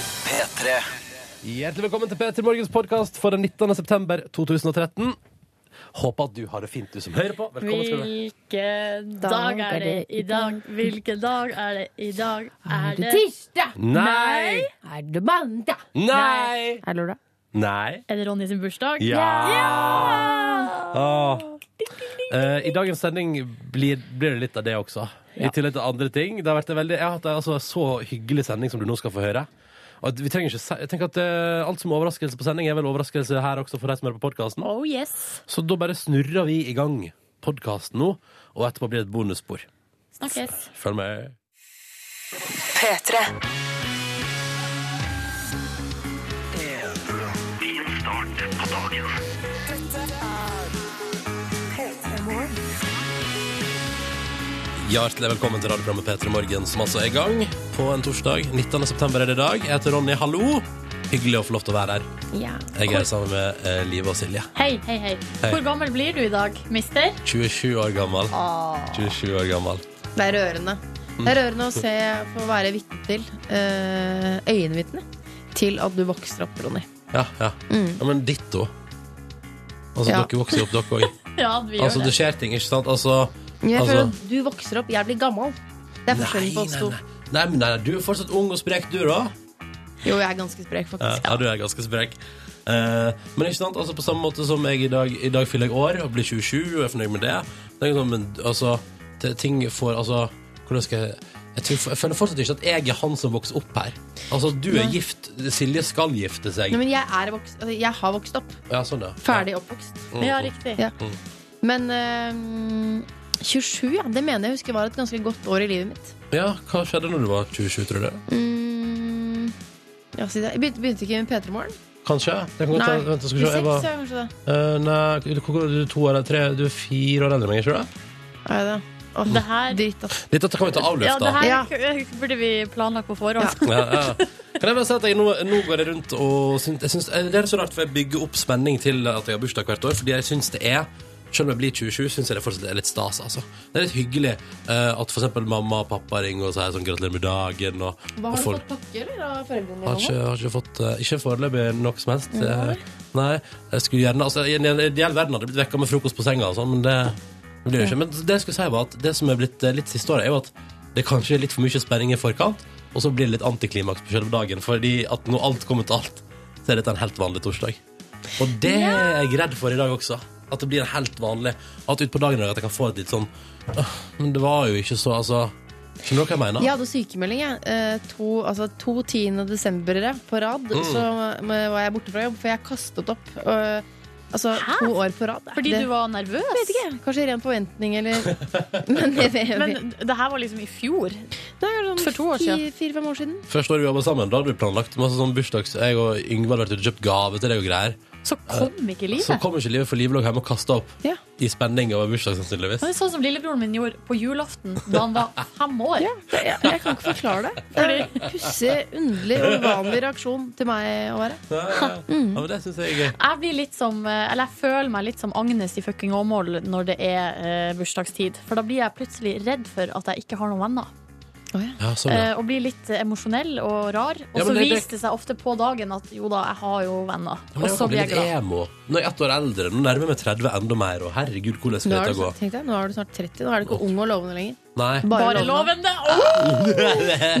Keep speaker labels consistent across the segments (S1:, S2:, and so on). S1: P3.
S2: Hjertelig velkommen til P3 Morgens podkast for den 19. september 2013. Håper at du har det fint, du som hører på. Velkommen skal du være.
S3: Hvilken dag er det i dag? Hvilken dag er det i dag? Er
S4: Er det
S3: det
S4: tirsdag?
S2: Nei!
S4: Er det mandag?
S2: Nei!
S4: Er det lørdag?
S2: Nei.
S3: Er det Ronny sin bursdag?
S2: Ja! Åh. Eh, I dagens sending blir, blir det litt av det også. I tillegg til andre ting. Det har vært en veldig, jeg har hatt en altså, så hyggelig sending som du nå skal få høre. Og at vi trenger ikke, si- jeg tenker at eh, Alt som er overraskelse på sending, er vel overraskelse her også for deg som hører på podkasten.
S3: Oh yes.
S2: Så da bare snurrer vi i gang podkasten nå, og etterpå blir det et bonusspor.
S3: Snakkes.
S2: Følg med.
S5: P3.
S2: Hjertelig velkommen til radioprogrammet P3 Morgen, som altså er i gang på en torsdag. 19. september er det i dag. Jeg heter Ronny, hallo! Hyggelig å få lov til å være her.
S3: Ja.
S2: Jeg er
S3: Hvor-
S2: sammen med eh, Live og Silje.
S3: Hei, hei, hei.
S2: Hei.
S3: Hvor gammel blir du i dag, mister?
S2: 27 år gammel. 27 år gammel.
S6: Det er rørende. Det er rørende å se, få være vitne til, eh, øyenvitne, til at du vokser opp, Ronny.
S2: Ja, ja. ja men ditto. Altså,
S6: Mm. Ja.
S2: dere vokser jo opp, dere òg.
S3: Ja, vi gjør
S2: Altså, det
S3: det.
S2: skjer ting, ikke sant? Altså,
S6: Jeg
S2: altså
S6: føler at du vokser opp, jeg blir gammel. Det er forskjellen på oss to.
S2: nei. Nei, men nei, du er fortsatt ung og sprek, du, da.
S6: Jo, jeg er ganske sprek,
S2: Ja,
S6: faktisk.
S2: ja, du er ganske sprek. Eh, men ikke sant, altså på samme måte som jeg i dag I dag fyller jeg år og blir 27 og er fornøyd med det. det er ikke sånn, men altså t- Ting får Altså, hvordan skal jeg jeg, tror, jeg føler fortsatt ikke at jeg er han som vokser opp her. Altså, du er gift. Silje skal gifte seg.
S6: Nei, men jeg, er vokst, altså, jeg har vokst opp.
S2: Ja, sånn, ja. mm,
S6: Ferdig oppvokst.
S3: Ja, riktig.
S6: Ja. Men eh, 27, ja, det mener jeg husker var et ganske godt år i livet mitt.
S2: Ja, hva skjedde når du var 27, tror du?
S6: Mm, ja, si det. Jeg begynte, begynte ikke med P3 Morgen.
S2: Kanskje? Jeg kan godt ta,
S6: Nei,
S2: vent, skal vi se.
S6: 26
S2: Jeg var,
S6: er kanskje det.
S2: Eh, nei, du- hvor- du er to år, eller tre, du er fire år eldre enn meg, ikke sant?
S6: Er det? Åh,
S3: Det her,
S6: Dritt, ass.
S2: Dette kan vi ta avløft,
S3: ja,
S2: da.
S3: det
S6: Ja.
S3: her k- burde vi planlagt på forhånd.
S2: ja, ja. Kan jeg bare si at jeg nå, nå går jeg rundt og syns, jeg syns, Det er så rart, for jeg bygger opp spenning til at jeg har bursdag hvert år, fordi jeg syns det er selv om jeg blir 27, syns jeg det fortsatt er litt stas. altså. Det er litt hyggelig eh, at f.eks. mamma og pappa ringer og sier sånn 'gratulerer med dagen'. Og, og
S6: Hva har du
S2: folk
S6: fått pakke, eller? Av foreldrene
S2: har
S6: dine?
S2: ikke, har ikke fått eh, Ikke foreløpig noe som helst. Eh, Nei, jeg skulle gjerne altså, I en ideell verden hadde jeg blitt vekka med frokost på senga og sånn, men det, det blir jo ikke. Men det jeg skulle si, var at det som er blitt eh, litt siste året, er jo at det kanskje er litt for mye spenning i forkant, og så blir det litt antiklimaks på selve dagen, fordi at når alt kommer til alt, så er dette en helt vanlig torsdag. Og det er jeg redd for i dag også. At det blir helt vanlig. At utpå dagen i dag at jeg kan få et litt sånn «Åh, Men det var jo ikke så, altså Skjønner du hva jeg mener?
S6: Jeg hadde sykemelding, jeg. Eh, to, altså, to 10. desemberere på rad. Så eh, var jeg borte fra jobb, for jeg kastet opp. eh, altså to år på rad.
S3: Fordi du var nervøs?
S6: Jeg vet ikke. Kanskje ren forventning, eller Men jeg vet jeg vet-
S3: Men det her var liksom i fjor.
S6: Det er kanskje
S3: for to år siden.
S6: fire- Fire-fem år siden.
S2: Første året vi jobba sammen, da hadde vi planlagt masse sånn bursdags... Jeg og Yngve hadde vært ute og kjøpt gave til deg og greier.
S3: Så kom ikke
S2: Eh, Så
S3: livet.
S2: kom ikke livet, for livet lå hjemme og kasta opp
S6: Ja.
S2: i spenning over bursdag, sannsynligvis.
S3: Det er sånn som lillebroren min gjorde på julaften da han var fem år.
S6: Det- Jeg, jeg kan ikke forklare det. Det er en pussig, underlig og uvanlig reaksjon til meg å være.
S2: Ja, ja. ja,
S3: mm.
S2: men det syns jeg er gøy.
S3: Jeg blir litt som, eh, eller jeg føler meg litt som Agnes i fucking Åmål når det er eh, bursdagstid. For da blir jeg plutselig redd for at jeg ikke har noen venner.
S2: Ja, sånn, ja.
S3: Eh, og blir litt eh, emosjonell og rar. Og
S2: Ja,
S3: så
S2: men det- det-
S3: viser det seg ofte på dagen at jo da, jeg har jo venner.
S2: Men
S3: Og
S2: jeg
S3: så
S2: kan bli
S3: blir jeg
S2: litt
S3: glad.
S2: emo. Nå er jeg ett år eldre, nå nærmer jeg meg 30 enda mer, og herregud, hvordan skal
S6: Nå er du,
S2: dette gå?
S6: snart- tenkte jeg, nå er du snart 30. Nå er du ikke ung og lovende lenger.
S2: Nei.
S3: sånn. Bare lovende! Åh!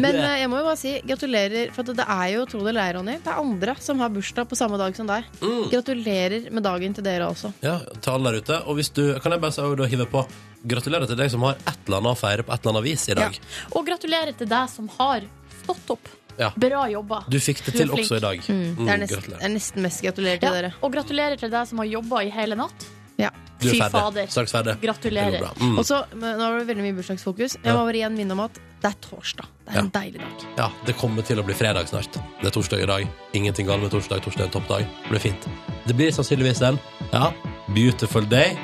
S6: Men eh, jeg må jo bare si gratulerer. For at det er jo, tro det eller ei, Ronny, det er andre som har bursdag på samme dag som deg.
S2: Mm.
S6: Gratulerer med dagen til dere også.
S2: Ja, til alle der ute. Og hvis du Kan jeg bare si, og da hive på Gratulerer til deg som har et eller annet å feire på et eller annet vis i dag.
S3: Og gratulerer til deg som har stått opp.
S2: Ja.
S3: Bra jobba.
S2: Du fikk det
S3: Du er
S2: til
S3: flink.
S2: også i dag. Mm,
S6: Det er nesten,
S2: gratulerer.
S6: er nesten mest gratulerer til
S3: ja.
S6: dere.
S3: Og gratulerer til deg som har jobba i hele natt.
S6: Ja.
S2: Du er
S3: Fy
S2: ferdig.
S3: fader.
S2: Straks ferdig. Det går
S3: Gratulerer.
S2: bra. Mm.
S6: Og så, men Nå var det veldig mye bursdagsfokus. Jeg må bare igjen minne om at det er torsdag. Det er en deilig dag.
S2: Ja, det kommer til å bli fredag snart. Det er torsdag i dag. Ingenting galt med torsdag. Torsdag er en toppdag. Det blir fint. Det blir sannsynligvis en ja, beautiful day.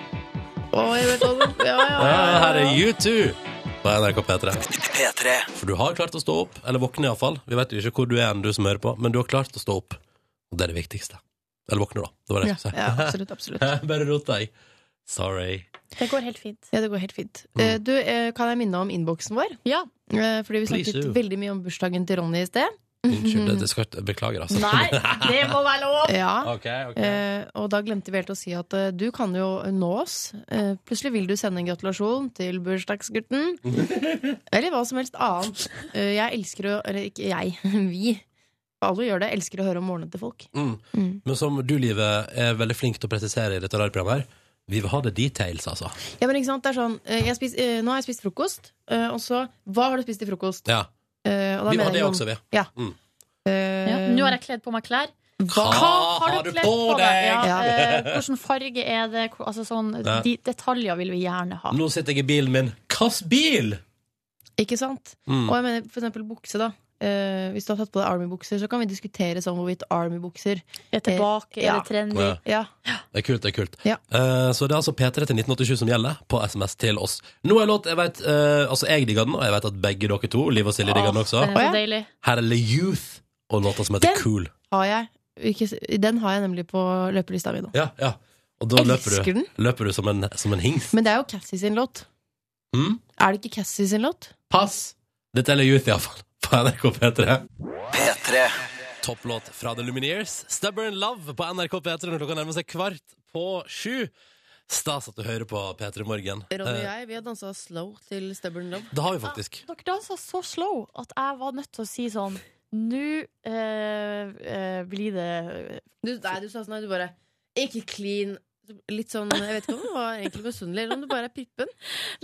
S6: Oi, vet du hva du- ja, ja,
S2: Ja,
S6: ja.
S2: her er U2 på NRK P3.
S5: P3.
S2: For du har klart å stå opp, eller våkne iallfall. Vi vet jo ikke hvor du er, enn du som hører på, men du har klart å stå opp. Og det er det viktigste. Eller våkne, da. Det var det jeg skulle si.
S6: ja, absolutt. absolutt
S2: Bare rot deg. Sorry.
S3: Det går helt fint.
S6: Ja, Det går helt fint.
S2: Mm.
S6: Eh, Du, eh, Kan jeg minne om innboksen vår?
S3: Ja.
S6: Eh, Fordi vi
S2: Please
S6: snakket
S2: do.
S6: veldig mye om bursdagen til Ronny i sted.
S2: Unnskyld, det, det skal, ikke- beklager, altså.
S3: Nei, det må være lov!
S6: Ja.
S2: Ok, ok.
S6: Eh, og da glemte vi helt å si at eh, du kan jo nå oss. Eh, plutselig vil du sende en gratulasjon til bursdagsgutten. eller hva som helst annet. Eh, jeg elsker å Eller ikke jeg, vi. Alle gjør det. Elsker å høre om morgenen til folk.
S2: Mm.
S6: Mm.
S2: Men som du, Live, er veldig flink til å presisere i dette radioprogrammet her, vi vil ha det details, altså.
S6: Ja, men ikke sant, det er sånn eh, jeg spis, eh, Nå har jeg spist frokost, eh, og så Hva har du spist til frokost?
S2: Ja,
S6: Eh, og da
S2: vi har
S6: mener
S2: det
S6: jeg sånn, eh,
S2: også, vi.
S3: Ja. Nå har jeg kledd på meg klær.
S2: Hva Ah, har du på deg?
S3: Ja,
S6: Ja.
S3: eh, hvilken farge er det? Hvor- Altså sånn,
S2: Nei.
S3: de detaljer vil vi gjerne ha.
S2: Nå sitter jeg i bilen min. Hvilken bil?!
S6: Ikke sant?
S2: Mm.
S6: Og jeg mener for eksempel bukse, da. Eh, hvis du har tatt på deg Army-bukser, så kan vi diskutere sånn hvorvidt Army-bukser
S3: Er tilbake, er
S6: Ja.
S3: det trendy?
S2: Ja.
S6: Ja,
S2: Det er kult, det er kult.
S6: Ja.
S2: Eh, så det er altså P3 til 1987 som gjelder, på SMS til oss. Nå er låt jeg vet, eh, Altså, jeg digger den, og jeg vet at begge dere to, Liv og Silje, digger den også.
S3: Åh, Den er
S6: Å,
S3: så
S6: ja.
S3: deilig.
S2: Her er Le Youth og låta som heter
S6: Den-
S2: Cool.
S6: har jeg. Ikke, s- den har jeg nemlig på løpelista mi nå.
S2: Ja, ja. Og da løper
S6: Elsker
S2: du,
S6: den.
S2: løper du som, en, som en hings.
S6: Men det er jo Cassie sin låt.
S2: Mm?
S6: Er det ikke Cassie sin låt?
S2: Pass! Dette er Le Youth, iallfall. På NRK P3.
S5: P3.
S2: Topplåt fra The Lumineers. Stubborn Love på NRK P3 når klokka nærmer seg kvart på sju. Stas at du hører på P3 Morgen.
S6: Ronny og
S2: Eh,
S6: jeg vi har dansa slow til Stubborn Love.
S2: det har vi faktisk.
S3: Dere dansa så slow at jeg var nødt til å si sånn Nå eh, eh, blir det
S6: Du, nei, du sa sånn at du bare Ikke clean. Litt sånn, Jeg vet ikke om du var egentlig misunnelig, eller om du bare er prippen.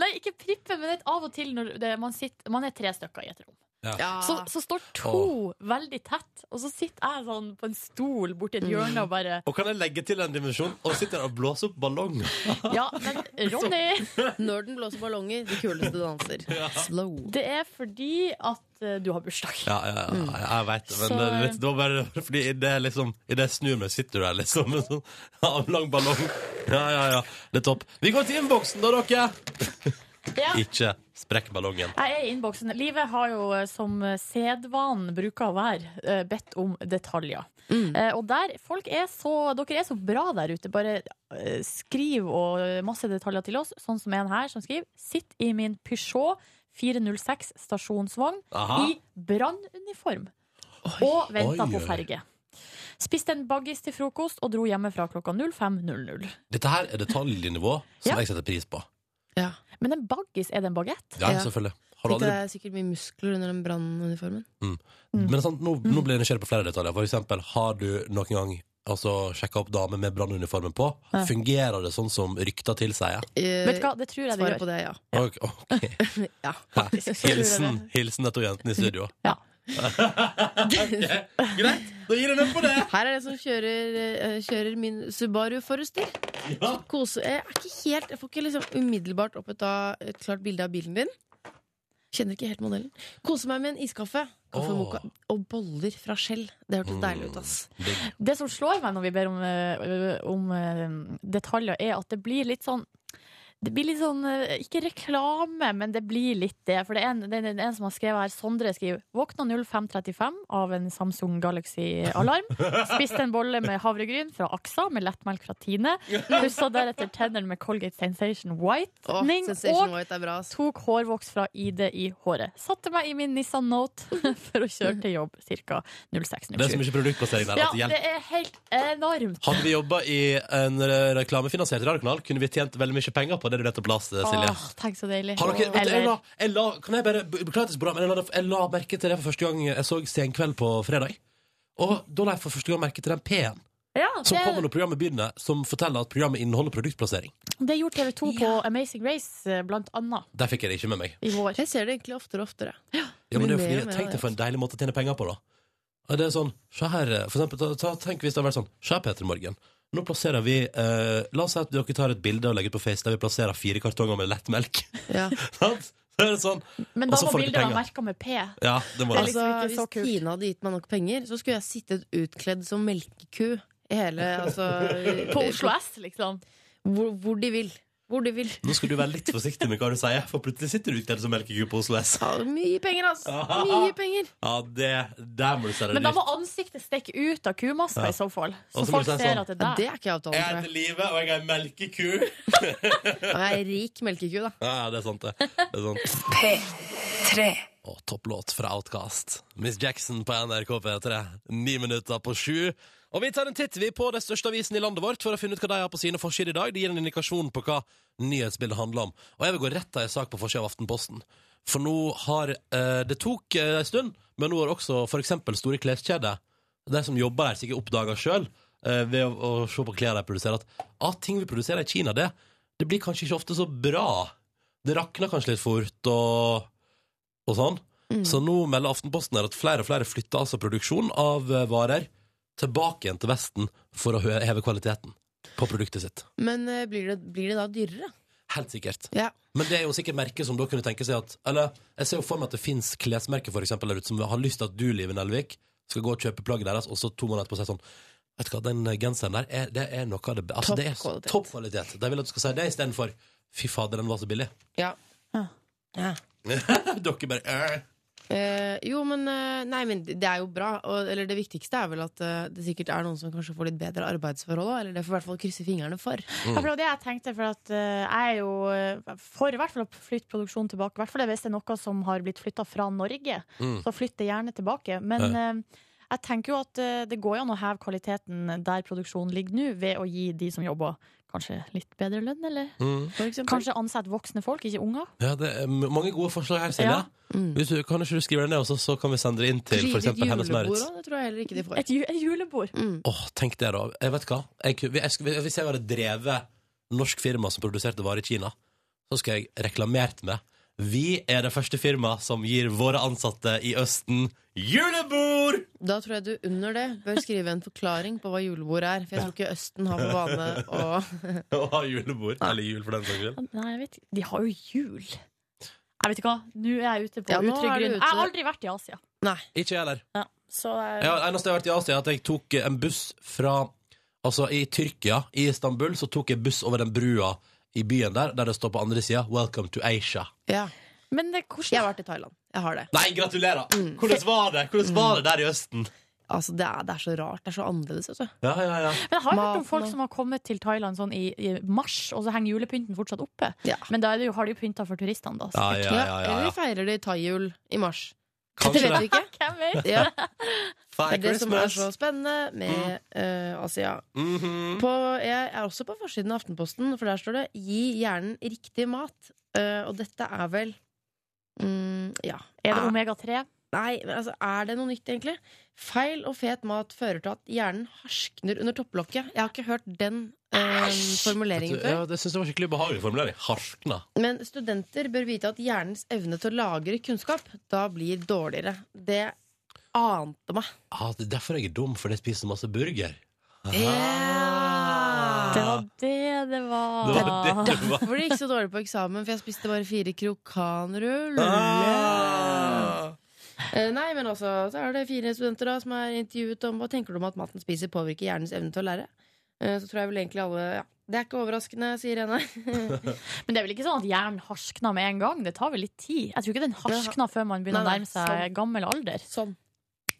S3: Nei, ikke prippen, men det er av og til når det, man, sitter, man er tre stykker i et rom. Så, så står to veldig tett, og så sitter jeg sånn på en stol borti et hjørne og bare
S2: Og kan jeg legge til en dimensjon? Og sitter der og blåser opp ballonger.
S3: Ja, men Ronny!
S6: Når den blåser ballonger, de kuleste danser. Slow.
S3: Det er fordi at eh, du har bursdag.
S2: Ja, ja, ja, ja, jeg veit det. Men
S3: Mm. Så- eh,
S2: det, er litt- det var bare fordi i det, liksom, i det jeg snur meg, sitter du der liksom med sånn avlang ballong. Ja, ja, ja. Det er topp. Vi går til innboksen, da, dere!
S3: Ja.
S2: Ikke sprekk ballongen.
S3: Jeg er i innboksen. Livet har jo, eh, som sedvanen bruker å være, eh, bedt om detaljer.
S2: Mm.
S3: Eh, Og der, folk er så, dere er så bra der ute. Bare eh, skriv og eh, masse detaljer til oss, sånn som en her som skriver. Sitt i min Peugeot 406 stasjonsvogn
S2: Aha.
S3: i brannuniform og venta
S2: Oi,
S3: på
S2: oi.
S3: ferge. Spiste en baggis til frokost og dro hjemmefra klokka 05.00.
S2: Dette her er detaljnivå som
S3: Ja.
S2: jeg setter pris på.
S6: Ja.
S3: Men en baggis, er det en bagett?
S2: Ja,
S6: Ja.
S2: selvfølgelig. Har du
S6: Tenk,
S2: aldri
S6: det er sikkert mye muskler under den brannuniformen.
S3: mm.
S2: Men sånn, nå, nå blir jeg nysgjerrig på flere detaljer. For eksempel, har du noen gang altså, sjekka opp damer med brannuniformen på?
S3: Ja.
S2: Fungerer det sånn som rykta tilsier?
S3: Vet du hva, det tror jeg det
S6: Eh, Svaret
S3: gjør.
S6: på det er ja.
S2: Ok, ok.
S6: ja.
S3: Faktisk, jeg tror
S2: Hilsen,
S3: det.
S2: hilsen de to jentene i studio.
S3: Ja.
S2: Ok, Greit, da gir jeg den på det!
S6: Her er det som kjører, eh, kjører min Subaru Forester.
S2: Ja.
S6: Kose. Jeg, er ikke helt, jeg får ikke liksom umiddelbart opp et, av- et klart bilde av bilen din. Kjenner ikke helt modellen. Kose meg med en iskaffe. Kaffe,
S2: Åh.
S6: moka, og boller fra skjell. Det hørtes
S2: Mm.
S6: deilig ut, ass.
S2: Digg.
S3: Det som slår meg når vi ber om, eh, om eh, detaljer, er at det blir litt sånn det blir litt sånn, eh, ikke reklame, men det blir litt det. For det er en, det er en- en som har skrevet her, Sondre skriver 'Våkna 05.35 av en Samsung Galaxy-alarm'. 'Spiste en bolle med havregryn fra Aksa med lettmelk fra Tine'. 'Pussa deretter tennene med Colgate Sensation
S6: Åh,
S3: Whitening'.
S6: Sensation
S3: og
S6: White er bra, ass.
S3: tok hårvoks fra ID i håret. Satte meg i min Nissan Note for å kjøre til jobb ca.
S2: Det er så
S3: 06.07.
S2: mye produktplassering der.
S3: Ja,
S2: At det
S3: det
S2: hjelper.
S3: er helt enormt.
S2: Hadde vi jobba i en re- reklamefinansiert radiokanal, kunne vi tjent veldig mye penger på det du nettopp las, Silje.
S3: Åh, tenk så deilig.
S2: Har dere, vet du, jeg
S3: Eller-
S2: la, jeg la, kan jeg bare beklage det så bra, men jeg la, jeg la merke til det for første gang jeg så Senkveld på fredag. Og da la jeg for første gang merke til den P-en
S3: ja,
S2: som kommer
S3: det,
S2: når programmet begynner, som forteller at programmet inneholder produktplassering.
S3: det gjorde TV 2 på Amazing Race, eh, blant annet,
S2: Der fikk jeg det ikke med meg.
S3: i vår.
S6: Jeg ser det egentlig oftere og oftere.
S2: Ja, men det er jo
S6: Blir mer og
S2: fordi,
S6: mer
S2: Tenk
S6: av
S2: deg
S6: det,
S2: for en deilig måte å tjene penger på, da. Ja, Det er sånn, se her, for eksempel, ta, ta, Tenk hvis det hadde vært sånn Se her, Peter Morgen. Nå plasserer vi eh, La oss si at dere tar et bilde og legger ut på Face der vi plasserer fire kartonger med lettmelk.
S6: Ja.
S2: Sant? Så er det sånn.
S3: Men da
S2: Og så
S3: må
S2: får dere
S3: bildet være
S2: penger.
S3: merka med P.
S2: Ja, det må
S3: Det er
S2: det.
S3: liksom ikke
S6: Altså, hvis
S3: så kult.
S6: Tine hadde gitt meg nok penger, så skulle jeg sittet utkledd som melkeku i hele altså,
S3: På Oslo S, liksom.
S6: Hvor, hvor de vil. Hvor de vil.
S2: Nå skal du være litt forsiktig med hva du sier, for plutselig sitter du utkledd som melkeku på Oslo S.
S6: Ta mye penger, ass! Mye penger.
S2: Ja, det, der må du se det
S3: Men da må
S2: dyrt.
S3: ansiktet stikke ut av kumassa
S2: Ja.
S3: i så fall. Så
S2: Og så må
S3: folk
S2: du si sånn,
S3: ser at det
S6: Ja,
S3: er
S6: det
S3: der.
S6: er ikke avtalen,
S2: Jeg
S6: tror jeg.
S2: heter Live, og jeg er en melkeku.
S6: Og jeg er rik melkeku, da.
S2: Ja, det er sant, det. det er sant.
S5: P3.
S2: og topplåt fra Outcast. Miss Jackson på NRK P3. Ni minutter på sju. Og vi tar en titt vi på den største avisen i landet vårt for å finne ut hva de har på sine forsider i dag. Det gir en indikasjon på hva nyhetsbildet handler om. Og jeg vil gå rett til en sak på forsida av Aftenposten. For nå har eh, Det tok eh, en stund, men nå har også f.eks. store kleskjeder, de som jobber der, sikkert oppdaga sjøl eh, ved å, å se på klær de produserer, at ah, ting vi produserer i Kina, det, det blir kanskje ikke ofte så bra. Det rakner kanskje litt fort, og og sånn. Så nå melder Aftenposten her at flere og flere flytter altså produksjon av eh, varer tilbake igjen til Vesten for å hø- heve kvaliteten på produktet sitt.
S6: Men eh, blir det, blir det da dyrere?
S2: Helt sikkert.
S6: Ja.
S2: Men det er jo sikkert merker som da kunne tenke seg at Eller jeg ser jo for meg at det fins klesmerker for eksempel, der ute som har lyst til at du, Live Nelvik, skal gå og kjøpe plagget deres, og så to måneder etterpå si sånn Vet du hva, den genseren der, er, det er noe av det be- altså,
S6: Topp
S2: det er så-
S6: kvalitet.
S2: Topp kvalitet. De vil at du skal si det istedenfor Fy fader, den var så billig.
S6: Ja.
S3: Ja.
S6: Ja.
S2: Dere bare «Øh».
S6: Eh, jo, men eh, Nei, men det er jo bra. Og, eller det viktigste er vel at eh, det sikkert er noen som kanskje får litt bedre arbeidsforhold òg. Eller det får i hvert fall krysse fingrene for.
S3: Ja, for det var det jeg tenkte, for at eh, jeg er jo eh, for i hvert fall å flytte produksjonen tilbake. I hvert fall hvis det er noe som har blitt flytta fra Norge,
S2: Mm.
S3: så flytt det gjerne tilbake. Men eh, jeg tenker jo at eh, det går jo an å heve kvaliteten der produksjonen ligger nå, ved å gi de som jobber, kanskje litt bedre lønn, eller
S2: Mm.
S6: for eksempel.
S3: kanskje ansette voksne folk, ikke unger.
S2: Ja, det er m- mange gode forslag her, Silje.
S3: Ja.
S6: Mm.
S2: Hvis du, kan ikke du skrive det ned, og så, så kan vi sende det inn til for
S6: Litt
S2: eksempel Hennes
S6: julebord
S2: Maurits?
S6: også, det tror jeg heller ikke de får.
S3: Et, ju et julebord.
S6: Mm.
S2: Åh, tenk det, da. Jeg vet hva. Jeg, ku- hvis jeg skulle- hvis jeg hadde drevet norsk firma som produserte varer i Kina, så skulle jeg reklamert med Vi er det første firma som gir våre ansatte i Østen julebord!
S6: Da tror jeg du under det bør skrive en forklaring på hva julebord er. For jeg tror ikke Østen har for vane å
S2: Å ha julebord. Eller jul, for den saks skyld.
S3: Nei, jeg vet ikke. De har jo jul. Jeg vet ikke hva, nå er jeg ute på
S6: Ja, nå
S3: utrygg
S6: er du
S3: grunn.
S6: ute.
S3: Jeg har aldri vært i Asia.
S6: Nei.
S2: Ikke jeg heller.
S3: Ja, så eh, jeg-
S2: Jeg har, eneste jeg har vært i Asia, er at jeg tok eh, en buss fra Altså, i Tyrkia, i Istanbul, så tok jeg buss over den brua i byen der, der det står på andre sida 'Welcome to Asia'.
S6: Ja.
S3: Men det,
S6: Jeg
S3: hvordan
S6: har vært i Thailand. Jeg har det.
S2: Nei, gratulerer!
S6: Mm.
S2: Hvordan var det Hvordan var det der i Østen?
S6: Altså, det, er, det er så rart. Det er så annerledes. vet du.
S2: Ja, ja, ja.
S3: Men jeg har hørt om
S6: Maten
S3: folk
S6: og-
S3: som har kommet til Thailand sånn i, i mars, og så henger julepynten fortsatt oppe.
S6: Ja.
S3: Men da er det jo, har de jo pynta for turistene, da.
S2: ja, ja,
S3: sikkert.
S2: ja, ja, ja.
S6: Eller vi feirer de thai-jul i mars.
S2: Kanskje
S6: det vet
S2: det.
S6: vi ikke.
S3: Hvem vet?
S6: Ja, det
S2: Fire
S6: er det som er
S2: Christmas. Mm.
S6: så spennende med eh, Asia.
S2: Mhm.
S6: På, jeg er også på forsiden av Aftenposten, for der står det 'Gi hjernen riktig mat'. Eh, og dette er vel mm, Ja.
S3: Er det omega-3?
S6: Nei, men altså, er det noe nytt, egentlig? Feil og fet mat fører til at hjernen harskner under topplokket. Jeg har ikke hørt den eh, formuleringen
S2: Vet du, Ja,
S6: før.
S2: det syns jeg var skikkelig ubehagelig formulering. Harskna.
S6: Men studenter bør vite at hjernens evne til å lagre kunnskap da blir dårligere. Det ante meg.
S2: Ah, det er derfor jeg er dum, fordi jeg spiser masse burger. Ah.
S6: Ja.
S3: Det var det det var.
S2: Det var det det var.
S6: Derfor det gikk så dårlig på eksamen, for jeg spiste bare fire krokanrull.
S2: Ah.
S6: Eh, Nei, men altså, så er det fire studenter da som er intervjuet om hva tenker du om at maten spiser påvirker hjernens evne til å lære. Eh, Så tror jeg vel egentlig alle ja. Det er ikke overraskende, sier henne.
S3: Men det er vel ikke sånn at hjernen harskna med en gang? Det tar vel litt tid? Jeg tror ikke den harskna før man begynner
S6: Nei,
S3: å
S6: nei,
S3: nærme seg gammel alder.
S6: Sånn.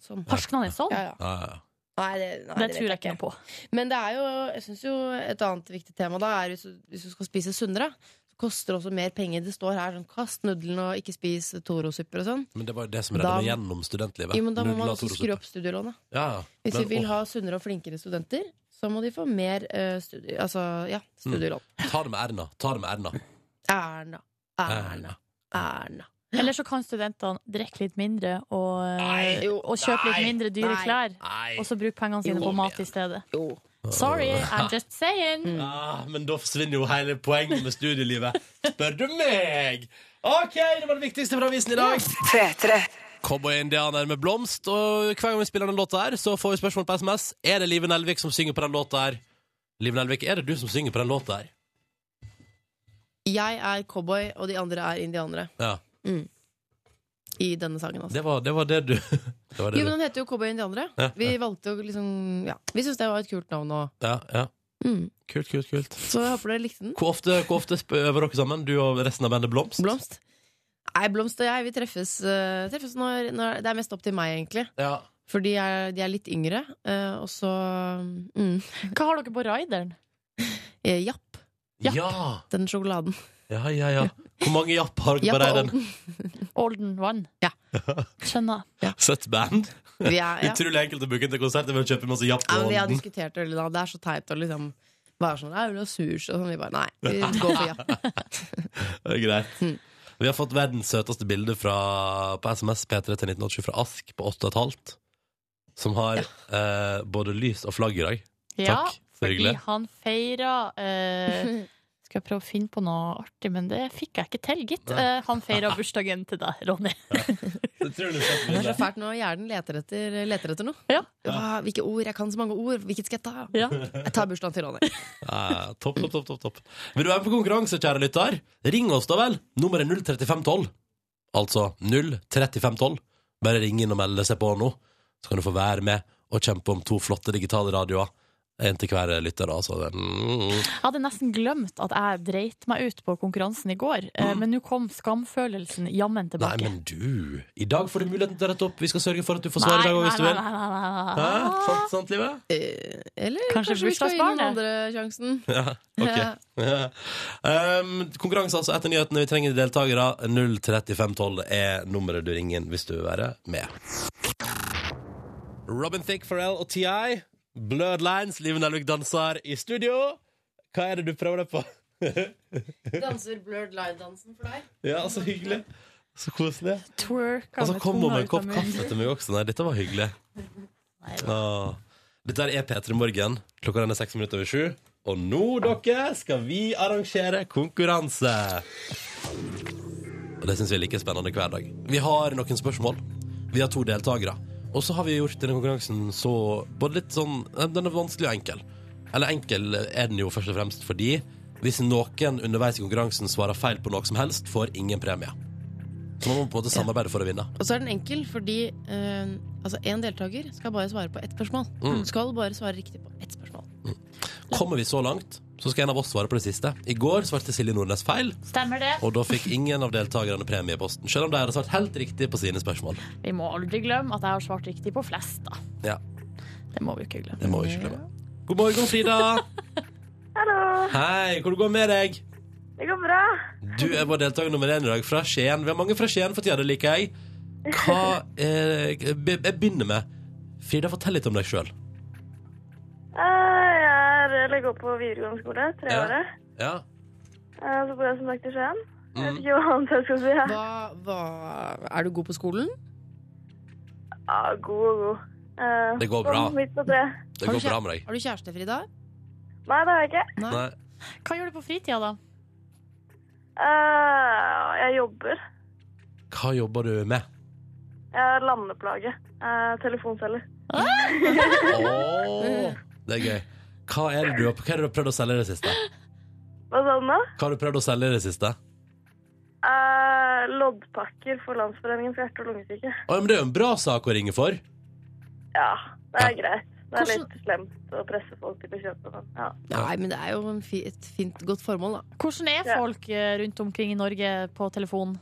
S6: sånn.
S3: Harskna den sånn?
S6: Ja, ja.
S2: Ja, ja.
S6: Nei, det, nei,
S3: Det
S6: vet
S3: tror jeg ikke noe på.
S6: Men det er jo, jeg synes jo et annet viktig tema da er hvis du, hvis du skal spise sunnere, så koster det også mer penger. Det står her sånn kast nudlene og ikke spis Toro-supper og sånn.
S2: Men det var jo det som redda
S6: Da-
S2: meg gjennom studentlivet.
S6: Jo, men da må
S2: Nudler,
S6: man også
S2: Toro-suppe.
S6: skru opp studielånet.
S2: Ja, ja.
S6: Hvis
S2: Men,
S6: vi vil
S2: åh,
S6: ha sunnere og flinkere studenter, så må de få mer eh, studie, altså, ja,
S2: Mm.
S6: studielån.
S2: Ta det med Erna. Ta det med Erna.
S6: Erna, Erna, Erna.
S3: Eller så kan studentene drikke litt mindre og,
S6: Nei, jo,
S3: og kjøpe litt
S2: nei,
S3: mindre dyre
S6: nei.
S3: klær.
S2: Nei.
S3: Og så bruke pengene sine
S2: Jo,
S3: på mat
S2: men-
S3: i stedet.
S6: Jo.
S3: Sorry, I'm just saying.
S2: Ah, men da forsvinner jo hele poenget med studielivet. Spør du meg! OK, det var det viktigste fra avisen i dag.
S5: P3
S2: Cowboy-indianer med blomst. Og hver gang vi spiller den låta her, så får vi spørsmål på SMS. Er det Live Nelvik som synger på den låta her? Live Nelvik, er det du som synger på den låta her?
S6: Jeg er cowboy, og de andre er indianere
S2: Ja,
S6: i denne sangen. Altså.
S2: det var det, var det du det var det
S6: Jo, men
S2: du.
S6: den heter jo Cowboy og indianere.
S2: Ja,
S6: Vi valgte jo liksom, ja, vi syntes det var et kult navn også.
S2: Ja, ja.
S6: Mm.
S2: Kult, kult, kult.
S6: Så jeg håper dere likte den.
S2: Hvor ofte, hvor ofte sp- øver dere sammen, du og resten av bandet Blomst?
S6: Blomst? Nei, Blomst og jeg, vi treffes, eh, treffes når, når Det er mest opp til meg, egentlig.
S2: Ja.
S6: For de er, de er litt yngre. eh, og så mm,
S3: Hva har dere på rideren?
S6: eh, Japp,
S2: Ja.
S6: den sjokoladen.
S2: Ja, ja, ja. Hvor mange japp har dere
S6: Japp
S2: på
S6: og
S2: reiren?
S3: Olden One.
S6: Ja.
S3: Skjønner.
S2: Sett band.
S6: Vi er, ja.
S2: Utrolig enkelt å booke inn til konsert. Jeg vil kjøpe masse japp
S6: Ja,
S2: og
S6: men vi har
S2: Olden.
S6: diskutert øl i dag. Det er så teit å liksom være sånn «Nei, øl og surs og sånn. Vi bare nei. Vi går for japp.
S2: Det er greit.
S6: Mm.
S2: Vi har fått verdens søteste bilde fra, på SMS P3 til 1987 fra Ask på 8,5. Som har eh, både lys og flagg i dag.
S3: Ja,
S2: Takk, så
S3: fordi
S2: hyggelig.
S3: han feira eh, Skal jeg prøve å finne på noe artig, men det fikk jeg ikke til, gitt.
S2: Nei.
S3: Eh, han feira bursdagen til deg, Ronny.
S2: Utrolig søtt
S6: Det er så
S2: bilde.
S6: fælt når hjernen leter etter, leter etter noe.
S3: Ja.
S6: Ah, hvilke ord? Jeg kan så mange ord. Hvilket skal jeg ta?
S3: Ja.
S6: Jeg tar bursdagen til Ronny.
S2: Ja, Ah, topp, topp, topp, topp, topp. Vil du være med på konkurranse, kjære lytter? Ring oss da vel. Nummeret er 03512. Altså 03512. Bare ring inn og melde seg på nå, så kan du få være med og kjempe om to flotte digitale radioer. En til hver lytter, da. Så det, mm.
S3: Jeg hadde nesten glemt at jeg dreit meg ut på konkurransen i går, eh, men nå kom skamfølelsen jammen
S2: Mm. Nei,
S3: tilbake.
S2: men du. I dag får du muligheten til å rette opp. Vi skal sørge for at du får svar i dag òg, hvis du
S3: nei,
S2: vil.
S3: nei, nei, nei,
S2: Hæ?
S3: nei.
S2: Sant, sant, livet?
S6: Eh, Eller
S3: Kanskje
S6: kanskje, vi skal gi den
S3: bursdagsbarnet?
S6: andre sjansen.
S2: Ja, ok. um, konkurranse altså etter nyhetene. Vi trenger deltakere. 03512 er nummeret du ringer inn hvis du vil være med. Robin Thicke, Pharrell og TI. Blurred Lines, Liv Nelvik danser i studio. Hva er det du prøver deg på?
S6: Danser blurred live-dansen for deg?
S2: Ja, så hyggelig. Så koselig.
S3: Twerka
S2: Og så
S3: med
S2: kom hun
S3: tunga
S2: med en
S3: ut av
S2: kopp
S3: munnen.
S2: kaffe til meg også. Nei, dette var hyggelig. Åh. Dette er P3 Morgen. Klokka den er seks minutter over sju. Og nå, dere, skal vi arrangere konkurranse. Og det syns vi er like spennende hver dag. Vi har noen spørsmål. Vi har to deltakere. Og så har vi gjort denne konkurransen så både litt sånn Den er vanskelig og enkel. Eller enkel er den jo først og fremst fordi hvis noen underveis i konkurransen svarer feil på noe som helst, får ingen premie. Så man må på en måte samarbeide for å vinne.
S6: Og så er den enkel, fordi eh, altså, en deltaker skal bare svare på ett spørsmål. Skal bare svare riktig på ett spørsmål.
S2: Kommer vi så langt, så skal en av oss svare på det siste. I går svarte Silje Nordnes feil,
S3: Stemmer det?
S2: og da fikk ingen av deltakerne premie i posten. Selv om de hadde svart helt riktig på sine spørsmål.
S3: Vi må aldri glemme at jeg har svart riktig på flest, da.
S2: Ja,
S3: Det må vi jo ikke glemme.
S2: det må vi ikke glemme. God morgen, Frida.
S1: Hallo,
S2: Hei, hvordan går det med deg?
S1: det går bra.
S2: Du er vår deltaker nummer én i dag, fra Skien. Vi har mange fra Skien for tida, det liker jeg. Hva eh, be- Jeg begynner med Frida, fortell litt om deg sjøl.
S1: Eh, Jeg er, eller går på videregående skole, tre
S2: Ja.
S1: året.
S2: Ja.
S1: Eh, Så bor jeg som sagt i Skien. Jeg
S2: Mm.
S1: vet ikke hva annet jeg skal si. Jeg
S6: Hva, hva, er du god på skolen?
S1: Ja, god og god. Eh,
S2: Det går
S1: sånn
S2: bra.
S1: Midt på tre.
S2: Det går bra med deg.
S6: Har du kjæreste, Frida?
S1: Nei, det har jeg ikke.
S2: Nei.
S3: Hva gjør du på fritida, da?
S1: Eh, Jeg jobber.
S2: Hva jobber du med?
S1: Jeg er landeplage. Eh, Telefonselger.
S2: Åh, det er gøy. Hva er det du har, hva er det du har prøvd å selge i det siste?
S1: Hva sa du nå?
S2: Hva har du prøvd å selge i det siste?
S1: Eh, Loddpakker for Landsforeningen for hjerte- og
S2: Å,
S1: lungesyke.
S2: ja, men det er jo en bra sak å ringe for.
S1: Ja, det er greit. Det er
S3: Hvordan-
S1: litt slemt å presse folk til å kjøpe sånn. Ja.
S6: Nei, men det er jo en fi, et fint, godt formål, da.
S3: Hvordan er
S1: Ja.
S3: folk eh, rundt omkring i Norge på telefon?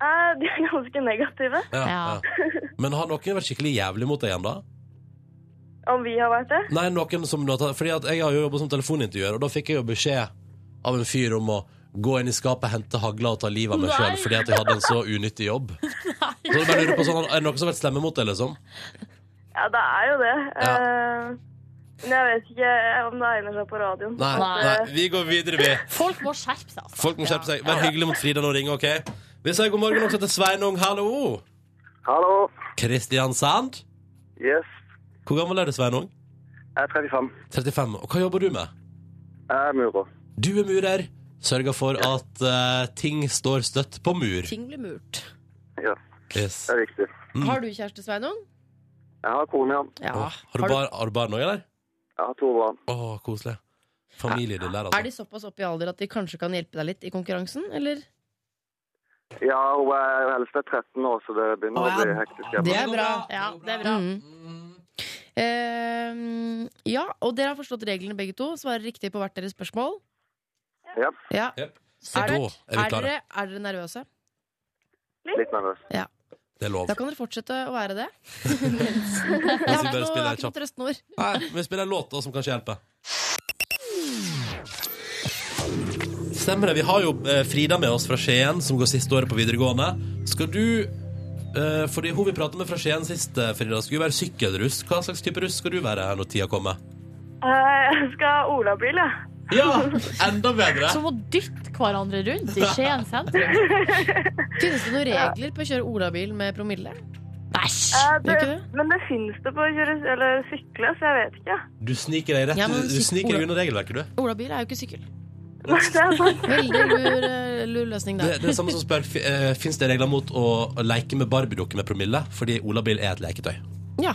S1: Eh, De er ganske negative.
S2: Ja,
S3: Ja.
S2: ja. Men har noen vært skikkelig jævlig mot deg igjen, da?
S1: Om vi har vært det?
S2: Nei, noen som nå tar- Fordi at jeg har jo jobbet som telefonintervjuer, og da fikk jeg jo beskjed av en fyr om å gå inn i skapet, hente hagla og ta livet av meg
S3: Nei.
S2: sjøl fordi at jeg hadde en så unyttig jobb. Så jeg bare lurer på sånn, Er det noen som har vært slemme mot deg, liksom?
S1: Ja, det er jo det.
S2: Ja.
S1: Eh, Men jeg vet ikke om det egner seg på radioen.
S2: Nei,
S3: Nei.
S2: nei. Vi går videre, vi.
S3: Folk må skjerpe seg, altså.
S2: Folk må skjerpe seg. Vær hyggelig mot Frida når hun ringer, OK? Vi sier god morgen også til Sveinung. Hallo!
S4: Hallo.
S2: Kristiansand?
S4: Yes,
S2: Hvor gammel er du, Sveinung?
S4: jeg er 35.
S2: 35. Og hva jobber du med?
S4: Jeg er murer.
S2: Du er murer. Sørger for at eh, ting står støtt på mur.
S6: Ting blir murt.
S4: Ja,
S2: Yes.
S4: det er viktig.
S2: Mm.
S6: Har du kjæreste, Sveinung?
S4: Jeg har kone, ja.
S6: Ja.
S2: Åh, har, du bar, har du barn òg, eller?
S4: Jeg har to barn.
S2: Å, koselig. Familie din der,
S6: Er
S2: altså.
S6: de såpass oppe i alder at de kanskje kan hjelpe deg litt i konkurransen, eller?
S4: Ja, hun er eldst er 13 år, så det begynner
S6: Å, ja.
S4: å bli hektisk hjemme.
S6: Det er bra.
S3: Ja, det er bra.
S6: Mm. Eh, ja, og dere har forstått reglene begge to. Svarer riktig på hvert deres spørsmål.
S4: Ja,
S6: Ja.
S2: Så
S6: Er
S2: da
S6: det-
S2: er vi
S6: Er
S2: klare.
S6: dere, er dere nervøse?
S4: litt nervøs.
S2: Det er lov.
S6: Da kan dere fortsette å være det.
S2: Vi
S6: Jeg har
S2: skal
S6: ikke
S2: bare
S6: noe, jeg
S2: spille
S6: har
S2: en
S6: ikke noe
S2: kjapp
S6: trøstende ord.
S2: Nei, Vi spiller en låt da som kanskje hjelper. Stemmer det. Vi har jo eh, Frida med oss fra Skien, som går siste året på videregående. Skal du eh, Fordi hun vi pratet med fra Skien sist, eh, Frida, skulle være sykkelruss. Hva slags type russ skal du være når tida kommer?
S1: Eh, Jeg skal ha olabil, jeg.
S2: Ja! Enda bedre!
S3: Som å dytte hverandre rundt i Skien sentrum.
S6: Finnes det noen regler på å kjøre olabil med promille?
S3: Bæsj!
S1: Eh,
S6: Gjør
S1: Det,
S6: ikke det?
S1: men det finnes det på å kjøre eller sykle, så jeg vet ikke.
S2: Du sniker deg rett
S6: Ja, men
S2: Du sniker
S6: Ola-
S2: deg unna regelverket, du.
S6: Olabil er jo ikke sykkel.
S1: Nei, det er sant.
S6: Veldig lur, eh, lur løsning
S2: Det,
S6: der.
S2: det er samme som spør uh, Fins det regler mot å, å leke med barbiedukker med promille, fordi olabil er et leketøy.
S6: Ja,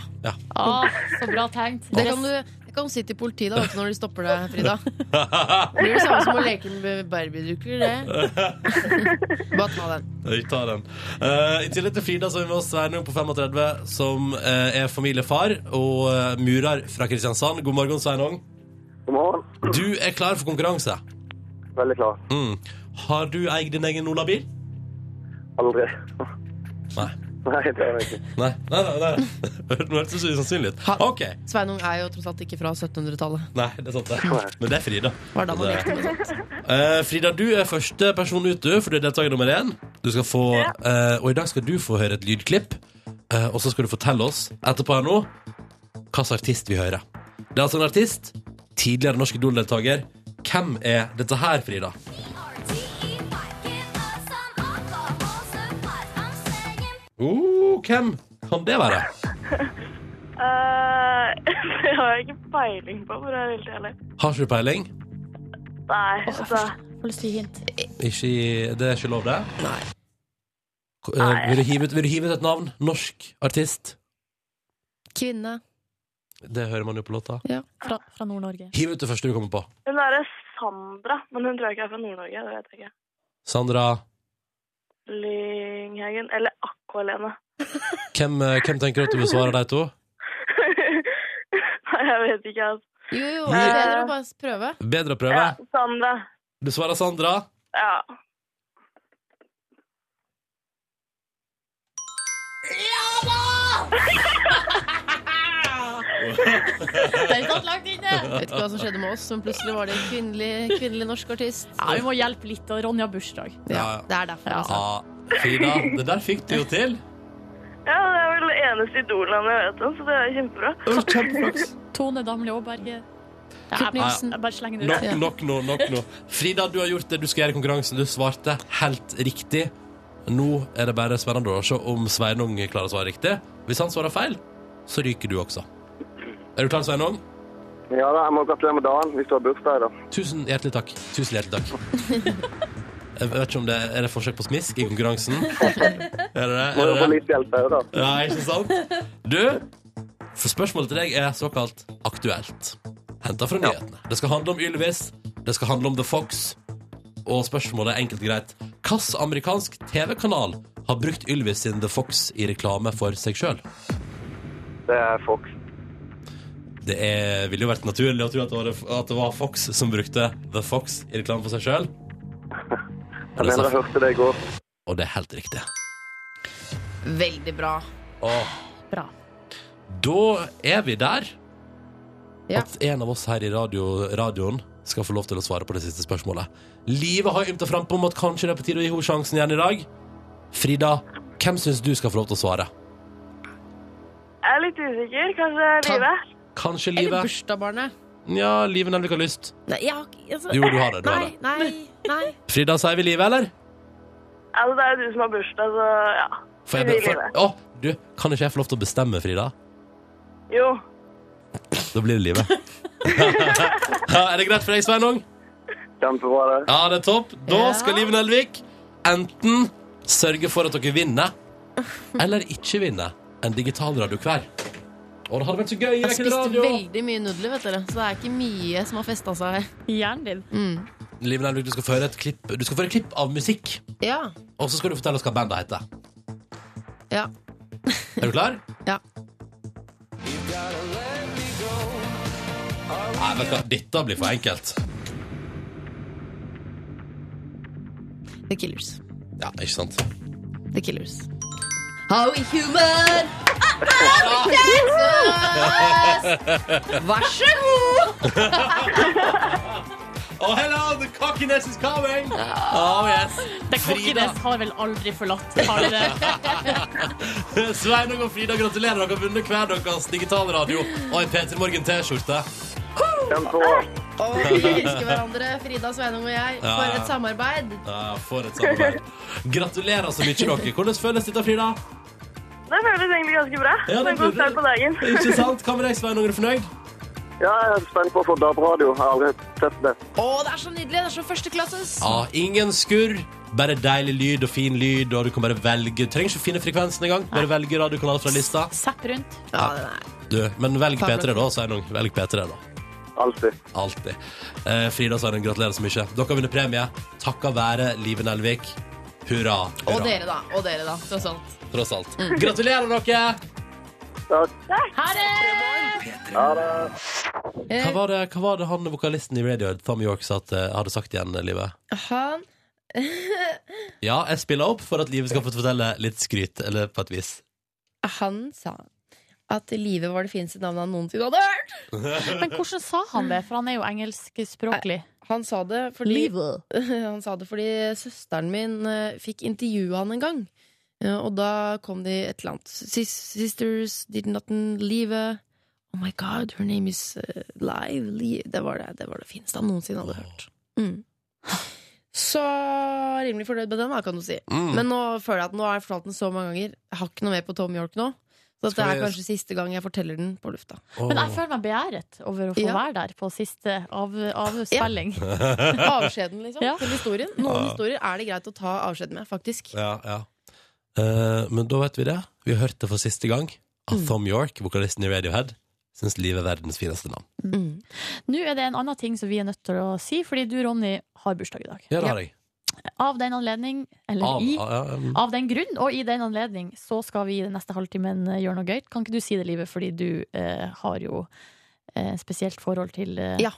S3: Ah, så bra tenkt.
S6: det kan du det kan du si til politiet da, vet du, når de stopper deg, Frida. Det blir det samme som å leke med barbiedukker, det. Bare ta den.
S2: Jeg tar den. Eh, I tillegg til Frida så er vi med oss Sveinung på 35, som eh, er familiefar og eh, murer fra Kristiansand. God morgen, Sveinung.
S4: God morgen.
S2: Du er klar for konkurranse.
S4: Veldig klar.
S2: Mm. Har du eid din egen olabil?
S4: Aldri.
S2: Nei.
S4: Nei, det har jeg ikke.
S2: Nei, nei, nei. nei. Det hørtes så usannsynlig ut.
S6: Ha-
S2: OK.
S6: Sveinung er jo tross alt ikke fra 1700-tallet.
S2: Nei, det er sant, det. Men det er Frida.
S6: Var da man
S2: Det-
S6: lekte med sånt.
S2: Eh, Frida, du er første person ut, du, for du er deltaker nummer én. Du skal få, eh, og i dag skal du få høre et lydklipp, eh, og så skal du fortelle oss etterpå her nå hva slags artist vi hører. Det er altså en artist, tidligere norsk Idol-deltaker. Hvem er dette her, Frida? Oh, hvem kan det være?
S1: Eh, det har jeg ikke peiling på, for å være helt ærlig.
S2: Har ikke du peiling?
S1: Nei,
S3: Åh, jeg
S1: altså.
S3: får- får lyst til å gi hint.
S2: Ikke, i- det er ikke lov, det? Nei. vil, du hive ut, vil du hive ut et navn? Norsk artist?
S6: Kvinne.
S2: Det hører man jo på låta.
S3: Fra, fra Nord-Norge.
S2: Hiv ut det første du kommer på.
S1: Hun derre Sandra, men hun tror jeg ikke er fra Nord-Norge. Det vet jeg ikke.
S2: Sandra,
S1: Lynghaugen. Eller Aqualene.
S2: hvem, eh, hvem tenker du at du besvarer de to?
S1: Nei, jeg vet ikke, altså.
S6: Jo, jo,
S2: Gi-
S6: det er bedre å bare prøve.
S2: Bedre å prøve.
S1: Ja, Sandra.
S2: Du svarer Sandra.
S1: Ja.
S3: Det er ikke langt inne!
S6: Vet ikke hva som skjedde med oss, men plutselig var det en kvinnelig, kvinnelig norsk artist.
S3: Ja, vi må hjelpe litt. Og Ronja har bursdag.
S2: Ja, ja.
S6: Det er derfor.
S2: Ja,
S6: Altså.
S2: Frida, det der fikk du jo til.
S1: ja, det er vel det eneste idollandet jeg vet om, så det er kjempebra.
S2: Det var Kjempeflaks.
S3: Tone Damli Aaberge. Ja,
S6: Kurt
S3: jeg-
S6: Nilsen.
S3: Jeg bare slenger det
S2: Nok,
S3: ut.
S2: nok nå. nok nå Frida, du har gjort det du skal gjøre i konkurransen. Du svarte helt riktig. Nå er det bare spennende å se om Sveinung klarer å svare riktig. Hvis han svarer feil, så ryker du også. Er du klar, Sveinung?
S4: Ja da, jeg må gratulere med dagen hvis du har bursdag i dag.
S2: Tusen hjertelig takk. Tusen hjertelig takk. Jeg vet ikke om det Er det forsøk på smisk i konkurransen? Er det det?
S4: Må
S2: Er
S4: jo
S2: det
S4: få
S2: det?
S4: litt hjelp her, da.
S2: Ja, ikke sant? Du, for spørsmålet til deg er såkalt aktuelt. Henta fra nyhetene. Det skal handle om Ylvis, det skal handle om The Fox. Og spørsmålet er enkelt og greit. Hvilken amerikansk TV-kanal har brukt Ylvis sin The Fox i reklame for seg sjøl?
S4: Det er Fox.
S2: Det er, ville jo vært naturlig å tro at det, var, at det var Fox som brukte The Fox i reklame for seg sjøl.
S4: Jeg mener jeg hørte det i går.
S2: Og det er helt riktig.
S6: Veldig bra.
S2: Åh,
S3: Bra.
S2: da er vi der
S6: Ja.
S2: at en av oss her i radio, radioen skal få lov til å svare på det siste spørsmålet. Livet har ymta frampå om at kanskje det er på tide å gi henne sjansen igjen i dag. Frida, hvem syns du skal få lov til å svare?
S1: Jeg er litt usikker. Kanskje
S6: Ta-
S1: Live?
S2: Kanskje
S6: Eller
S2: livet?
S6: bursdagsbarnet.
S2: Ja, livet nemlig ikke har lyst.
S6: Nei, jeg har ikke altså,
S2: Jo, du har det. Du har
S6: Nei,
S2: det.
S6: nei, nei.
S2: Frida, sier vi livet, eller?
S1: Altså, det er jo du som har bursdag, så ja.
S2: Får jeg,
S1: Vi
S2: be- får,
S1: livet.
S2: å, du, kan ikke jeg få lov til å bestemme, Frida?
S1: Jo.
S2: Da blir det livet. er det greit for deg, Sveinung?
S4: Kjempebra, det.
S2: Ja, det er topp. Da
S6: Ja.
S2: skal Liv Nelvik enten sørge for at dere vinner, eller ikke vinner en digital radio hver. Å, det hadde vært så gøy!
S6: Jeg har
S2: Jeg kunne
S6: spist
S2: radio.
S6: veldig mye nudler, vet dere, så det er ikke mye som har festa seg.
S3: Hjernen din.
S6: Mm.
S2: Liv Nelvik, du skal få høre et klipp Du skal få høre et klipp av musikk,
S6: Ja.
S2: og så skal du fortelle oss hva bandet heter.
S6: Ja.
S2: Er du klar?
S6: Ja.
S2: Nei, vet du hva, dette blir for enkelt.
S6: The Killers.
S2: Ja, ikke sant?
S6: The Killers. How we human? Vær så god!
S2: Oh, hello, the cockiness is coming! Oh, yes.
S3: Det kokkenes har vel aldri forlatt Har
S2: Sveinung og Frida, gratulerer. Dere har vunnet hver deres digitalradio og en P3 Morgen-T-skjorte.
S4: Kjempebra.
S6: Vi elsker hverandre, Frida, Sveinung og jeg,
S2: Ja,
S6: for
S2: ja.
S6: et samarbeid.
S2: Ja, For et samarbeid. Gratulerer så mye, dere. Hvordan føles dette, Frida?
S1: Det føles egentlig ganske bra.
S2: Ja, det
S1: det er en god
S2: burde
S1: start
S2: det.
S1: på dagen.
S2: Ikke sant? Hva med deg, Sveinung? Er du fornøyd?
S4: Ja, jeg er spent på å få DAB-radio. Jeg har aldri sett det.
S6: Å, det er så nydelig! Det er så førsteklasses.
S2: Ja, ingen skurr. Bare deilig lyd og fin lyd, og du kan bare velge. Trenger ikke finne frekvensen engang. Bare velge radiokanal fra lista.
S3: Sepp rundt.
S6: Ja, den er
S2: Du, men velg
S6: Takk.
S2: P3, da, Sveinung. Velg P3, da.
S4: Alltid.
S2: Alltid. Eh, Frida Sveinung, gratulerer så mye. Dere har vunnet premie takket være Live Nelvik. Hurra. hurra.
S6: Og dere, Mm. da. Og dere, da. Tross alt.
S2: Tross alt. Gratulerer, dere!
S4: Takk.
S3: Ha det!
S4: Ha det.
S2: Hva
S6: Eh,
S2: var det, hva var det han vokalisten i Radiohead, Tom York, sa at, eh, hadde sagt igjen, Live?
S6: han
S2: Ja, jeg spiller opp for at Live skal få fortelle litt skryt, eller på et vis.
S6: Han sa at livet var det fineste navnet han noensinne hadde hørt.
S3: Men hvordan sa han det? For han er jo engelskspråklig.
S6: Han sa det fordi
S3: Livet.
S6: Han sa det fordi søsteren min eh, fikk intervjue han en gang. Eh, Og da kom de et eller annet Sis Sisters did not leave Oh my god, her name is eh, Live Li- Det var det, det, var det fineste han noensinne hadde hørt. Mm. Så rimelig fornøyd med den, da, kan du si.
S2: Mm.
S6: Men nå føler jeg at nå har jeg fortalt den så mange ganger. Jeg har ikke noe mer på Tom York nå. Så dette
S2: Skal
S6: er
S2: vi-
S6: kanskje siste gang jeg forteller den på lufta.
S3: Men jeg føler meg begjæret over å få
S6: Ja.
S3: være der på siste av, avspilling.
S6: Avskjeden, liksom.
S3: Ja.
S6: Til historien. Noen
S2: Ja.
S6: historier er det greit å ta avskjed med, faktisk.
S2: Ja, ja. Eh, men da vet vi det. Vi har hørt det for siste gang av Tom York, vokalisten i Radiohead. Syns Liv er verdens fineste navn.
S6: Mm.
S3: Nå er det en annen ting som vi er nødt til å si, fordi du, Ronny, har bursdag i dag.
S2: Ja, det har jeg.
S3: Av den anledning, eller
S2: Av,
S3: i
S2: ja, ja, mm.
S3: Av den grunn, og i den anledning, så skal vi i den neste halvtimen eh, gjøre noe gøy. Kan ikke du si det, Livet, fordi du eh, har jo eh, spesielt forhold til eh,
S6: Ja.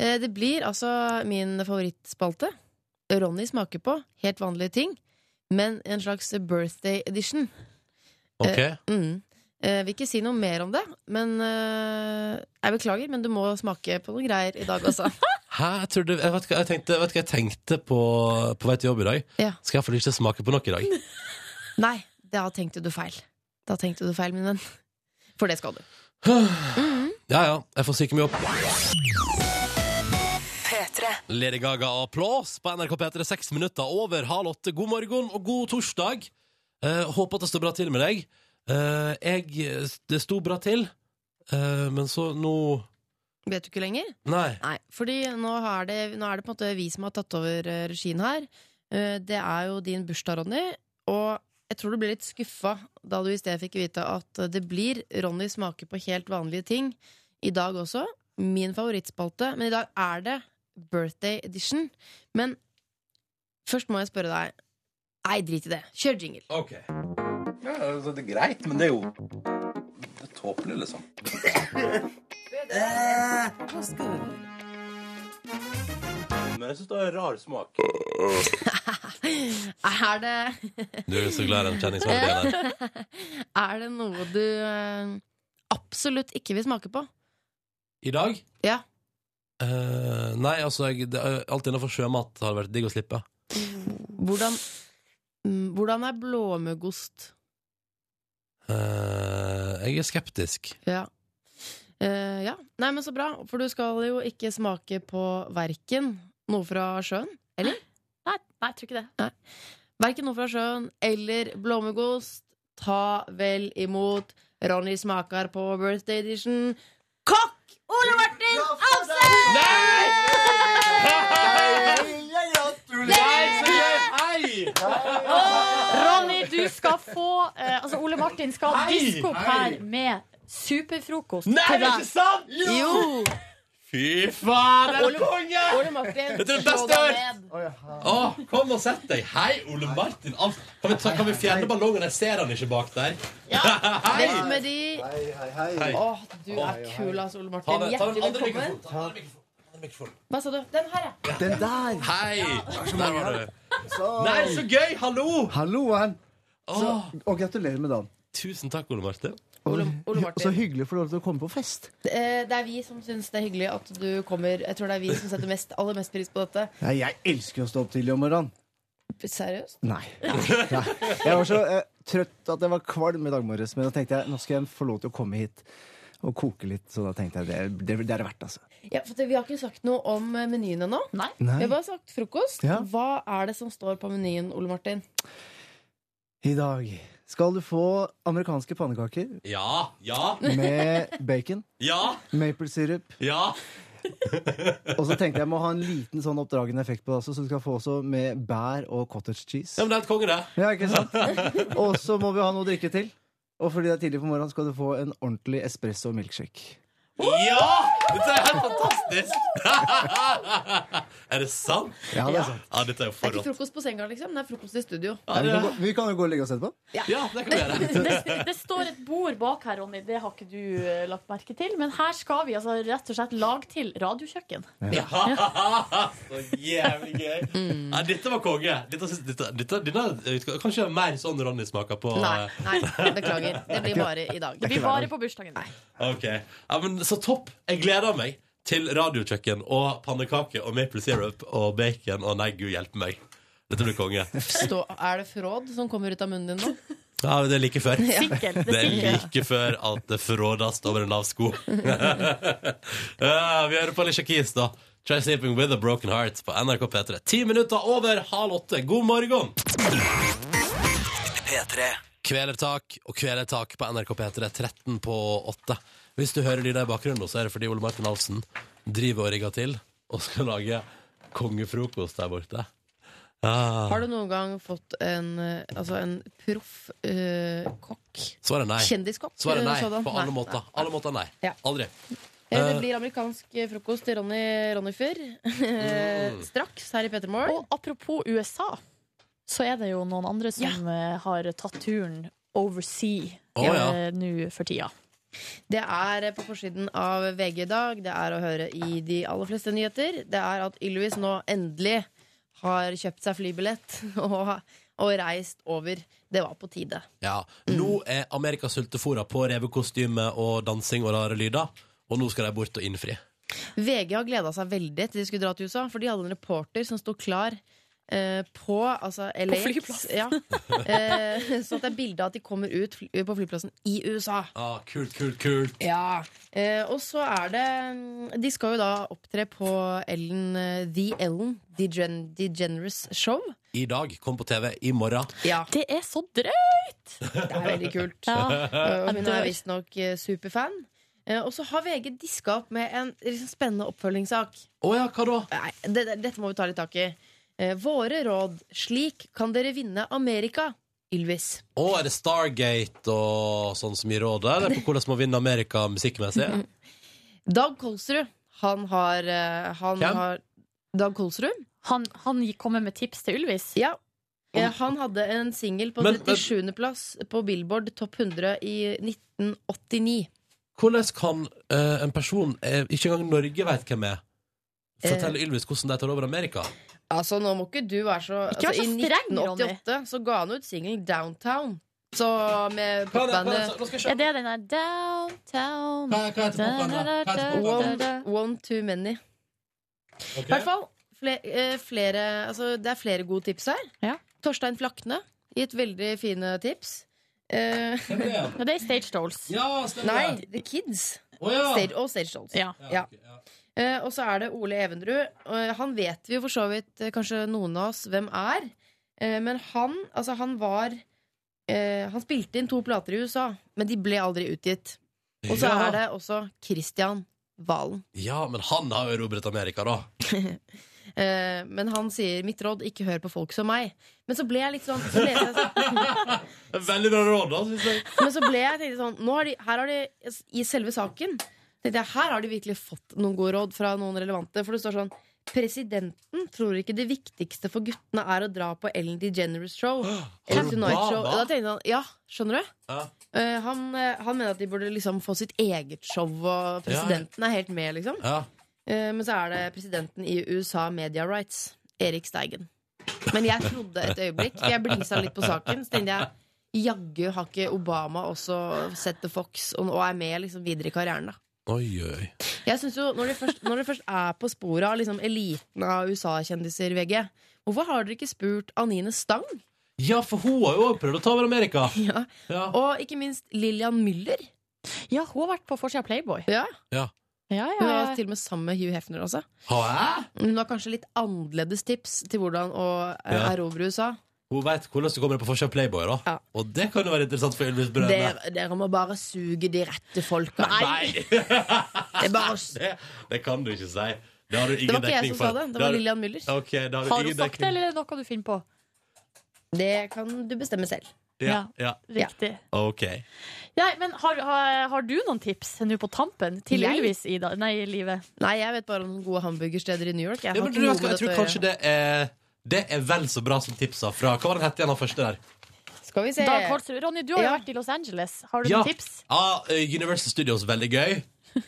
S6: Eh, Det blir altså min favorittspalte. Ronny smaker på helt vanlige ting, men en slags birthday edition.
S2: Ok.
S6: Mm. Eh, vil ikke si noe mer om det, men eh, jeg beklager, men du må smake på noen greier i dag også.
S2: Hæ? Jeg, trodde, jeg, vet, hva, jeg, tenkte, vet hva jeg tenkte på på vei til jobb i dag.
S6: Ja.
S2: Skal jeg iallfall ikke smake på noe i dag.
S6: Nei, da tenkte du feil. Da tenkte du feil, min venn. For det skal du.
S2: Ja ja, jeg får psyke meg opp.
S5: P3.
S2: Lady Gaga og applaus på NRK P3, seks minutter over halv åtte. God morgen og god torsdag. Eh, håper at det står bra til med deg. Eh, jeg Det sto bra til, eh, men så nå
S6: Vet du ikke lenger?
S2: Nei.
S6: Nei, fordi nå er, det, nå er det på en måte vi som har tatt over eh, regien her. Eh, Det er jo din bursdag, Ronny, og jeg tror du ble litt skuffa da du i sted fikk vite at det blir Ronny smaker på helt vanlige ting i dag også. Min favorittspalte. Men i dag er det birthday edition. Men først må jeg spørre deg. Nei, drit i det. Kjør jingle.
S2: Ok. Ja, altså, det er greit, men det er jo Det er tåpelig, liksom. Men jeg syns det har rar smak.
S6: Er det,
S2: Du er så glad i den kjenningsmelodien der.
S6: er det noe du eh, absolutt ikke vil smake på?
S2: I dag?
S6: Ja.
S2: Eh, nei, altså jeg, det, er- Alt innenfor sjømat har vært digg å slippe.
S6: Hvordan, mm, hvordan er blåmuggost?
S2: Eh, jeg er skeptisk.
S6: Ja. Eh, ja. Nei, men så bra, for du skal jo ikke smake på verken noe fra sjøen
S3: Nei, nei, jeg tror ikke det.
S6: Verken noe fra sjøen eller blåmuggost. Ta vel imot Ronny smaker på birthday edition. Kokk Ole Martin Alsen!
S3: Ronny, du skal få eh, Altså, Ole Martin skal diske opp her med superfrokost til deg.
S2: sant?!
S6: Jo!
S2: Fy faen, det er konge!
S6: Ole Martin,
S2: Dette er det beste jeg har Å, kom og sett deg. Hei, Ole Martin. Al- Kan vi, ta, kan vi fjerne ballongen? Jeg ser han ikke bak der.
S6: Vekk med de.
S7: Hei, hei, hei.
S2: Hei.
S6: Åh, du er kul, altså, Ole
S2: Ta
S6: Martin.
S2: den, ta den
S6: Hjertelig
S2: andre
S6: velkommen.
S2: mikrofonen. Ta den andre mikrofonen. Ta den andre mikrofonen.
S6: Hva sa du? Den her, ja.
S7: Den der!
S2: Hei! Der var du.
S7: Så-
S2: Nei, så gøy! Hallo!
S7: Halloen!
S2: Åh,
S7: Og gratulerer med dagen.
S2: tusen takk, Ole Martin.
S7: Og
S6: Ole- Ole Martin.
S7: så hyggelig for dere til å komme på fest.
S6: Eh, Det er vi som syns det er hyggelig at du kommer. Jeg tror det er vi som setter mest, aller mest pris på dette.
S7: Nei, jeg elsker å stå opp tidlig om morgenen.
S6: Seriøst?
S7: Nei. Nei. Jeg var så eh, trøtt at jeg var kvalm i dag morges, men da tenkte jeg nå skal jeg få lov til å komme hit og koke litt. Så da tenkte jeg det, det, det er det verdt, altså.
S6: Ja, for det- vi har ikke sagt noe om eh, menyen ennå.
S3: Nei.
S6: Vi
S7: Nei.
S6: har bare sagt frokost.
S7: Ja.
S6: Hva er det som står på menyen, Ole Martin?
S7: I dag skal du få amerikanske pannekaker
S2: Ja, ja,
S7: med bacon,
S2: ja,
S7: maple syrup
S2: ja.
S7: Og så tenkte jeg jeg må ha en liten sånn oppdragende effekt på det også, så du skal få også med bær og cottage
S2: Ja,
S7: cheese.
S2: men det er helt konge, det.
S7: Ja, ikke sant? Og så må vi ha noe å drikke til. Og fordi det er tidlig på morgenen, skal du få en ordentlig espresso og milkshake.
S2: Ja! Dette er helt fantastisk! er det sant?
S7: Ja, det er sant.
S2: Ja, dette er jo
S6: Det er
S2: for
S6: ikke
S2: rått.
S6: frokost på senga, liksom. Det er frokost i studio.
S2: Ja,
S7: Ja, vi,
S2: det,
S7: kan gå, vi kan jo gå og legge oss etterpå.
S2: ja, det kan vi gjøre.
S3: Det, det står et bord bak her, Ronny. Det har ikke du eh, lagt merke til. Men her skal vi altså rett og slett lage til radiokjøkken.
S2: Så jævlig gøy.
S6: Mm.
S2: Ja, dette var konge. Dette, syns- dette, dette, denne, kanskje mer sånn Ronny smaker på.
S6: Nei, nei, beklager. Det blir bare i dag.
S3: Det blir bare på bursdagen. din.
S2: eh, Ok, ja, men Så topp. Jeg gleder meg til radiokjøkken og pannekaker og maple syrup og bacon og nei, gud hjelpe meg. Dette blir konge.
S6: Stå, er det fråd som kommer ut av munnen din nå?
S2: Ja, men Det er like før.
S3: Sikkert.
S2: Det
S3: Det
S2: er
S3: sikkert.
S2: like før at det forrådes over en lav sko. Ja, vi hører på Alicia Keys, da. Try sleeping with a broken heart på NRK P3. Ti minutter over halv åtte. God morgen!
S8: P3.
S2: Kvelertak og kvelertak på NRK P3 13 på 8. Hvis du hører lyder i bakgrunnen, nå, så er det fordi Ole Martin Alfsen driver og rigger til og skal lage kongefrokost der borte. Ah, Ja.
S6: Har du noen gang fått en, eh, altså en proff eh, kokk?
S2: Svaret er nei.
S6: Kjendiskokk?
S2: Svaret er
S6: eh,
S2: nei
S6: sådan?
S2: på alle
S6: Nei,
S2: måter.
S6: nei.
S2: Alle måter nei.
S6: Ja.
S2: Aldri.
S6: Eh,
S2: Eh.
S6: Det blir amerikansk eh, frokost til Ronny Ronnyfyr eh,
S2: Mm.
S6: straks her i Petter Morgen.
S3: Og apropos USA, så er det jo noen andre som eh, har tatt turen oversea
S2: Å, ja.
S3: eh, nå for tida.
S6: Det er eh, på forsiden av VG i dag. Det er å høre i de aller fleste nyheter. Det er at Ylvis nå endelig har kjøpt seg flybillett og, og reist over. Det var på tide.
S2: Ja. Nå er Amerika sultefòra på revekostyme og dansing og rare lyder, og nå skal de bort og innfri.
S6: VG har gleda seg veldig til de skulle dra til USA, for de hadde en reporter som sto klar eh, på altså, LAX.
S3: flyplassen.
S6: Ja. Eh, sånn at det er bilde av at de kommer ut fly på flyplassen i USA.
S2: Ah, kult, kult, kult.
S6: Ja. Eh, og så er det mm, De skal jo da opptre på Ellen, eh, The Ellen DeGen DeGeneres Show.
S2: I dag. Kom på TV. I morgen.
S6: Ja,
S3: Det er så drøyt!
S6: det er veldig kult.
S3: Ja.
S6: Eh, hun
S3: dør.
S6: er visstnok eh, superfan. Eh, og så har VG diska opp med en liksom, spennende oppfølgingssak.
S2: Å ja, hva da?
S6: Nei, det, det, dette må vi ta litt tak i. Eh, våre råd. Slik kan dere vinne Amerika. Ylvis.
S2: Å, er det Stargate og sånn som gir råd der? Eller på hvordan man vinner Amerika musikkmessig?
S6: Dag Kolsrud, han har, eh, han
S2: Hvem?
S6: har Dag Kolsrud?
S3: Han, han kommer med tips til Ylvis.
S6: Ja. Eh, han hadde en singel på
S2: Men- men-
S6: 37.-plass på Billboard Topp 100 i 1989.
S2: Hvordan kan eh, en person eh, ikke engang Norge vet hvem er, fortelle
S6: Eh.
S2: Ylvis hvordan de tar over Amerika?
S6: Altså, nå må ikke du være så,
S3: Ikke vær
S6: altså,
S3: så
S6: I
S3: streng, Ronny.
S6: 1988 så ga han ut singelen Downtown. Så med
S2: Hva er det- hva er det-
S6: popbandet
S2: nå skal jeg
S3: Er
S2: se.
S3: det den der downtown
S2: Hva- hva heter popbandet? Hva heter popbandet?
S6: One, One Too Many.
S2: Ok.
S6: I hvert fall, fle- eh, flere, altså, det er flere gode tips her.
S3: Ja.
S6: Torstein Flakne gitt veldig fine tips. Eh,
S2: Hvem er det?
S3: Ja, det er Stage Dolls.
S2: Ja, stemmer
S6: nei,
S2: det.
S6: The Kids.
S2: Å, ja.
S6: Stage, og Stage Dolls.
S3: Ja.
S6: ja.
S2: ok,
S6: Eh, og så er det Ole Evenrud. Eh, han vet vi jo for så vidt eh, kanskje noen av oss hvem er. Eh, men han, altså, han var eh, Han spilte inn to plater i USA, men de ble aldri utgitt. Og så
S2: Ja.
S6: er det også Christian Valen.
S2: Ja, men han har jo erobret Amerika, da.
S6: Eh, men han sier 'mitt råd, ikke hør på folk som meg'. Men så ble jeg litt sånn så leste jeg sånn-
S2: Veldig bra råd, da, synes jeg.
S6: Men så ble jeg tenkte sånn nå har de, Her har de, i selve saken tenkte jeg, Her har de virkelig fått noen gode råd fra noen relevante For det står sånn Presidenten tror ikke det viktigste for guttene er å dra på Ellen DeGeneres show Eller Tonight Show
S2: Obama?
S6: Da tenkte han, ja, skjønner du?
S2: Ja.
S6: Eh, han, eh, han mener at de burde liksom få sitt eget show Og presidenten er helt med liksom
S2: Ja.
S6: Eh, Men så er det presidenten i USA Media Rights, Erik Steigen. Men jeg trodde et øyeblikk, for jeg blingsa litt på saken, så tenkte jeg Jaggu har ikke Obama også sett The Fox og, og er med liksom videre i karrieren, da.
S2: Oi, oi.
S6: Jeg synes jo, Når dere først, når dere først er på sporet av liksom eliten av USA-kjendiser, VG, hvorfor har dere ikke spurt Anine Stang?
S2: Ja, for hun har jo også prøvd å ta over Amerika.
S6: Ja.
S2: Ja.
S6: Og ikke minst Lillian Müller.
S3: Ja, hun har vært på forsida av Playboy.
S6: Ja.
S3: Ja, ja,
S6: Hun
S3: ja.
S6: var til og med sammen med Hugh Hefner også.
S2: Har jeg?
S6: Hun har kanskje litt annerledes tips til hvordan å eh,
S2: Ja.
S6: erobre USA.
S2: Hun vet hvordan du kommer deg på forskjell av Playboy, da.
S6: Ja.
S2: Og det kan jo være interessant for Ylvis Brødre.
S6: Dere, dere må bare suge de rette folka.
S2: Nei!
S6: Det, er bare, å s-
S2: det, det kan du ikke si. Det har du
S6: det
S2: ingen
S6: var ikke jeg
S2: dekning
S6: som sa
S2: for.
S6: det. Det
S2: har
S6: var
S2: du-
S6: Lillian Müller.
S2: Ok, det har du
S3: Har hun
S2: ingen
S3: sagt det,
S2: dekning
S3: eller er det noe du finner på?
S6: Det kan du bestemme selv.
S2: Ja, ja,
S3: Riktig.
S2: ok
S3: Ja, men har, har, har du noen tips nå på tampen til
S6: Jeg?
S3: Ylvis i, da, nei, i livet?
S6: Nei, jeg vet bare om gode hamburgersteder i New York. Jeg
S2: ja,
S6: har
S2: men,
S6: ikke
S2: du,
S6: noe
S2: jeg,
S6: med
S2: jeg tror
S6: dette å
S2: kanskje det er Det er vel så bra som tipsa fra Hva var den hette igjen, han første der?
S6: gjøre. Skal vi se.
S3: Dag Holsrud. Ronny, du har jo
S6: Ja.
S3: vært i Los Angeles. Har du
S2: Ja.
S3: noen tips?
S2: Ah, eh, Universal Studios, veldig gøy.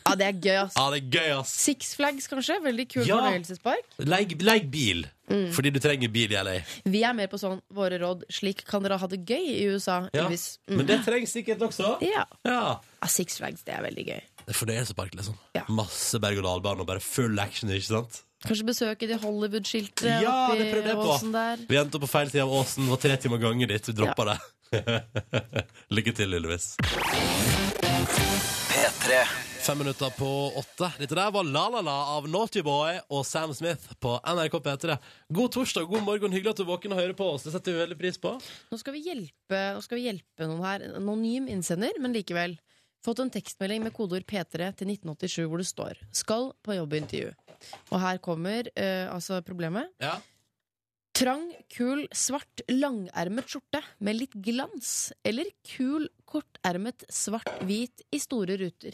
S6: Ja, det er gøy, ass.
S2: Ah, det er gøy, ass.
S6: Six Flags, kanskje. Veldig kul
S2: Ja.
S6: fornøyelsespark.
S2: Leie leie bil,
S3: Mm.
S2: fordi du trenger bil i LA.
S6: Vi er mer på sånn våre råd. Slik kan dere ha det gøy i USA.
S2: Ja.
S6: Elvis.
S3: Mm.
S6: Mm.
S2: Men det trengs sikkert også.
S6: Ja.
S2: Ja.
S6: Ja, Six Flags, det er veldig gøy.
S2: Det er fornøyelsespark, liksom.
S6: Ja.
S2: Masse berg-og-dal-bane og bare full action, ikke sant?
S6: Kanskje besøke de Hollywood-skiltene
S2: Ja,
S6: oppi
S2: det prøvde jeg på.
S6: åsen der.
S2: Vi endte opp på feil side av åsen, var tre timer gange dit, vi droppa det. Lykke til, Ylvis.
S9: P3
S2: Fem minutter på åtte. Dette der var La-La-La av Naughty Boy og Sam Smith på NRK P3. God torsdag, god morgen, hyggelig at du er våken og hører på oss. Det setter vi veldig pris på.
S6: Nå skal vi hjelpe, nå skal vi hjelpe noen her. Anonym innsender, men likevel. Fått en tekstmelding med kodeord P3 til 1987 hvor det står 'Skal på jobbintervju'. Og her kommer eh, altså problemet.
S2: Ja.
S6: Trang, kul, svart, langermet skjorte med litt glans. Eller kul, kortermet, svart-hvit i store ruter.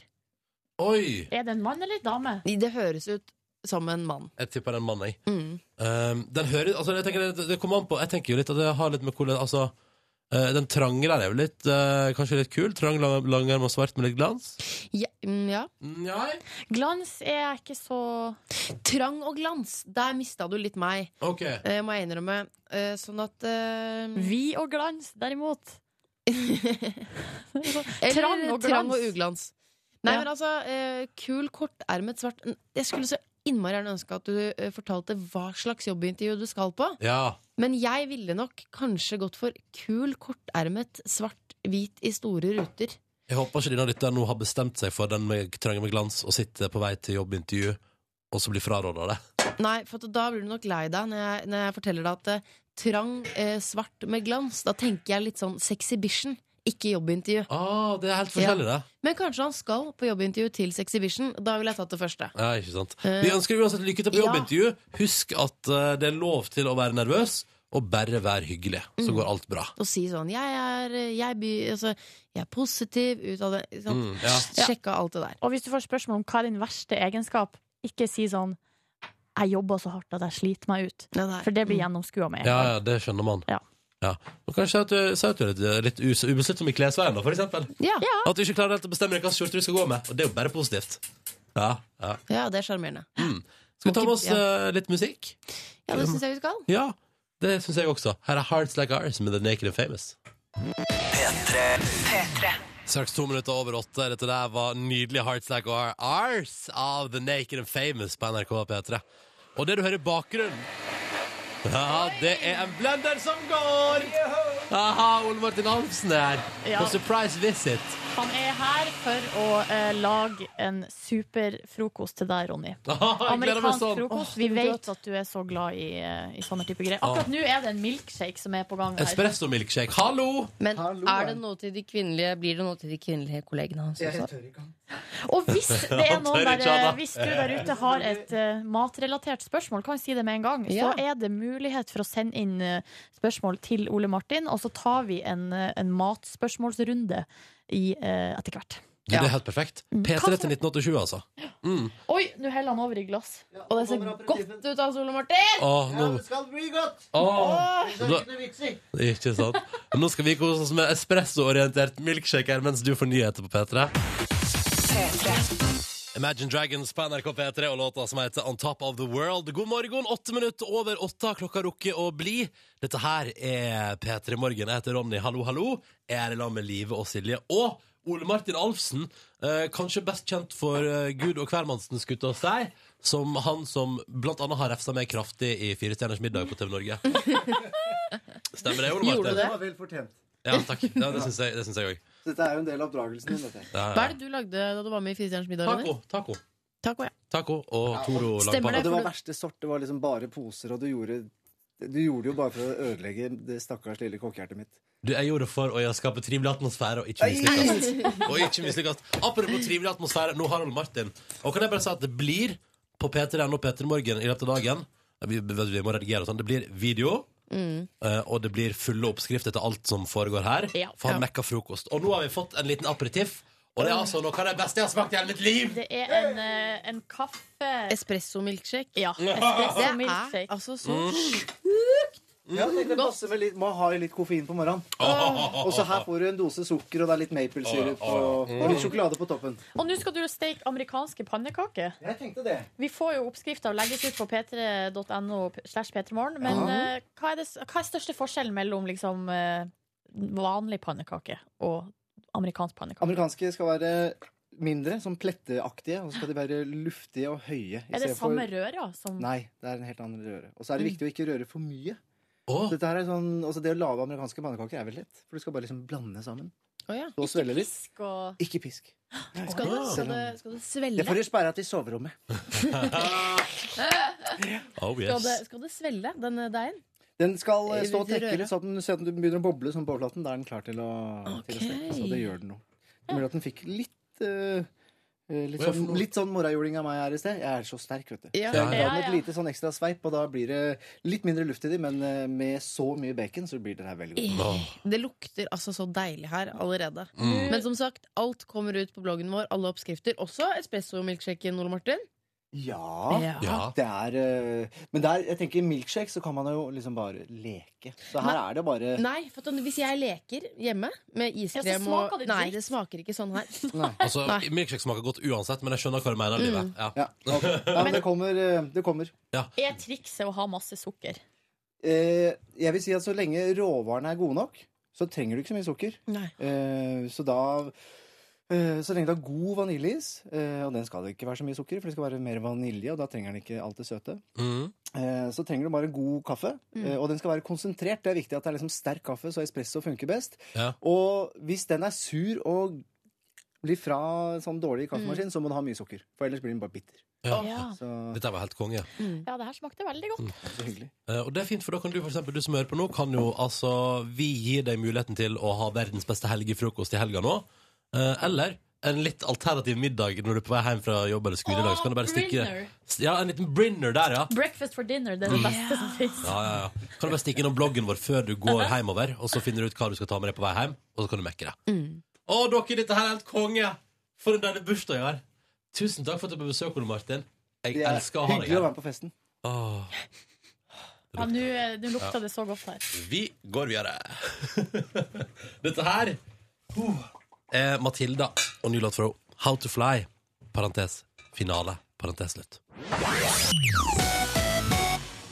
S2: Oi!
S3: Er det en mann eller en dame?
S6: Det høres ut som en mann.
S2: Jeg tipper den mannen, jeg.
S6: Mm.
S2: Um, den hører, altså, jeg tenker, det, det kommer an på Jeg tenker jo litt at det har litt med hvordan altså, eh, Den trange der er jo litt eh, Kanskje litt kul. Trang, lang, langarm og svart med litt glans.
S6: Ja, mm, ja.
S2: Nei.
S3: Glans er ikke så
S6: Trang og glans, der mista du litt meg,
S2: Ok.
S6: eh, må jeg innrømme. Eh, sånn at eh,
S3: Vi og glans, derimot.
S6: Eller
S3: Trang og glans.
S6: trang og uglans. Nei,
S3: Ja.
S6: men altså, eh, kul, kortermet, svart Jeg skulle så innmari gjerne ønske at du eh, fortalte hva slags jobbintervju du skal på.
S2: Ja.
S6: Men jeg ville nok kanskje gått for kul, kortermet, svart, hvit i store ruter.
S2: Jeg håper ikke dine lyttere nå har bestemt seg for den med trange med glans og sitter på vei til jobbintervju, og så blir fraråda det.
S6: Nei, for at da blir du nok lei deg når jeg, når jeg forteller deg at eh, trang, eh, svart med glans. Da tenker jeg litt sånn sexybition, ikke jobbintervju.
S2: Ah, det er helt forskjellig, det.
S6: Men kanskje han skal på jobbintervju til sexybition. Da ville jeg tatt det første.
S2: Ja, ikke sant.
S6: Eh.
S2: Vi ønsker uansett lykke til på
S6: Ja.
S2: jobbintervju. Husk at eh, det er lov til å være nervøs, og bare være hyggelig. Så
S6: Mm.
S2: går alt bra.
S6: og si sånn Jeg er, jeg by, altså, jeg er positiv ut av det ikke sant?
S2: Mm, ja.
S6: Sjekka alt det der.
S3: Og hvis du får spørsmål om hva er din verste egenskap, ikke si sånn 'Jeg jobber så hardt at jeg sliter meg ut', for det blir gjennomskua med en
S2: Ja,
S3: gang.
S2: ja, det skjønner man.
S3: Ja.
S2: Ja. Og kanskje at du, si at du er litt, litt us- ubesluttsom i klesveien, da, for eksempel.
S6: Ja, ja.
S2: At du ikke klarer helt å bestemme deg hvilken skjorte du skal gå med. Og det er jo bare positivt. Ja, ja.
S6: det er sjarmerende.
S2: Skal vi ta med
S6: Må ikke-
S2: oss
S6: ja.
S2: eh, litt musikk?
S6: Ja, det syns jeg vi skal.
S2: Ja, det syns jeg også. Her er Hearts Like Ours med The Naked and Famous. Straks to minutter over åtte. Dette der var nydelig Hearts Like Ours av The Naked and Famous på NRK P3. Og det du hører i bakgrunnen ja, det er en blender som går! Aha, Ole Martin Alfsen er her.
S3: Ja.
S2: På surprise visit.
S3: Han er her for å eh, lage en superfrokost til deg, Ronny.
S2: Aha, jeg gleder meg
S3: Amerikansk
S2: sånn.
S3: frokost. Vi vet at du er så glad i, eh, i sånne type greier. Akkurat nå er det en milkshake som er på gang her.
S2: Espresso milkshake. Hallo!
S6: Men
S7: Hallo,
S6: er det
S7: ja.
S6: noe til de kvinnelige Blir det noe til de kvinnelige kollegene hans også?
S7: tør ikke
S3: Og hvis det er
S2: Han
S3: noen
S2: tør
S3: der,
S2: ikke, han da.
S3: eh, hvis du der ute har et eh, matrelatert spørsmål, kan vi si det med en gang, så er det mulighet for å sende inn eh, spørsmål til Ole Martin, og så tar vi en, eh, en matspørsmålsrunde i, eh, etter hvert.
S2: Du, det er helt perfekt. P3 til 1987, altså.
S3: Oi, nå heller han over i glass.
S6: Og det ser godt ut av Ole Martin!
S2: Å, nå
S7: skal bli godt!
S2: Åh, da,
S7: noe vits i.
S2: ikke sant? Men Nå skal vi kose oss med espresso-orientert milkshake her mens du får nyheter på P3. Imagine Dragons på NRK P3 og låta som heter On Top of the World. God morgen, åtte minutter over åtte. har Klokka rukker å bli. Dette her er P3 Morgen. Jeg heter Ronny. Hallo, hallo. Jeg er i lag med Live og Silje. Og Ole Martin Alfsen, eh, kanskje best kjent for eh, Gud og hvermannsen skutt og seg, som han som blant annet har refsa meg kraftig i Fire stjerners middag på TV Norge. Stemmer det, Ole Martin?
S6: Gjorde du det?
S7: var vel fortjent.
S2: Ja, takk. Ja, det syns jeg- det syns jeg òg.
S7: Dette er jo en del av oppdragelsen din, dette.
S2: Ja,
S6: Hva
S2: ja.
S6: er det du lagde da du var med i Firestjerners middag? Ronny?
S2: Taco. Taco.
S6: Taco, ja.
S2: Taco og Toro
S6: Stemmer
S2: langpanne.
S7: Og det
S6: for
S7: var
S6: du-
S7: verste sort. Det var liksom bare poser, og du gjorde du gjorde det jo bare for å ødelegge det stakkars lille kokkehjertet mitt.
S2: Du, jeg gjorde det for å skape trivelig atmosfære og ikke mislykkes. Og ikke mislykkes. Apropos trivelig atmosfære, nå har Ole Martin. Og kan jeg bare si at det blir på P3NO P3 Morgen i løpet av dagen vi, vi må redigere og sånn. Det blir video,
S6: Mm.
S2: eh, og det blir fulle oppskrifter til alt som foregår her.
S3: Ja.
S2: For han mekka frokost. Og nå har vi fått en liten aperitiff, og det er altså noe av det beste jeg har smakt i hele mitt liv!
S3: Det er en, eh, en kaffe
S6: Espresso milkshake.
S3: Ja.
S6: Det
S3: Espresso
S6: er
S3: milkshake.
S6: altså
S2: Mm.
S6: så
S7: Ja, det kan passe med litt, Må ha i litt koffein på morgenen. Og så her får du en dose sukker, og det er litt maple-syrup og, og litt sjokolade på toppen.
S3: Og nå skal du steke amerikanske pannekaker.
S7: Jeg tenkte det.
S3: Vi får jo oppskrifta og legges ut på p3.no slash p3morgen. Men eh, hva, er det, s- hva er største forskjellen mellom liksom eh, vanlig pannekake og amerikansk pannekake?
S7: Amerikanske skal være mindre, sånn pletteaktige, og så skal de være luftige og høye.
S3: Er
S7: i
S3: det
S7: stedet for-
S3: samme røra som
S7: Nei, det er en helt annen røre. Og så er det viktig å ikke røre for mye.
S2: Åh,
S7: Dette her er sånn, altså Det å lage amerikanske pannekaker er veldig lett, for du skal bare liksom blande sammen.
S6: Å ja.
S7: Så svelle litt.
S3: fisk og
S7: Ikke pisk.
S6: Skal du, skal du, skal du
S7: Det
S6: svelle?
S7: får du sperra til soverommet.
S2: oh
S6: Skal
S2: yes.
S6: det, skal det svelle, den deigen?
S7: Den skal eh, stå og
S6: Røre.
S7: trekke litt, så at den, så at den begynner å boble sånn på overflaten. Da er den klar til å, til å
S6: Ok.
S7: steke. Så det gjør den nå. Det gjør at den fikk litt eh, eh, Litt
S2: Hva er det
S7: sånn,
S2: for noe?
S7: litt sånn morrajuling av meg her i sted. Jeg er så sterk, vet du.
S6: Ja.
S7: Så jeg
S2: Ja,
S7: ga den
S3: ja.
S7: et lite sånn ekstra sveip, og da blir det litt mindre luft i de, men eh, med så mye bacon så blir det her veldig godt.
S2: Åh.
S6: Eh,
S2: Mm.
S6: Det lukter altså så deilig her allerede. Men som sagt, alt kommer ut på bloggen vår. Alle oppskrifter. Også espresso-milkshaken, Ole Martin.
S7: Ja.
S2: Ja.
S7: Det er, eh, men der, jeg tenker milkshake, så kan man jo liksom bare leke. Så her
S6: Men-
S7: er det bare
S6: Nei, for at hvis jeg leker hjemme med
S3: Ja, så
S6: iskrem
S3: smaker
S6: og
S3: det
S6: Nei,
S3: dritt.
S6: det smaker ikke sånn her.
S2: Altså,
S6: Nei.
S2: Milkshake smaker godt uansett, men jeg skjønner hva du mener.
S3: Mm.
S2: Livet. Ja.
S7: ja, ok. Nei, men det kommer. eh, Det kommer.
S3: Er trikset å ha masse sukker?
S7: Eh, jeg vil si at så lenge råvarene er gode nok, så trenger du ikke så mye sukker.
S6: Nei.
S7: Eh, så da eh, Så lenge det er god vaniljeis, eh, og den skal det ikke være så mye sukker i, for det skal være mer vanilje, og da trenger den ikke alt det søte,
S2: Mm.
S7: eh, så trenger du bare god kaffe.
S6: Mm.
S7: Eh, og den skal være konsentrert. Det er viktig at det er liksom sterk kaffe, så espresso funker best.
S2: Ja.
S7: Og hvis den er sur og blir fra sånn
S6: Mm.
S7: dårlig kaffemaskin, så må du ha mye sukker. For ellers blir den bare bitter.
S2: Ja.
S6: Ah.
S3: Ja.
S7: Så,
S2: Dette var helt konge.
S3: ja, det her smakte veldig godt.
S7: så hyggelig.
S2: Eh, Og det er fint, for da kan du for eksempel, du som hører på nå, kan jo altså Vi gir deg muligheten til å ha verdens beste helgefrokost i helga nå. Eh, Eller en litt alternativ middag når du er på vei hjem fra jobb eller skole i dag. Så kan du bare stikke
S3: Brinner.
S2: Ja, en liten brinner der, ja.
S3: Ah, Breakfast for dinner, det er det beste som fins.
S2: Ja, ja, ja. Kan du bare stikke innom bloggen vår før du går hjemover, og så finner du ut hva du skal ta med deg på vei hjem, og så kan du mekke det. Å, dere, dette her er helt konge! For en deilig bursdag jeg har. Tusen takk for at du er på besøk, Ole Martin. Jeg
S7: Det er
S2: elsker å ha deg
S7: hyggelig å
S2: her.
S7: være med på festen.
S2: Åh.
S3: Ja, Nå eh, nå lukta det så godt her.
S2: Vi går videre. Dette her uh, er Matilda og ny låt fra henne. How to fly. Parentes finale. Parentes slutt.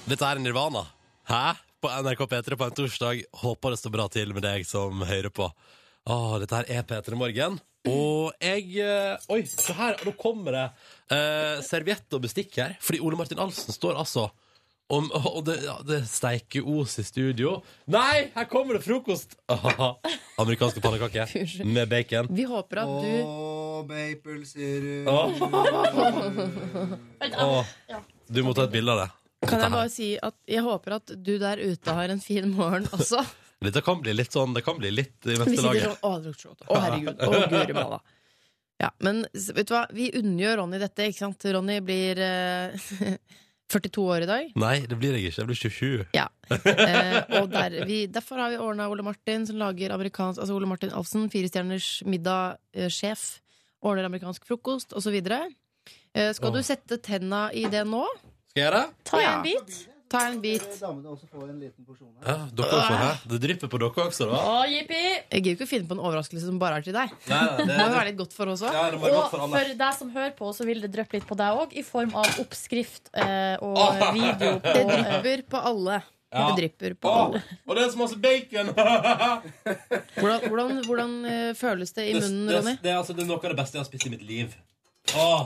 S2: Dette er Nirvana. Hæ? På NRK P3 på en torsdag. Håper det står bra til med deg som hører på. Åh, dette her er P3 Morgen. Og jeg eh, Oi, se her! Nå kommer det eh, serviett og bestikk her. Fordi Ole Martin Alsen står altså om, og det, ja, det steiker os i studio. Nei, her kommer det frokost! Ahaha. Amerikanske pannekaker med bacon.
S6: Vi håper at du
S7: maple syrup
S3: Mm. Vent,
S2: Åh.
S3: ja.
S2: Du må ta et bilde av det.
S6: Kan
S2: Dette
S6: jeg
S2: her.
S6: bare si at jeg håper at du der ute har en fin morgen også.
S2: Dette kan bli litt sånn Det kan bli litt i
S6: Vi
S2: neste
S6: sitter sånn
S2: laget.
S6: Å, det lukter så godt. Å, herregud. Å, guri malla. Ja, men s- vet du hva? Vi unngjør Ronny dette, ikke sant? Ronny blir eh, 42 år i dag.
S2: Nei, det blir jeg ikke. Jeg blir 27.
S6: Ja. Eh, og der, vi, derfor har vi ordna Ole Martin, som lager amerikansk Altså Ole Martin Alfsen, firestjerners middag-sjef. eh, ordner amerikansk frokost, osv. Eh, skal
S2: Åh.
S6: du sette tenna i det nå?
S2: Skal jeg gjøre det?
S3: Ta
S6: Ja.
S3: en bit.
S6: Ta en bit.
S7: Damene også får en liten porsjon her.
S2: Ja, dere også, hæ? Det drypper på dere også, da.
S3: Å, jippi!
S6: Jeg gidder ikke å finne på en overraskelse som bare er til deg.
S2: Nei, nei,
S6: Det
S2: det,
S6: må jo være litt godt for oss òg.
S2: ja, det må være
S3: Og
S2: godt for alle.
S3: for deg som hører på, så vil det dryppe litt på deg òg, i form av oppskrift eh, og
S2: Åh.
S3: video på
S6: Det
S3: eh,
S6: drypper på alle.
S2: Ja.
S6: Det drypper på
S2: Å,
S6: alle.
S2: og det er så masse bacon! det,
S6: Hvordan, hvordan, hvordan eh, føles det i munnen,
S2: det,
S6: Ronny?
S2: det, er altså, det er noe av det beste jeg har spist i mitt liv. Åh.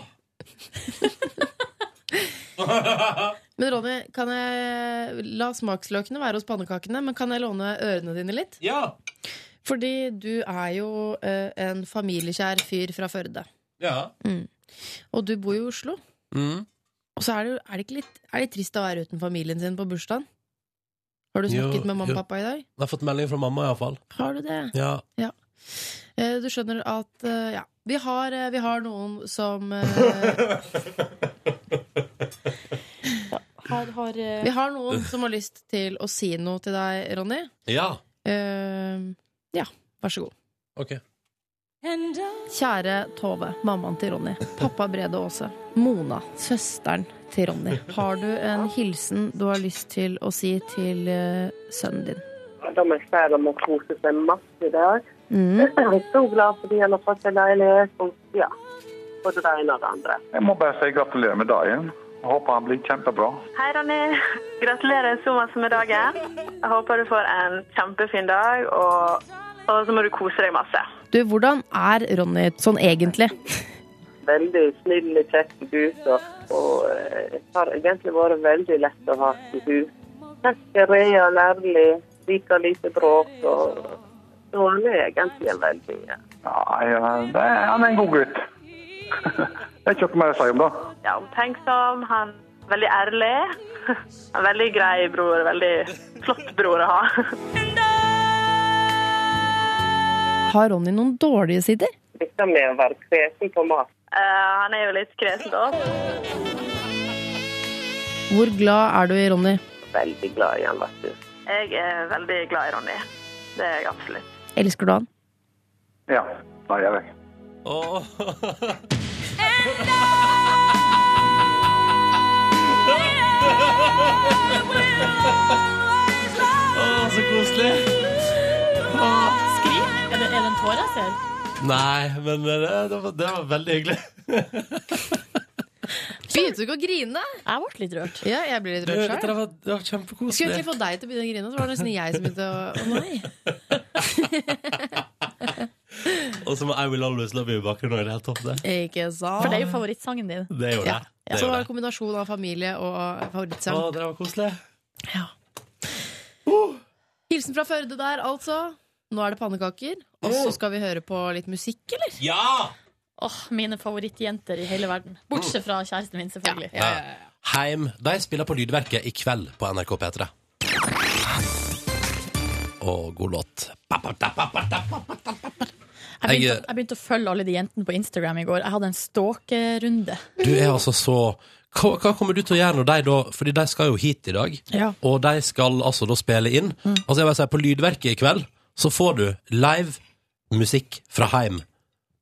S6: Men Ronny, kan jeg La smaksløkene være hos pannekakene, men kan jeg låne ørene dine litt?
S2: Ja!
S6: Fordi du er jo eh, en familiekjær fyr fra Førde.
S2: ja.
S6: Og du bor jo i Oslo.
S2: Mm.
S6: Og så er det, jo- er det ikke litt er det trist å være uten familien sin på bursdagen? Har du
S2: Jo,
S6: snakket med mamma
S2: jo.
S6: og pappa i dag?
S2: Jeg har fått melding fra mamma, iallfall.
S6: Har du det?
S2: Ja.
S6: Eh, Du skjønner at eh, ja, vi har, eh, vi har noen som eh,
S3: har, har, eh,
S6: Vi har noen som har lyst til å si noe til deg, Ronny.
S2: ja.
S6: Eh, Ja, vær så god.
S2: Ok.
S6: Kjære Tove, mammaen til Ronny, pappa Brede Aase, Mona, søsteren til Ronny. Har du en hilsen du har lyst til å si til eh, sønnen din?
S10: Da må jeg si at de har kost seg masse i dag.
S6: Mm.
S10: Jeg er så glad for at han har fått en leilighet. Og ja, både det ene og det andre.
S4: Jeg må bare si gratulerer med dagen. Jeg håper han blir kjempebra.
S1: Hei, Ronny. Gratulerer så masse med dagen. Jeg håper du får en kjempefin dag, og, og så må du kose deg masse.
S6: Du, hvordan er Ronny sånn egentlig?
S10: Veldig snill, kjekk gutt. Og, og eh, det har egentlig vært veldig lett å ha i hus. Kjekk, real, ærlig. Liker lite bråk. Og, så han er egentlig en veldig ja.
S4: Nei, eh, det er, han er en god gutt. det er ikke noe mer å si om det.
S1: Ja, omtenksom. Han er veldig ærlig. Han er veldig grei bror. Veldig flott bror å ha.
S6: Har Ronny noen dårlige sider?
S10: Dette med å være kresen på mat.
S1: Eh, han er jo litt kresen, da.
S6: Hvor glad er du i Ronny?
S10: Veldig glad i han, vet du.
S1: Jeg er veldig glad i Ronny. Det er jeg absolutt.
S6: Elsker du han?
S4: Ja, det gjør jeg.
S2: Åh. Åh, så koselig.
S3: Skrik? Er det, er det en tåre jeg ser?
S2: Nei, men det, det, var, det var veldig hyggelig.
S6: Begynte du ikke å grine?
S3: Jeg ble litt rørt.
S6: Ja, jeg blir litt
S2: Det,
S6: rørt sjøl.
S2: det, var, det var
S6: Skulle egentlig
S2: kjempekoselig.
S6: få deg til å begynne å grine, så var det nesten jeg som begynte å Å nei.
S2: Og så må I Will Always Love You i bakgrunnen. og Det er helt topp, det.
S6: Ikke sant?
S3: For det er jo favorittsangen din.
S2: Det gjorde
S6: Ja.
S2: jeg. Det
S6: Så det
S2: gjorde
S6: var en
S2: jeg.
S6: kombinasjon av familie og
S2: Å,
S6: favorittsang.
S2: det var koselig.
S6: Hilsen fra Førde der, altså. Nå er det pannekaker. Og så skal vi høre på litt musikk, eller?
S2: Ja!
S3: Åh, Mine favorittjenter i hele verden. Bortsett fra kjæresten min, selvfølgelig.
S2: Heim. De spiller på Lydverket i kveld på NRK P3. Og god låt.
S3: Jeg begynte,
S2: Jeg- eh,
S3: jeg begynte å følge alle de jentene på Instagram i går. Jeg hadde en stalkerunde.
S2: Du er altså så hva, hva kommer du til å gjøre når de da Fordi de skal jo hit i dag,
S3: Ja.
S2: og de skal altså da spille inn. Altså jeg vil si På Lydverket i kveld så får du live musikk fra heim.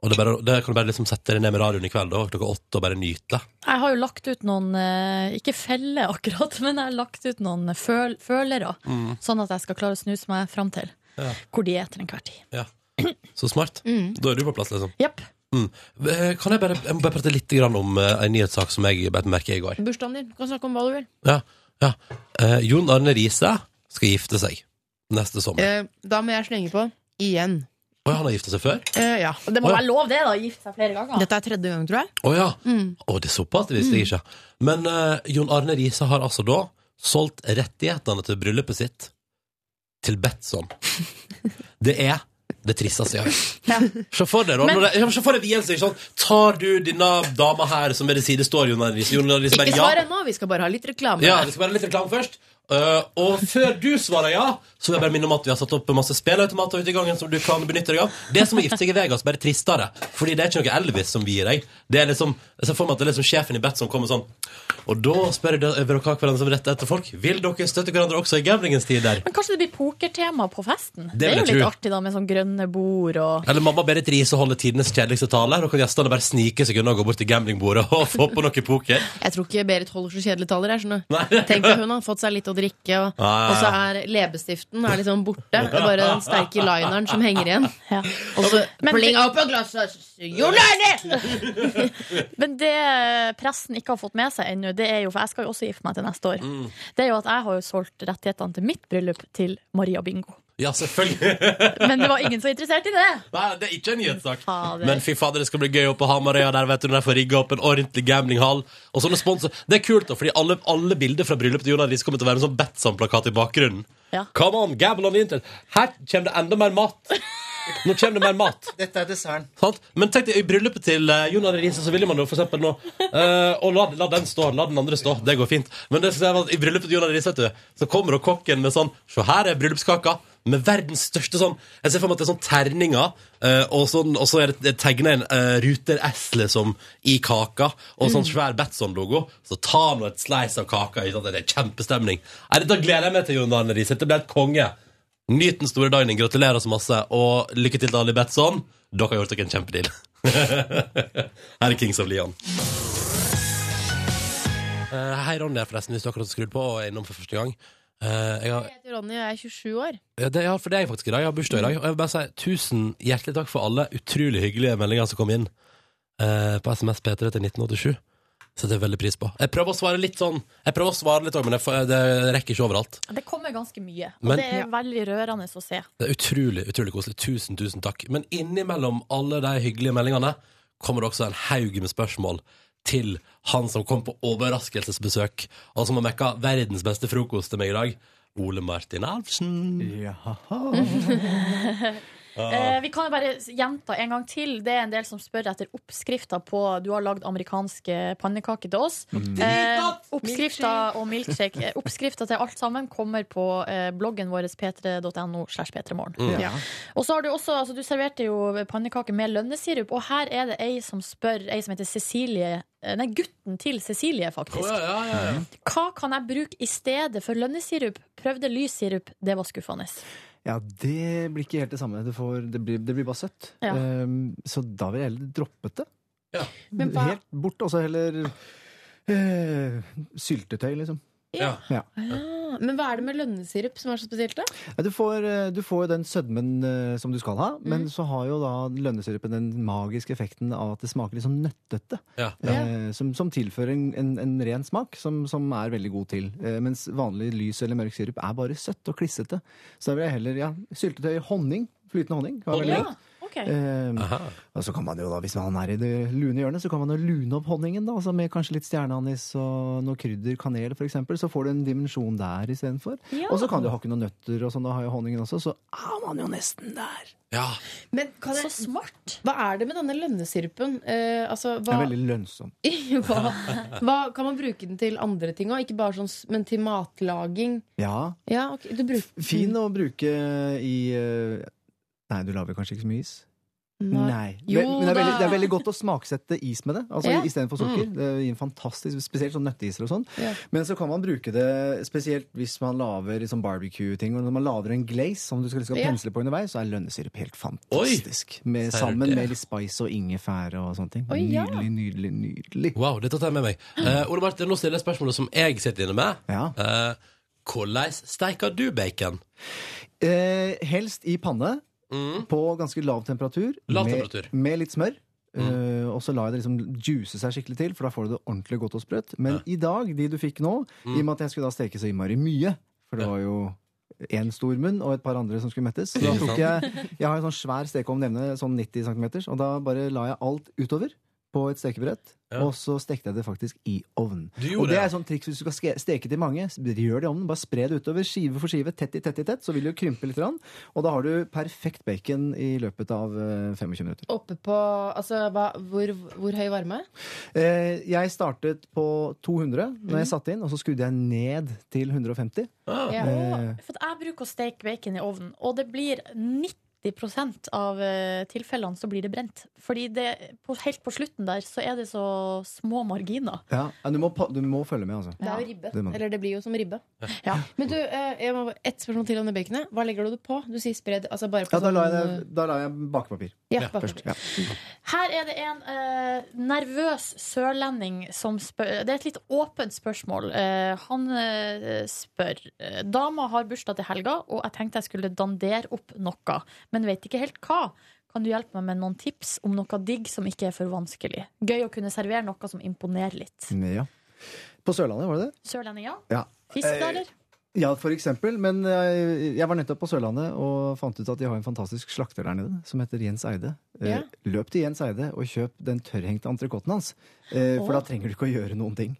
S2: Og det, er bare, det kan du bare liksom sette deg ned med radioen i kveld da, klokka åtte og bare nyte.
S3: Jeg har jo lagt ut noen, eh, ikke feller akkurat, men jeg har lagt ut noen føl følere, sånn at jeg skal klare å snuse meg fram til
S2: Mm. Ja.
S3: hvor de er til enhver tid.
S2: Så smart. Da er du på plass, liksom.
S3: Jepp.
S2: Eh, Kan jeg bare, jeg må bare prate litt grann om eh, en nyhetssak som jeg bet meg merke i går?
S6: Bursdagen din. Du kan snakke om hva du vil.
S2: Ja, ja. Eh, Jon Arne Riise skal gifte seg neste sommer.
S6: Eh, da må jeg slenge på. Igjen.
S2: Å, han har gifta seg før?
S6: Eh, ja.
S3: Det må
S2: Å, ja.
S3: være lov, det, da, å gifte seg flere ganger.
S6: Dette er tredje gang, tror jeg.
S2: Å ja. Å, det er såpass, det visste jeg ikke. Men eh, Jon Arne Riise har altså da solgt rettighetene til bryllupet sitt til Betson. Det er det tristeste jeg har hørt. Se for deg da, når det, ja, men se for deg vielsen, ikke sant. Tar du denne dama her som ved din side står Jon Arne Riise? Jon Arne Riise
S6: Ikke
S2: bare ja.
S6: svar ennå, vi skal bare ha litt reklame.
S2: Ja, det skal være litt reklame først. Eh, og før du svarer ja, så vil jeg bare minne om at vi har satt opp masse spilleautomater ute i gangen som du kan benytte deg av. Det som å gifte seg i Vegas, bare tristere. Fordi det er ikke noe Elvis som vi gir deg. Det er liksom, jeg ser for meg at det er liksom sjefen i Bet som kommer sånn. Og da spør dere dere hverandre som rett etter folk. Vil dere støtte hverandre også i gamblingens tider?
S3: Men kanskje det blir pokertema på festen? Det,
S2: vil
S3: er jo
S2: jeg
S3: litt
S2: tro.
S3: artig, da, med sånn grønne bord og
S2: Eller mamma Berit Riise holder tidenes kjedeligste tale. Da kan gjestene bare snike seg unna og gå bort til gamblingbordet og få på noe poker.
S6: Jeg tror ikke Berit holder så kjedelige taler. Jeg skjønner
S2: Nei.
S6: Tenk at hun har fått seg litt å drikke, og,
S2: Ja, ja, ja.
S6: og så er leppestiften er liksom borte. Det er bare den sterke lineren som henger igjen.
S3: ja.
S6: Og så
S3: Men-
S6: pling opp og glasset! Jon Arne!
S3: Men det pressen ikke har fått med seg ennå, det er jo For jeg skal jo også gifte meg til neste år.
S2: Mm.
S3: Det er jo at jeg har jo solgt rettighetene til mitt bryllup til Maria Bingo.
S2: Ja, selvfølgelig.
S3: Men det var ingen som var interessert i det!
S2: Nei, det er ikke en nyhetssak.
S3: Fader.
S2: Men fy fader, det skal bli gøy oppe på Hamarøya. Der vet du, når de får rigga opp en ordentlig gamblinghall. Og sånne sponsor. Det er kult, da, fordi alle, alle bilder fra bryllupet til Jonas Riis kommer til å være en sånn Betson-plakat i bakgrunnen.
S3: Ja.
S2: Come on, gamble on the internet. Her kommer det enda mer mat. Nå kommer det mer mat.
S7: Dette er desserten.
S2: Sant? Men tenk deg, i bryllupet til uh, Jon Arne Riise, så ville man jo for eksempel nå eh, Og la, la den stå, la den andre stå. Det går fint. Men det, som er at i bryllupet til Jon Arne Riise, vet du, så kommer jo kokken med sånn Se her er bryllupskaka. Med verdens største sånn Jeg ser for meg at det er sånn terninger, eh, og, sånn, og så er det- det tegna en eh, Ruter S liksom i kaka, og sånn svær Batson-logo. Så ta nå et slice av kaka. Ikke sant? Det er kjempestemning. Nei, Dette gleder jeg meg til, Jon Arne Riise. Dette blir helt konge. Nyt den store dagen din. Gratulerer så masse, og lykke til til Ali Betson. Dere har gjort dere en kjempedeal. Her er Kings of Leon. Eh, hei, Ronny her, forresten, hvis du akkurat har skrudd på og er innom for første gang. Eh, jeg har,
S6: Jeg heter Ronny, og jeg er 27 år.
S2: ja, det, ja, for det er jeg faktisk i dag. Jeg har bursdag i dag. Og jeg vil bare si tusen hjertelig takk for alle utrolig hyggelige meldinger som kom inn eh, på SMS P3 til 1987. Setter jeg veldig pris på. Jeg prøver å svare litt sånn Jeg prøver å svare litt òg, men jeg, får- det rekker ikke overalt.
S3: Det kommer ganske mye. Og
S2: Men-
S3: det er veldig rørende å se.
S2: Det er utrolig utrolig koselig. Tusen, tusen takk. Men innimellom alle de hyggelige meldingene kommer det også en haug med spørsmål til han som kom på overraskelsesbesøk, og som har mekka verdens beste frokost til meg i dag. Ole Martin Alfsen.
S3: Eh, vi kan jo bare gjenta en gang til. Det er en del som spør etter oppskrifta på Du har lagd amerikanske pannekaker til oss.
S7: Mm.
S3: Eh, oppskrifta og milkshake. Eh, Oppskrifta til alt sammen kommer på eh, bloggen vår p3.no. slash p3morgen.
S7: Mm.
S6: Ja.
S3: Og så har du også, altså du serverte jo pannekaker med lønnesirup, og her er det ei som spør, ei som heter Cecilie eh, Nei, gutten til Cecilie, faktisk. Hva kan jeg bruke i stedet for lønnesirup? Prøvde lyssirup, det var skuffende.
S7: Ja, det blir ikke helt det samme. Det, får, det, blir, det blir bare søtt.
S3: Ja.
S7: Ehm, så da vil jeg heller droppet det.
S2: Ja.
S6: Men hva-
S7: Helt bort, og så heller eh, syltetøy, liksom.
S2: Ja.
S6: Ah, Men hva er det med lønnesirup som er så spesielt, da?
S7: Ja, Du får, eh, du får jo den sødmen eh, som du skal ha, men så har jo da lønnesirupen den magiske effekten av at det smaker litt sånn nøttete.
S2: Ja.
S7: Eh, som, som tilfører en, en, en ren smak, som, som er veldig god til. Eh, mens vanlig lys eller mørk sirup er bare søtt og klissete. Så da vil jeg heller ja, syltetøy, honning. Flytende honning. Var veldig
S2: Ja.
S7: godt. Eh, og så kan man jo da, hvis man er i det lune hjørnet, så kan man jo lune opp honningen da, altså med kanskje litt stjerneanis og noe krydder, kanel for eksempel, så får du en dimensjon der istedenfor.
S3: Ja.
S7: Og så kan du hakke noen nøtter og sånn, da har jo honningen også, så er man jo nesten der.
S2: ja.
S6: Men kan
S3: Så
S6: jeg,
S3: smart!
S6: hva er det med denne lønnesirupen? Eh, altså,
S7: Det
S6: hva,
S7: er veldig lønnsomt.
S6: hva, hva Kan man bruke den til andre ting òg? Ikke bare sånn, s- men til matlaging?
S7: Ja,
S6: Ja, ok, du bruker
S7: fin å bruke i eh, Nei, du lager kanskje ikke så mye is? Nei.
S6: Jo
S7: Men men det er, veldig,
S6: da.
S7: det er veldig godt å smaksette is med det, altså
S6: Ja. Mm.
S7: i- istedenfor sukker. Det gir en fantastisk, Spesielt sånn nøtteiser og sånn.
S6: Ja.
S7: Men så kan man bruke det spesielt hvis man lager liksom barbecue-ting. Og når man lager en glaze som du skal, skal
S6: Ja.
S7: pensle på underveis, så er lønnesirup helt fantastisk. Med,
S2: Ser du
S7: sammen
S2: det?
S7: med litt spice og ingefære og sånne ting.
S6: Oi, ja.
S7: Nydelig, nydelig, nydelig.
S2: Wow, dette tar jeg med meg. Eh, Ole Martin, nå stiller jeg spørsmålet som jeg sitter inne med.
S7: Ja.
S2: Eh, hvordan steiker du bacon?
S7: Eh, helst i panne.
S2: Mm,
S7: På ganske lav temperatur.
S2: Lav
S7: med,
S2: temperatur. Mm.
S7: Med litt smør. Eh, og så lar jeg det liksom juice seg skikkelig til, for da får du det ordentlig godt og sprøtt. Men i dag, de du fikk nå, i
S2: Mm.
S7: og med at jeg skulle da steke så innmari mye, for det var jo en stor munn og et par andre som skulle mettes. Så da
S2: Ikke sant?
S7: tok jeg, jeg har en sånn svær stekeovn nevne, sånn 90 cm, og da bare la jeg alt utover. på et stekebrett,
S2: Ja.
S7: og så stekte jeg det faktisk i ovnen.
S2: Du gjorde
S7: Og
S2: det.
S7: det er sånn triks hvis du skal ske- steke til mange. s- Gjør det i ovnen. Bare spre det utover. Skive for skive. Tett i tett i tett. Så vil det jo krympe litt. grann, Og da har du perfekt bacon i løpet av eh, 25 minutter.
S6: Oppe på altså, hva, hvor, hvor høy varme?
S7: Eh, Jeg startet på 200 når jeg satte inn, og så skrudde jeg ned til 150.
S2: Ah,
S6: Ja.
S7: Eh,
S3: For at jeg bruker å steke bacon i ovnen, og det blir 90 av eh, tilfellene så blir det brent. Fordi det, på, helt på slutten der så er det så små marginer.
S7: Ja, ja, du, må, pa- du må følge med, altså.
S6: Det
S3: Ja.
S6: er jo ribbe.
S7: Det må du.
S6: Eller det blir jo som ribbe.
S3: Ja.
S6: Men du, eh, jeg må, et spørsmål til om det baconet. Hva legger du det på? Du sier spredd. Altså bare på
S7: Ja, da la jeg,
S6: sånn,
S7: det- da la jeg bakepapir
S6: eh, ja,
S2: Ja,
S6: bakpapir.
S7: først. Ja.
S3: Her er det en eh, nervøs sørlending som spør Det er et litt åpent spørsmål. Eh, han eh, spør eh, Dama har bursdag til helga, og jeg tenkte jeg skulle dandere opp noe, men vet ikke helt hva. Kan du hjelpe meg med noen tips om noe digg som ikke er for vanskelig? Gøy å kunne servere noe som imponerer litt.
S7: ja. På Sørlandet, var det det?
S3: Sørlending, ja?
S7: Ja.
S3: Fisk, da, eller?
S2: Eh,
S7: Ja, for eksempel. Men eh, jeg var nettopp på Sørlandet og fant ut at de har en fantastisk slakter der nede som heter Jens Eide. Eh,
S6: Ja.
S7: Løp til Jens Eide og kjøp den tørrhengte entrecôten hans. Eh,
S6: Åh.
S7: For da trenger du ikke å gjøre noen ting.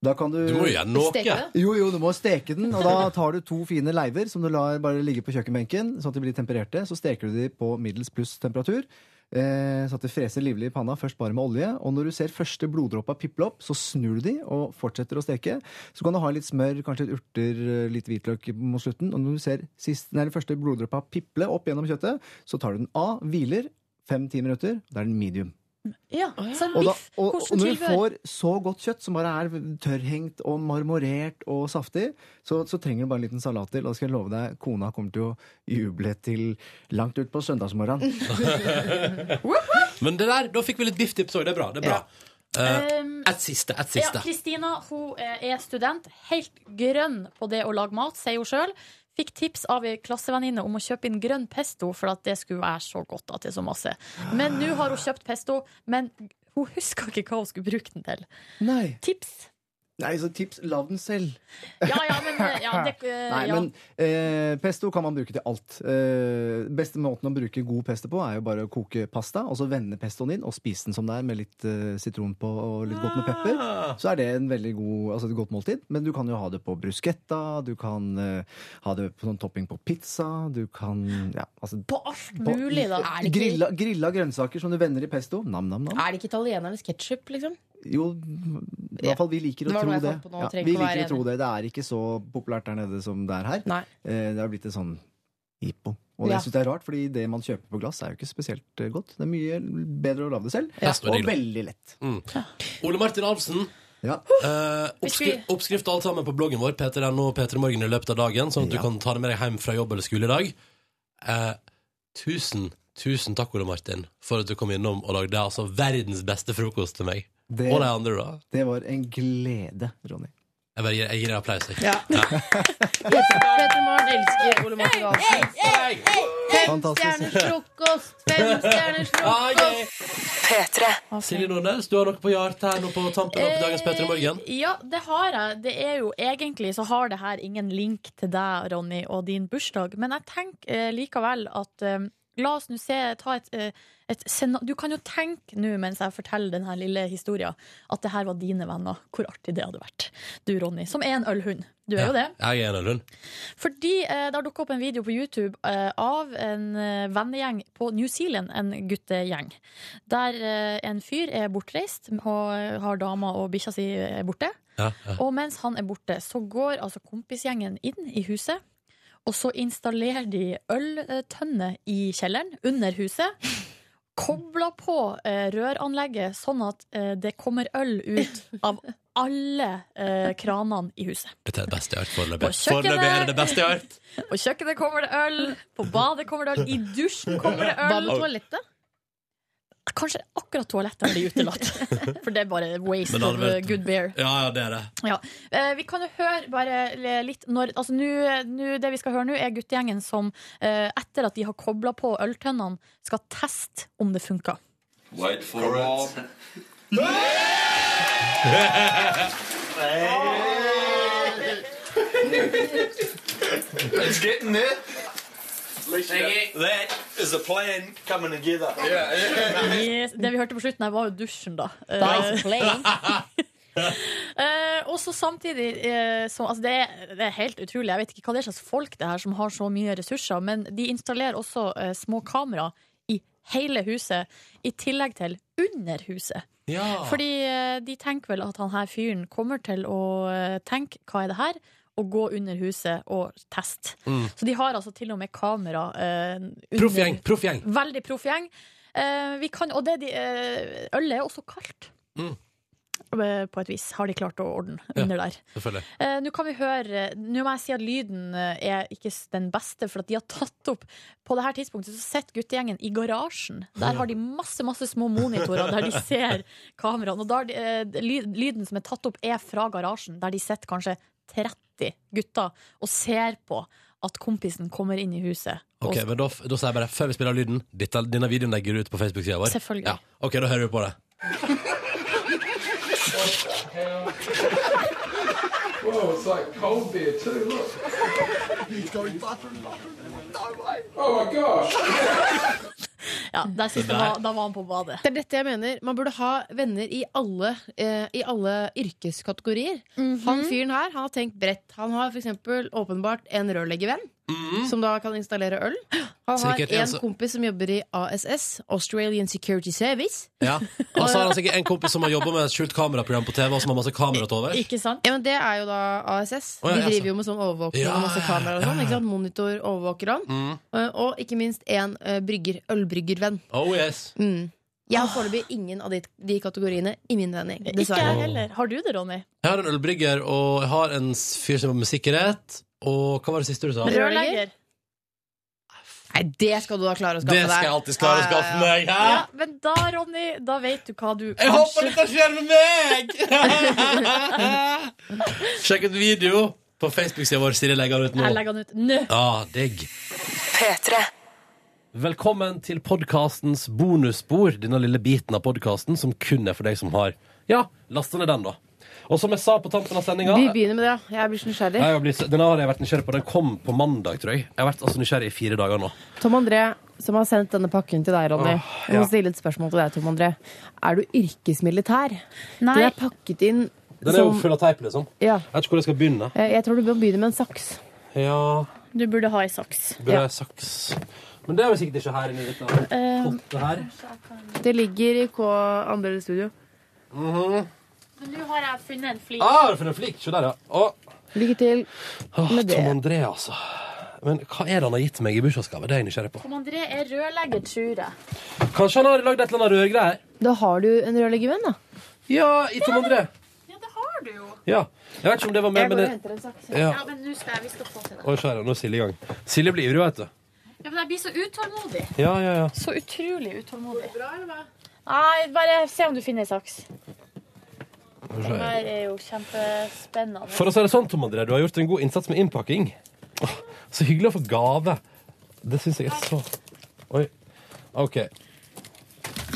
S7: Da kan du
S2: Du må jo gjøre
S6: Steke
S2: noe.
S6: det.
S7: jo, jo, du må steke den, og da tar du to fine leiver som du lar bare ligge på kjøkkenbenken, sånn at de blir tempererte. Så steker du de på middels pluss temperatur, eh, sånn at det freser livlig i panna, først bare med olje. Og når du ser første bloddråpa piple opp, så snur du de og fortsetter å steke. Så kan du ha litt smør, kanskje litt urter, eh, litt hvitløk mot slutten. Og når du ser sist, nei, den første bloddråpa piple opp gjennom kjøttet, så tar du den av, hviler fem-ti minutter, da er den medium.
S3: Ja. Så en
S7: Og, da,
S3: biff.
S7: og, og
S3: Hvordan
S7: når du
S3: tilbør?
S7: får så godt kjøtt, som bare er tørrhengt og marmorert og saftig, så, så trenger du bare en liten salat til. Og da skal jeg love deg, kona kommer til å juble til langt utpå søndagsmorgenen.
S2: Men det der, da fikk vi litt bifftips òg. Det er bra. det er bra Eh,
S3: Um,
S2: Et siste. Et
S3: Ja,
S2: siste.
S3: Kristina hun eh, er student, helt grønn på det å lage mat, sier hun sjøl. Fikk tips av ei klassevenninne om å kjøpe inn grønn pesto, for at det skulle være så godt at det er så masse. Men nå har hun kjøpt pesto, men hun huska ikke hva hun skulle bruke den til.
S7: Nei.
S3: Tips?
S7: Nei, så tips, lag den selv.
S3: Ja, ja, men eh, ja, det, eh,
S7: Nei,
S3: ja.
S7: men eh, pesto kan man bruke til alt. Eh, beste måten å bruke god pesto på er jo bare å koke pasta, og så vende pestoen inn og spise den som det er, med litt eh, sitron på og litt godt med pepper.
S2: Ah.
S7: Så er det en veldig god, altså et godt måltid, men du kan jo ha det på bruschetta, du kan eh, ha det på sånn topping på pizza, du kan ja, altså,
S3: På alt mulig, da.
S7: på- grilla, grilla grønnsaker som du vender i pesto. Nam, nam, nam.
S6: Er det ikke italienernes ketsjup, liksom?
S7: Jo, i hvert fall vi liker
S6: Det
S7: å
S6: var
S7: tro
S6: noe jeg
S7: det.
S6: fant på nå,
S7: Ja,
S6: trenger
S7: vi
S6: ikke å
S7: liker
S6: være
S7: å tro det. Det er ikke så populært der nede som det er her.
S6: Nei.
S7: Eh, Det har blitt en sånn jippo. Og
S6: Ja.
S7: det synes jeg er rart, fordi det man kjøper på glass, er jo ikke spesielt eh, godt. Det er mye bedre å lage det selv.
S2: Ja. Pesto er
S7: Og
S2: digg.
S7: veldig lett.
S2: Ole Martin Alfsen.
S7: Ja.
S2: Eh, oppskri oppskrift og alt sammen på bloggen vår, p3.no og p3morgen i løpet av dagen, sånn at du
S7: Ja.
S2: kan ta det med deg hjem fra jobb eller skole i dag. Eh, tusen, tusen takk, Ole Martin, for at du kom innom og lagde altså verdens beste frokost til meg.
S7: Det,
S2: Og de andre, da.
S7: det var en glede, Ronny.
S2: Jeg bare gir, jeg gir en applaus. Jeg.
S6: Ja. Petter Morn elsker Ole Martin Ahlsen. Fem
S7: Fantastisk.
S6: stjerners frokost! Fem stjerners
S2: Ah,
S6: frokost!
S2: yeah.
S5: P3.
S2: Silje Nordnes, du har noe på hjertet her nå på tampen av dagens P3 Morgen.
S3: Eh, Ja, det har jeg. Det er jo egentlig så har det her ingen link til deg, Ronny, og din bursdag. Men jeg tenker eh, likevel at eh, La oss nå se ta et, eh, et scena- Du kan jo tenke nå mens jeg forteller denne lille historien, at det her var dine venner. Hvor artig det hadde vært. Du, Ronny, som er en ølhund. Du er jo det.
S2: Jeg er en av Lund.
S3: Fordi eh, det har dukket opp en video på YouTube eh, av en eh, vennegjeng på New Zealand, en guttegjeng. Der eh, en fyr er bortreist, og eh, har dama og bikkja si er borte.
S2: Ja, ja.
S3: Og mens han er borte, så går altså kompisgjengen inn i huset. Og så installerer de øltønne i kjelleren, under huset. Kobler på eh, røranlegget, sånn at eh, det kommer øl ut av alle eh, kranene i huset.
S2: Dette er det beste jeg har hørt
S3: På
S2: foreløpig.
S3: kjøkkenet.
S2: Foreløpig er det det beste jeg har hørt.
S3: På kjøkkenet kommer det øl, på badet kommer det øl, i dusjen kommer det
S6: Hva med
S3: øl.
S6: toalettet?
S3: Kanskje akkurat toalettet blir utelatt. For det er bare waste
S2: Men det hadde
S3: of uh,
S2: vært-
S3: good beer.
S2: Ja, ja, det er det.
S3: Eh, vi kan jo høre bare le- litt når altså, nu, nu, Det vi skal høre nå, er guttegjengen som eh, etter at de har kobla på øltønnene, skal teste om det funker.
S11: Wait for it. it's getting there. At least you got- is the plan coming together. Yeah,
S3: Yes. Det vi hørte på slutten her, var jo dusjen, da.
S11: Nice
S12: playing.
S3: Eh, og så samtidig eh, så, altså det, er, det er helt utrolig. Jeg vet ikke hva det er slags folk det her som har så mye ressurser, men de installerer også eh, små kamera i hele huset, i tillegg til under huset.
S2: Ja.
S3: Fordi eh, de tenker vel at han her fyren kommer til å eh, tenke 'hva er det her?' og gå under huset og teste.
S2: Mm.
S3: Så de har altså til og med kamera eh, under-
S2: Proffgjeng! Proffgjeng!
S3: Veldig proff gjeng. Eh, vi kan, og det de, eh, ølet er også kaldt.
S2: Mm.
S3: Eh, På et vis har de klart å ordne
S2: Ja.
S3: under der.
S2: Selvfølgelig.
S3: Eh, Nå kan vi høre Nå må jeg si at lyden eh, er ikke s- den beste, for at de har tatt opp På det her tidspunktet så sitter guttegjengen i garasjen. Der har de masse masse små monitorer der de ser kameraene. Og der, de- eh, ly- lyden som er tatt opp, er fra garasjen, der de sitter kanskje 30 gutter og ser på at kompisen kommer inn i huset.
S2: Ok,
S3: og,
S2: men da, f- da sier jeg bare, før vi spiller av lyden, dette, denne videoen legger du ut på Facebook-sida vår.
S3: Selvfølgelig.
S2: Ja. Ok, da hører vi på det.
S13: Whoa, it's like cold beer too, look. He's going bathroom, Oh my gosh.
S3: ja, der synes jeg var, da var han på badet.
S6: Det er dette jeg mener. Man burde ha venner i alle, eh, i alle yrkeskategorier.
S2: Mhm.
S6: Han fyren her han har tenkt bredt. Han har f.eks. åpenbart en rørleggervenn.
S3: Mm.
S6: Som da kan installere øl. Han har
S2: Sikkert,
S6: en
S2: ja, så-
S6: kompis som jobber i ASS, Australian Security Service.
S2: Ja. Og så har han sikkert en kompis som har jobba med et skjult kameraprogram på TV, og som har masse kamera til overs.
S3: Ikke sant?
S6: Ja, men Det er jo da ASS.
S2: Å, ja,
S6: De
S2: ja,
S6: driver
S2: så-
S6: jo med sånn overvåkning
S2: Ja,
S6: og masse
S2: ja,
S6: kameraer og
S2: ja,
S6: sånn.
S2: ja.
S6: ikke sant? Monitor, overvåker han.
S2: Mm.
S6: Eh, Og ikke minst en eh, brygger, ølbryggervenn.
S2: Oh yes.
S6: Mm. Jeg har foreløpig ingen av de, de kategoriene i min vennegjeng.
S3: Ikke
S6: Dessverre.
S3: jeg heller. Har du det, Ronny?
S2: Jeg har en ølbrygger, og jeg har en s- fyr som jobber med sikkerhet. Og hva var det siste du sa?
S3: Rørlegger?
S6: Nei, det skal du da klare å skaffe
S2: Det
S6: deg.
S2: skal jeg alltid klare å skaffe meg! Hæ?
S3: Ja, men da, Ronny, da vet du hva du
S2: Jeg håper
S3: kanskje
S2: dette skjer med meg! Sjekk ut video på Facebook-sida vår. Siri legger den ut
S3: Jeg
S2: nå.
S3: legger den ut nå.
S2: Ja, digg. Velkommen til podkastens bonusspor, denne lille biten av podkasten som kun er for deg som har Ja, lasta ned den, da. Og som jeg sa på tampen av sendinga
S6: Vi begynner med det, ja. Jeg blir så nysgjerrig.
S2: jeg har blitt, den har jeg vært nysgjerrig på. Den kom på mandag, tror jeg. Jeg har vært altså nysgjerrig i fire dager nå.
S6: Tom André, som har sendt denne pakken til deg, Ronny.
S2: Åh,
S6: Jeg må
S2: ja.
S6: stille et spørsmål til deg, Tom André. Er du yrkesmilitær?
S3: Nei.
S6: Den er pakket inn
S2: Den er jo
S6: som
S2: full av teip, liksom.
S6: ja.
S2: Jeg vet ikke hvor jeg skal begynne.
S6: Eh, Jeg tror du bør begynne med en saks.
S2: Ja,
S3: Du burde ha ei saks.
S2: burde jeg saks Men det er jo sikkert ikke her inne i dette
S6: Um,
S2: pottet her.
S6: Det ligger i K andre studio.
S3: Nå har jeg funnet en flik.
S2: Ah, for en flik! Se der, ja. Å,
S6: Lykke til.
S2: Åh,
S6: Med det.
S2: Tom André, altså. Men hva er det han har gitt meg i bursdagsgave? Det er jeg nysgjerrig på.
S3: Tom André er rørlegger, tror jeg.
S2: Kanskje han har lagd et eller annet rørgreier?
S6: Da har du en rørleggervenn, da.
S2: Ja, i Tom André.
S3: Ja, det har du jo.
S2: Ja. Jeg vet ikke om det var med, men det...
S6: henter en saks.
S2: Ja.
S3: men nå skal jeg, vi skal få til det.
S2: Oi, kjære, nå er Silje i gang. Silje blir ivrig, vet du.
S3: Ja, men jeg blir så utålmodig.
S2: Ja, ja, ja.
S3: Så utrolig utålmodig. Nei, bare se om du finner ei saks.
S2: Får
S3: Det
S2: se.
S3: her er jo kjempespennende.
S2: For å si det sånn, Tom André, du har gjort en god innsats med innpakking. Åh, Så hyggelig å få gave. Det syns jeg er så Oi. OK.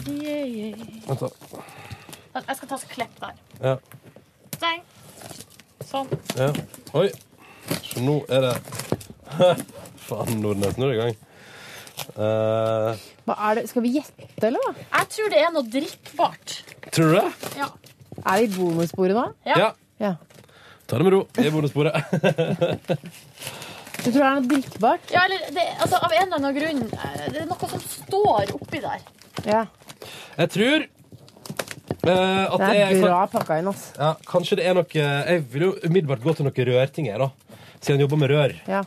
S3: Yeah, yeah.
S2: Vent, da.
S3: Jeg skal ta så klepp der.
S2: Ja.
S3: Dang. Sånn.
S2: ja. Oi. Så nå er det Faen, Nordnes, nå er det i gang. Eh,
S6: Hva er det? Skal vi gjette, eller hva?
S3: Jeg tror det er noe drikkbart.
S2: tror du det?
S3: Ja.
S6: Er vi i bonusbordet nå?
S3: Ja.
S2: Ja.
S6: Ja.
S2: Ta det med ro. Det er bonussporet.
S6: Du tror det er noe drikkbart?
S3: Ja, eller det, altså, Av en eller annen grunn eh, Det er noe som står oppi der.
S6: Ja.
S2: Jeg tror eh, at
S6: Det
S2: det
S6: er
S2: er
S6: bra pakka inn, ass.
S2: ja, Kanskje det er noe Jeg vil jo umiddelbart gå til noe rørting her, da. Siden jeg jobber med rør.
S6: Ja.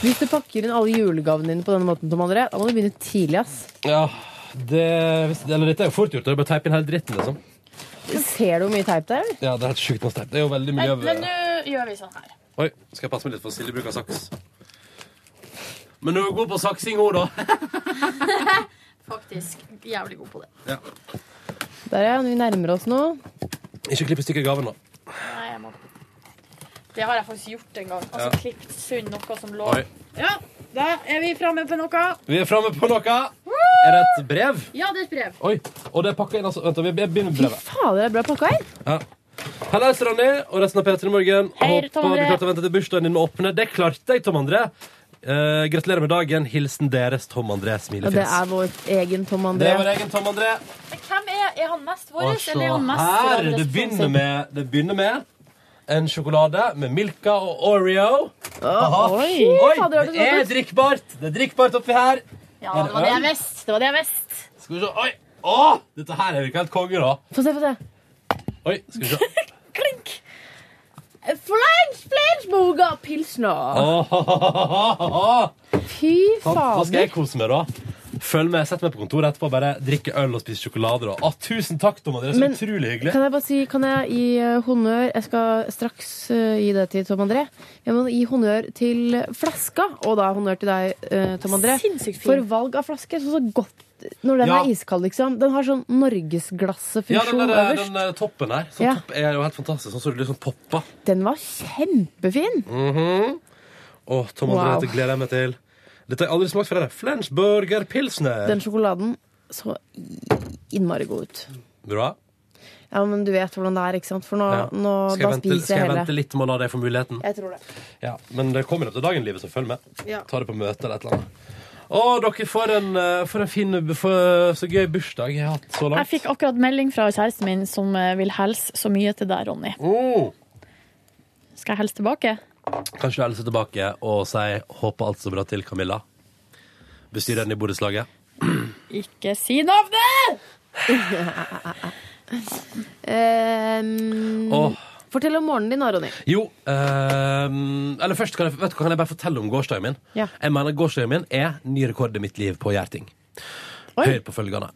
S6: Hvis du pakker inn alle julegavene dine på denne måten, Tom André, da må du begynne tidlig, ass.
S2: Ja, det hvis- Eller dette er jo fort gjort. Det er bare å teipe inn hele dritten, liksom.
S6: Ser du hvor mye teip det er? eller?
S2: Ja, det er helt sjukt masse teip. Det er jo veldig
S3: Men
S2: miljø...
S3: men nå gjør vi sånn her.
S2: Oi, skal jeg passe meg litt for Silje bruker saks. Men du er god på saksing òg, da.
S3: Faktisk jævlig god på det.
S6: Der, ja. Vi nærmer oss nå.
S2: Ikke klipp i stykker gaven, da.
S3: Nei, jeg må Det har jeg faktisk gjort en gang. Altså
S2: Ja.
S3: klippet sund noe som lå
S2: Oi.
S3: Ja, da er vi framme på noe.
S2: Vi er framme på noe. Er det et brev?
S3: Ja, det er et brev.
S2: Oi. Og det er pakka inn, altså. Vent, da, vi jeg begynner med brevet.
S6: Fader, det er bra pakka inn.
S2: Hallais, Ronny og resten av P3 Morgen.
S3: Hei,
S2: Håper
S3: Tom André.
S2: du klarte å vente til bursdagen din med å åpne. Det klarte jeg, Tom André. Eh, gratulerer med dagen. Hilsen deres Tom André
S6: Og det
S2: Smilefjes.
S6: er vår egen Tom André.
S2: Det er vår egen Tom André.
S3: Men hvem er, er han mest vår,
S2: Og se
S3: eller er han mest
S2: Altså, her!
S3: Anders
S2: Det begynner
S3: Thomsen?
S2: med, det begynner med en sjokolade med Milka og Oreo. Aha. Ah,
S3: oi.
S2: oi!
S3: Fader, har du
S2: Det er
S3: sånt?
S2: drikkbart! Det er drikkbart oppi her.
S3: Ja,
S2: Er
S3: det var det jeg
S2: øl?
S3: visste. Det var det jeg visste.
S2: Skal vi se. Oi! Å! Dette her er jo ikke helt konge, da.
S6: Få se, få se.
S2: Oi, skal vi se.
S3: Eh,
S6: Flange, flangeburger, pilsner.
S2: Åh,
S6: Fy
S2: Sånn, da skal jeg
S6: fader.
S2: kose meg, da. Følg med, Sett meg på kontoret etterpå og bare drikke øl og spise sjokolade. da. Å, tusen takk, Tom André. Så
S6: Men
S2: utrolig hyggelig.
S6: Kan jeg bare si, kan jeg gi eh, honnør Jeg skal straks eh, gi det til Tom André. Jeg må gi honnør til flaska, og da honnør til deg, eh, Tom André.
S3: Sinnssykt fin.
S6: For valg av flaske. Så, så godt når den
S2: Ja.
S6: er iskald, liksom. Den har sånn
S2: Ja, den,
S6: norgesglassefunksjon
S2: der, eh,
S6: øverst.
S2: den eh, toppen her sånn
S6: Ja.
S2: topp er jo helt fantastisk. Sånn som det liksom popper.
S6: Den var kjempefin!
S2: Mhm. Å, Tom André,
S6: Wow.
S2: dette gleder jeg meg til. Dette har jeg aldri smakt før. dette. Flensburger Pilsner.
S6: Den sjokoladen så innmari god ut.
S2: Bra.
S6: Ja, men du vet hvordan det er, ikke sant? For nå,
S2: Ja.
S6: nå
S2: Skal
S6: da
S2: jeg, vente,
S6: spiser
S2: skal
S6: jeg
S2: jeg
S6: hele.
S2: vente litt med å la deg få muligheten?
S6: Jeg tror det.
S2: Ja, Men det kommer opp til dagen, livet, så følg med.
S6: Ja.
S2: Ta det på møte eller et eller annet. Å, dere, for en, eh, for en fin for, Så gøy bursdag jeg har hatt så langt.
S3: Jeg fikk akkurat melding fra kjæresten min som eh, vil helse så mye til deg, Ronny.
S2: Oh.
S3: Skal jeg helse tilbake?
S2: Kanskje du hilser tilbake og sier 'håper alt står bra til', Camilla. Bestyreren i borettslaget.
S3: Ikke si navnet!
S6: Ehm,
S2: Åh.
S6: Fortell om morgenen din, da, Ronny.
S2: Jo, ehm, eller først kan jeg, vet du, hva, kan jeg bare fortelle om gårsdagen min.
S6: Ja.
S2: Jeg mener gårsdagen min er ny rekord i mitt liv på Gjerting. Hør på følgende.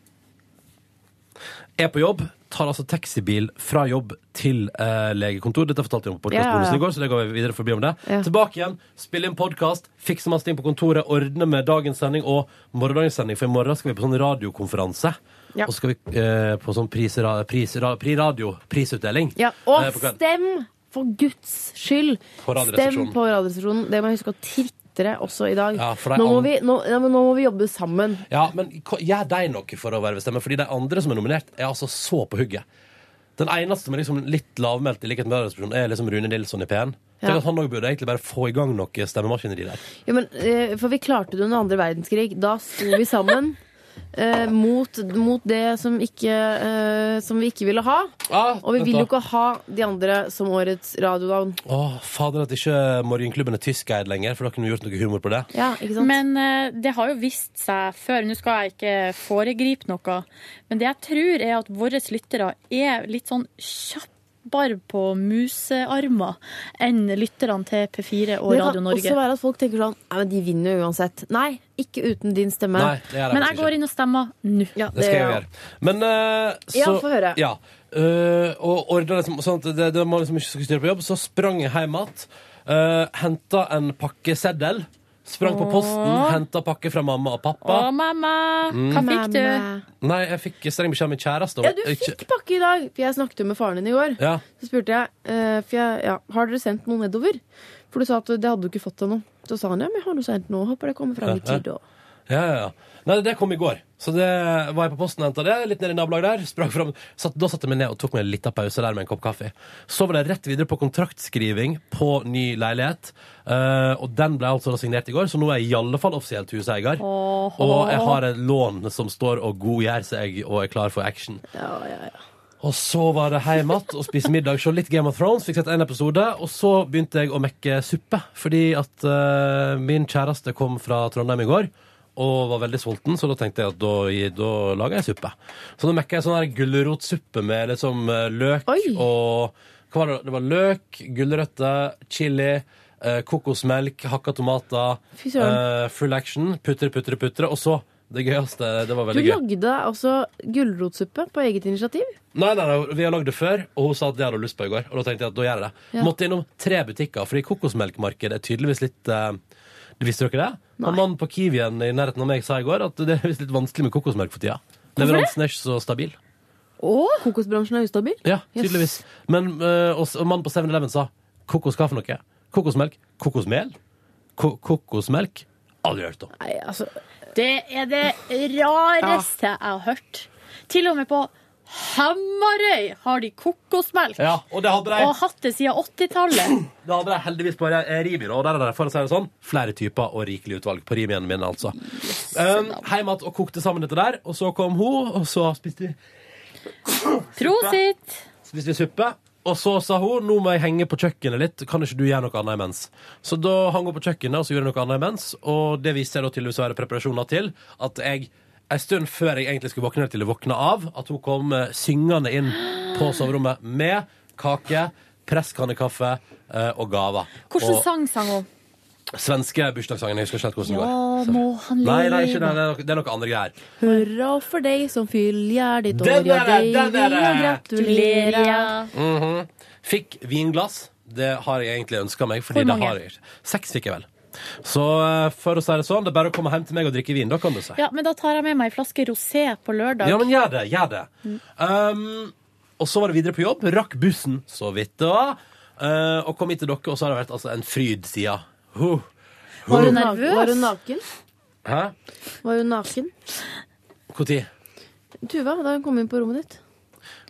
S2: Er på jobb, tar altså taxibil fra jobb til eh, legekontor. Dette fortalte jeg om på
S6: Ja, ja,
S2: podkastbonusen
S6: ja.
S2: i går, så det går vi videre forbi om det.
S6: Ja.
S2: Tilbake igjen, spille inn podkast, fikse masse ting på kontoret, ordne med dagens sending og morgendagens sending, for i morgen skal vi på sånn radiokonferanse.
S6: Ja.
S2: Og så skal vi eh, på sånn pris, ra, pris, ra, pri radio, prisutdeling.
S6: Ja, og
S2: Eh, på kvelden.
S6: stem, for Guds skyld!
S2: På
S6: stem
S2: Radioresepsjonen.
S6: på Radioresepsjonen. Det må jeg huske å tvitre også i dag.
S2: Ja, for det er
S6: nå, må
S2: an-
S6: vi, nå, ja, men nå må vi jobbe sammen.
S2: Ja, men hva- gjør de noe for å verve stemmer? Fordi de andre som er nominert, er altså så på hugget. Den eneste som er liksom litt lavmælt, i likhet med Radioresepsjonen, er liksom Rune Nilsson i P1.
S6: Ja.
S2: Tenk at Han også burde egentlig bare få i gang noe stemmemaskineri der.
S6: Ja, men, eh, for vi klarte det under andre verdenskrig. Da sto vi sammen. eh, mot, mot det som, ikke, eh, som vi ikke ville ha.
S2: Ah,
S6: Og vi vil jo ikke ha de andre som årets radiodown.
S2: Å, fader at ikke Morgenklubben er tyskeid lenger, for da kunne vi gjort noe humor på det.
S6: Ja, ikke sant?
S3: Men eh, det har jo vist seg før, nå skal jeg ikke foregripe noe, men det jeg tror er at våre lyttere er litt sånn kjappere på musearmer enn lytterne til P4 og
S6: det
S3: Radio
S6: kan
S3: Norge.
S6: også være at folk tenker sånn Nei, men de vinner jo uansett. Nei, ikke uten din stemme.
S2: Nei, det gjør jeg
S3: Men
S2: faktisk
S3: jeg
S2: ikke.
S3: går inn og stemmer nå.
S6: Ja,
S2: Det skal jeg jo gjøre. Men eh, så
S6: Ja, få høre.
S2: Ja. Eh, og ordna liksom sånn at det, det var liksom ikke skulle styre på jobb, så sprang jeg hjem igjen. Uh, Henta en pakke seddel. Sprang på posten,
S3: Åh.
S2: henta pakke fra mamma og
S3: Å,
S2: pappa.
S3: mamma!
S6: Mm.
S3: Hva fikk du?
S6: eh,
S2: Nei, jeg fikk streng beskjed av min kjæreste. om
S6: Ja,
S2: at
S6: du
S2: jeg ikke-
S6: fikk pakke i dag. For jeg snakket jo med faren din i går.
S2: Ja.
S6: Så spurte jeg, eh, for jeg ja, har dere sendt noe nedover? For du sa at det hadde du ikke fått ennå. Så sa han ja, men jeg har nå sendt noe. Håper det kommer fram i
S2: Ja, ja.
S6: tide. og-
S2: Ja, ja, ja. Nei, det kom i går. Så det var jeg på posten og henta det. Litt ned i nabolaget der. Sprang fram. Satt, da satte jeg meg ned og tok meg en liten pause der med en kopp kaffe. Så var det rett videre på kontraktskriving på ny leilighet. Eh, og den ble altså da signert i går, så nå er jeg i alle fall offisielt huseier. Og jeg har et lån som står og godgjør seg og er klar for action.
S6: Ja, ja, ja.
S2: Og så var det hjem igjen og spise middag, se litt Game of Thrones, fikk sett en episode, og så begynte jeg å mekke suppe, fordi at eh, min kjæreste kom fra Trondheim i går, og var veldig sulten, så da tenkte jeg at da, da lager jeg suppe. Så da mekka jeg sånn her gulrotsuppe med liksom eh, løk
S6: Oi.
S2: og Hva var det? Det var løk, gulrøtter, chili, eh, kokosmelk, hakka tomater,
S6: Fy søren.
S2: eh, full action, putre, putre, putre, og så det gøyeste, det var
S6: Du
S2: veldig gøy.
S6: lagde altså gulrotsuppe på eget initiativ.
S2: Nei, nei, nei, vi har lagd det før, og hun sa at det hadde hun lyst på i går. Og da tenkte jeg at da gjør jeg det.
S6: Ja.
S2: Måtte innom tre butikker, fordi kokosmelkmarkedet er tydeligvis litt eh, det Visste dere det? Han mannen på Kiwien i nærheten av meg sa i går at det er visst litt vanskelig med kokosmelk for tida. Leveransen er ikke så stabil.
S6: Kokosbransjen er ustabil.
S2: Ja, tydeligvis. Men eh, og, s- og mannen på 7-Eleven sa kokos hva for noe? Kokosmelk? Kokosmel? Ko kokosmelk? Aldri hørt om.
S6: Nei, altså
S3: Det er det rareste jeg har hørt. Til og med på Hamarøy har de kokosmelk!
S2: Ja, og det hadde de.
S3: Og hatt det siden 80-tallet.
S2: Da hadde de heldigvis på eh, Rimi, da, og der er det for å si det sånn, flere typer og rikelig utvalg på Rimien min, altså. Um, Heim igjen og kokte sammen dette der, og så kom hun, og så spiste vi
S3: Prosit!
S2: spiste vi suppe. Og så sa hun nå må jeg henge på kjøkkenet litt, kan ikke du gjøre noe annet imens? Så da hang hun på kjøkkenet og så gjorde jeg noe annet imens, og det viste jeg da tydeligvis å være preparasjoner til at jeg en stund før jeg egentlig skulle våkne til å våkne av, at hun kom eh, syngende inn på soverommet med kake, presskannekaffe eh, og gaver.
S3: Hvordan
S2: Og-
S3: sang sang hun?
S2: Svenske bursdagssangen. Jeg husker ikke helt hvordan det
S3: Ja,
S2: går.
S3: må han
S2: Nei, nei, ikke
S3: leve.
S2: det. Det er noe, det er noe andre greier.
S6: Hurra for deg som fyller ditt år,
S2: Den
S6: ja,
S2: er
S6: deg
S2: det, den
S6: vil
S2: er
S6: jeg
S2: det.
S6: gratulere.
S2: Mhm. Fikk vinglass. Det har jeg egentlig ønska meg. Fordi
S6: Hvor
S2: det
S6: mange?
S2: har jeg ikke. Seks fikk jeg vel. Så eh, for å si det sånn, det er bare å komme hjem til meg og drikke vin. Da kan du si.
S3: Ja, men da tar jeg med meg en flaske rosé på lørdag.
S2: Ja, men gjør det. Gjør det.
S6: Mm.
S2: Um, og så var det videre på jobb. Rakk bussen, så vidt det var. Eh, og kom hit til dere, og så har det vært altså, en fryd siden. Huh.
S6: Var hun,
S2: Huh.
S6: nervøs? var hun naken?
S2: Hæ?
S6: Var hun naken?
S2: Når?
S6: Tuva, da hun kom inn på rommet ditt.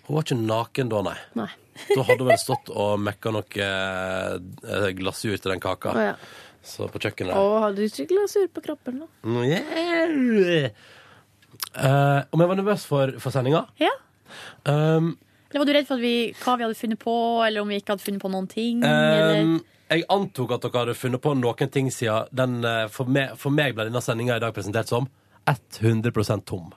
S2: Hun var ikke naken da, nei.
S6: Nei.
S2: Da hadde hun vel stått og mekka noe eh, glasur til den kaka.
S6: Å, ja.
S2: Så på kjøkkenet.
S6: Og hadde ikke glasur på kroppen. Da.
S2: Mm, yeah. Eh, om jeg var nervøs for, for sendinga?
S3: Ja.
S2: Um,
S3: Eller var du redd for at vi, hva vi hadde funnet på, eller om vi ikke hadde funnet på noen ting? eller?
S2: um, jeg antok at dere hadde funnet på noen ting siden den, eh, for, meg, for meg ble denne sendinga i dag presentert som 100 tom.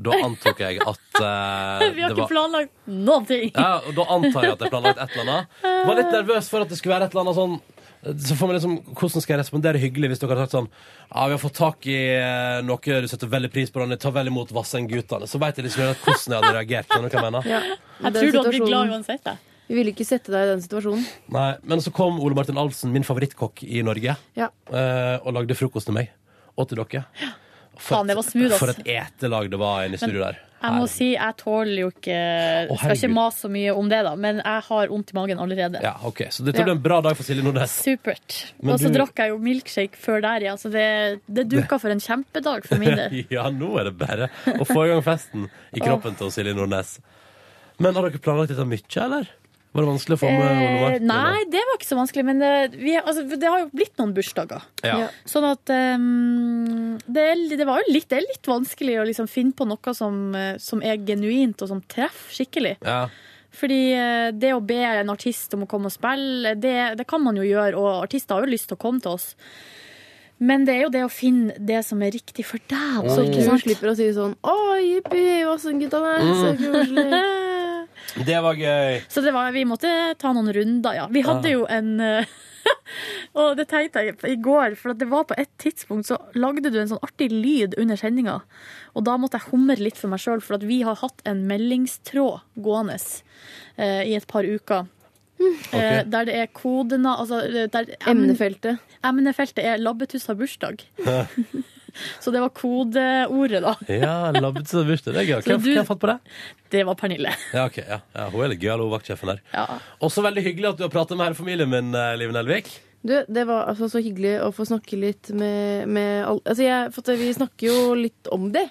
S2: Da antok jeg at eh,
S3: Vi har
S2: det
S3: ikke
S2: var
S3: planlagt noen ting!
S2: Ja, og Da antar jeg at jeg har planlagt et eller annet. Var litt nervøs for at det skulle være et eller annet sånn så får man liksom, Hvordan skal jeg respondere hyggelig hvis dere har sagt sånn Ja, vi har fått tak i eh, noe du setter veldig pris på, Ronny. Ta vel imot Vassendgutane. Så veit jeg liksom ikke hvordan jeg hadde reagert. Skjønner du hva jeg mener?
S6: Ja.
S3: Jeg
S6: Den
S3: tror du hadde blitt glad
S6: situasjonen-
S3: uansett. jeg.
S6: Vi ville ikke sette deg i den situasjonen.
S2: Nei, Men så kom Ole Martin Alfsen, min favorittkokk i Norge,
S6: Ja.
S2: eh, og lagde frokost til meg. Og til dere. For,
S3: Faen, det var smooth, ass.
S2: for et etelag det var inne i studio der.
S3: Jeg må si, jeg tåler jo ikke
S2: Å,
S3: Skal ikke
S2: herregud.
S3: mase så mye om det, da, men jeg har vondt i magen allerede.
S2: Ja, ok, Så dette
S3: Ja.
S2: ble en bra dag for Silje Nordnes.
S3: Supert.
S2: Men
S3: Og så
S2: du-
S3: drakk jeg jo milkshake før der, ja, så det, det duka for en kjempedag for min del.
S2: ja, nå er det bare å få i gang festen i kroppen til Silje Nordnes. Men har dere planlagt dette mye, eller? Var det vanskelig å få med Ole
S3: Eh,
S2: Martin?
S3: nei, det var ikke så vanskelig, men det, vi, altså, det har jo blitt noen bursdager.
S2: Ja. Ja.
S3: Sånn at eh, det, er, det var jo litt, det er litt vanskelig å liksom finne på noe som, eh, som er genuint, og som treffer skikkelig.
S2: Ja.
S3: Fordi eh, det å be en artist om å komme og spille, det, det kan man jo gjøre, og artister har jo lyst til å komme til oss. Men det er jo det å finne det som er riktig for deg. altså,
S6: Så
S3: ikke
S6: du
S3: sant?
S6: slipper å si sånn Å, jippi, Vassendgutane, så
S2: Mm.
S3: Eh,
S6: koselig.
S2: Det var gøy.
S3: Så det var, vi måtte ta noen runder, ja. Vi hadde
S2: Ja.
S3: jo en eh, Og det tenkte jeg i går, for at det var på et tidspunkt så lagde du en sånn artig lyd under sendinga. Og da måtte jeg humre litt for meg sjøl, for at vi har hatt en meldingstråd gående eh, i et par uker. Eh, der det er kodene altså, eh, der,
S6: Emnefeltet.
S3: Emnefeltet er 'Labbetuss har bursdag'. Så det var kodeordet, da.
S2: ja, labbete bursdag. Det er gøy.
S3: Så
S2: Hvem,
S3: du-
S2: hvem har fått på det?
S3: Det var Pernille.
S2: Ja, ok. Ja. Ja, hun er litt gøyal, hun vaktsjefen der.
S3: Ja.
S2: Også veldig hyggelig at du har pratet med hele familien min, eh, Liv Nelvik.
S6: Du, det var altså så hyggelig å få snakke litt med, med alle Altså, jeg, for at vi snakker jo litt om det.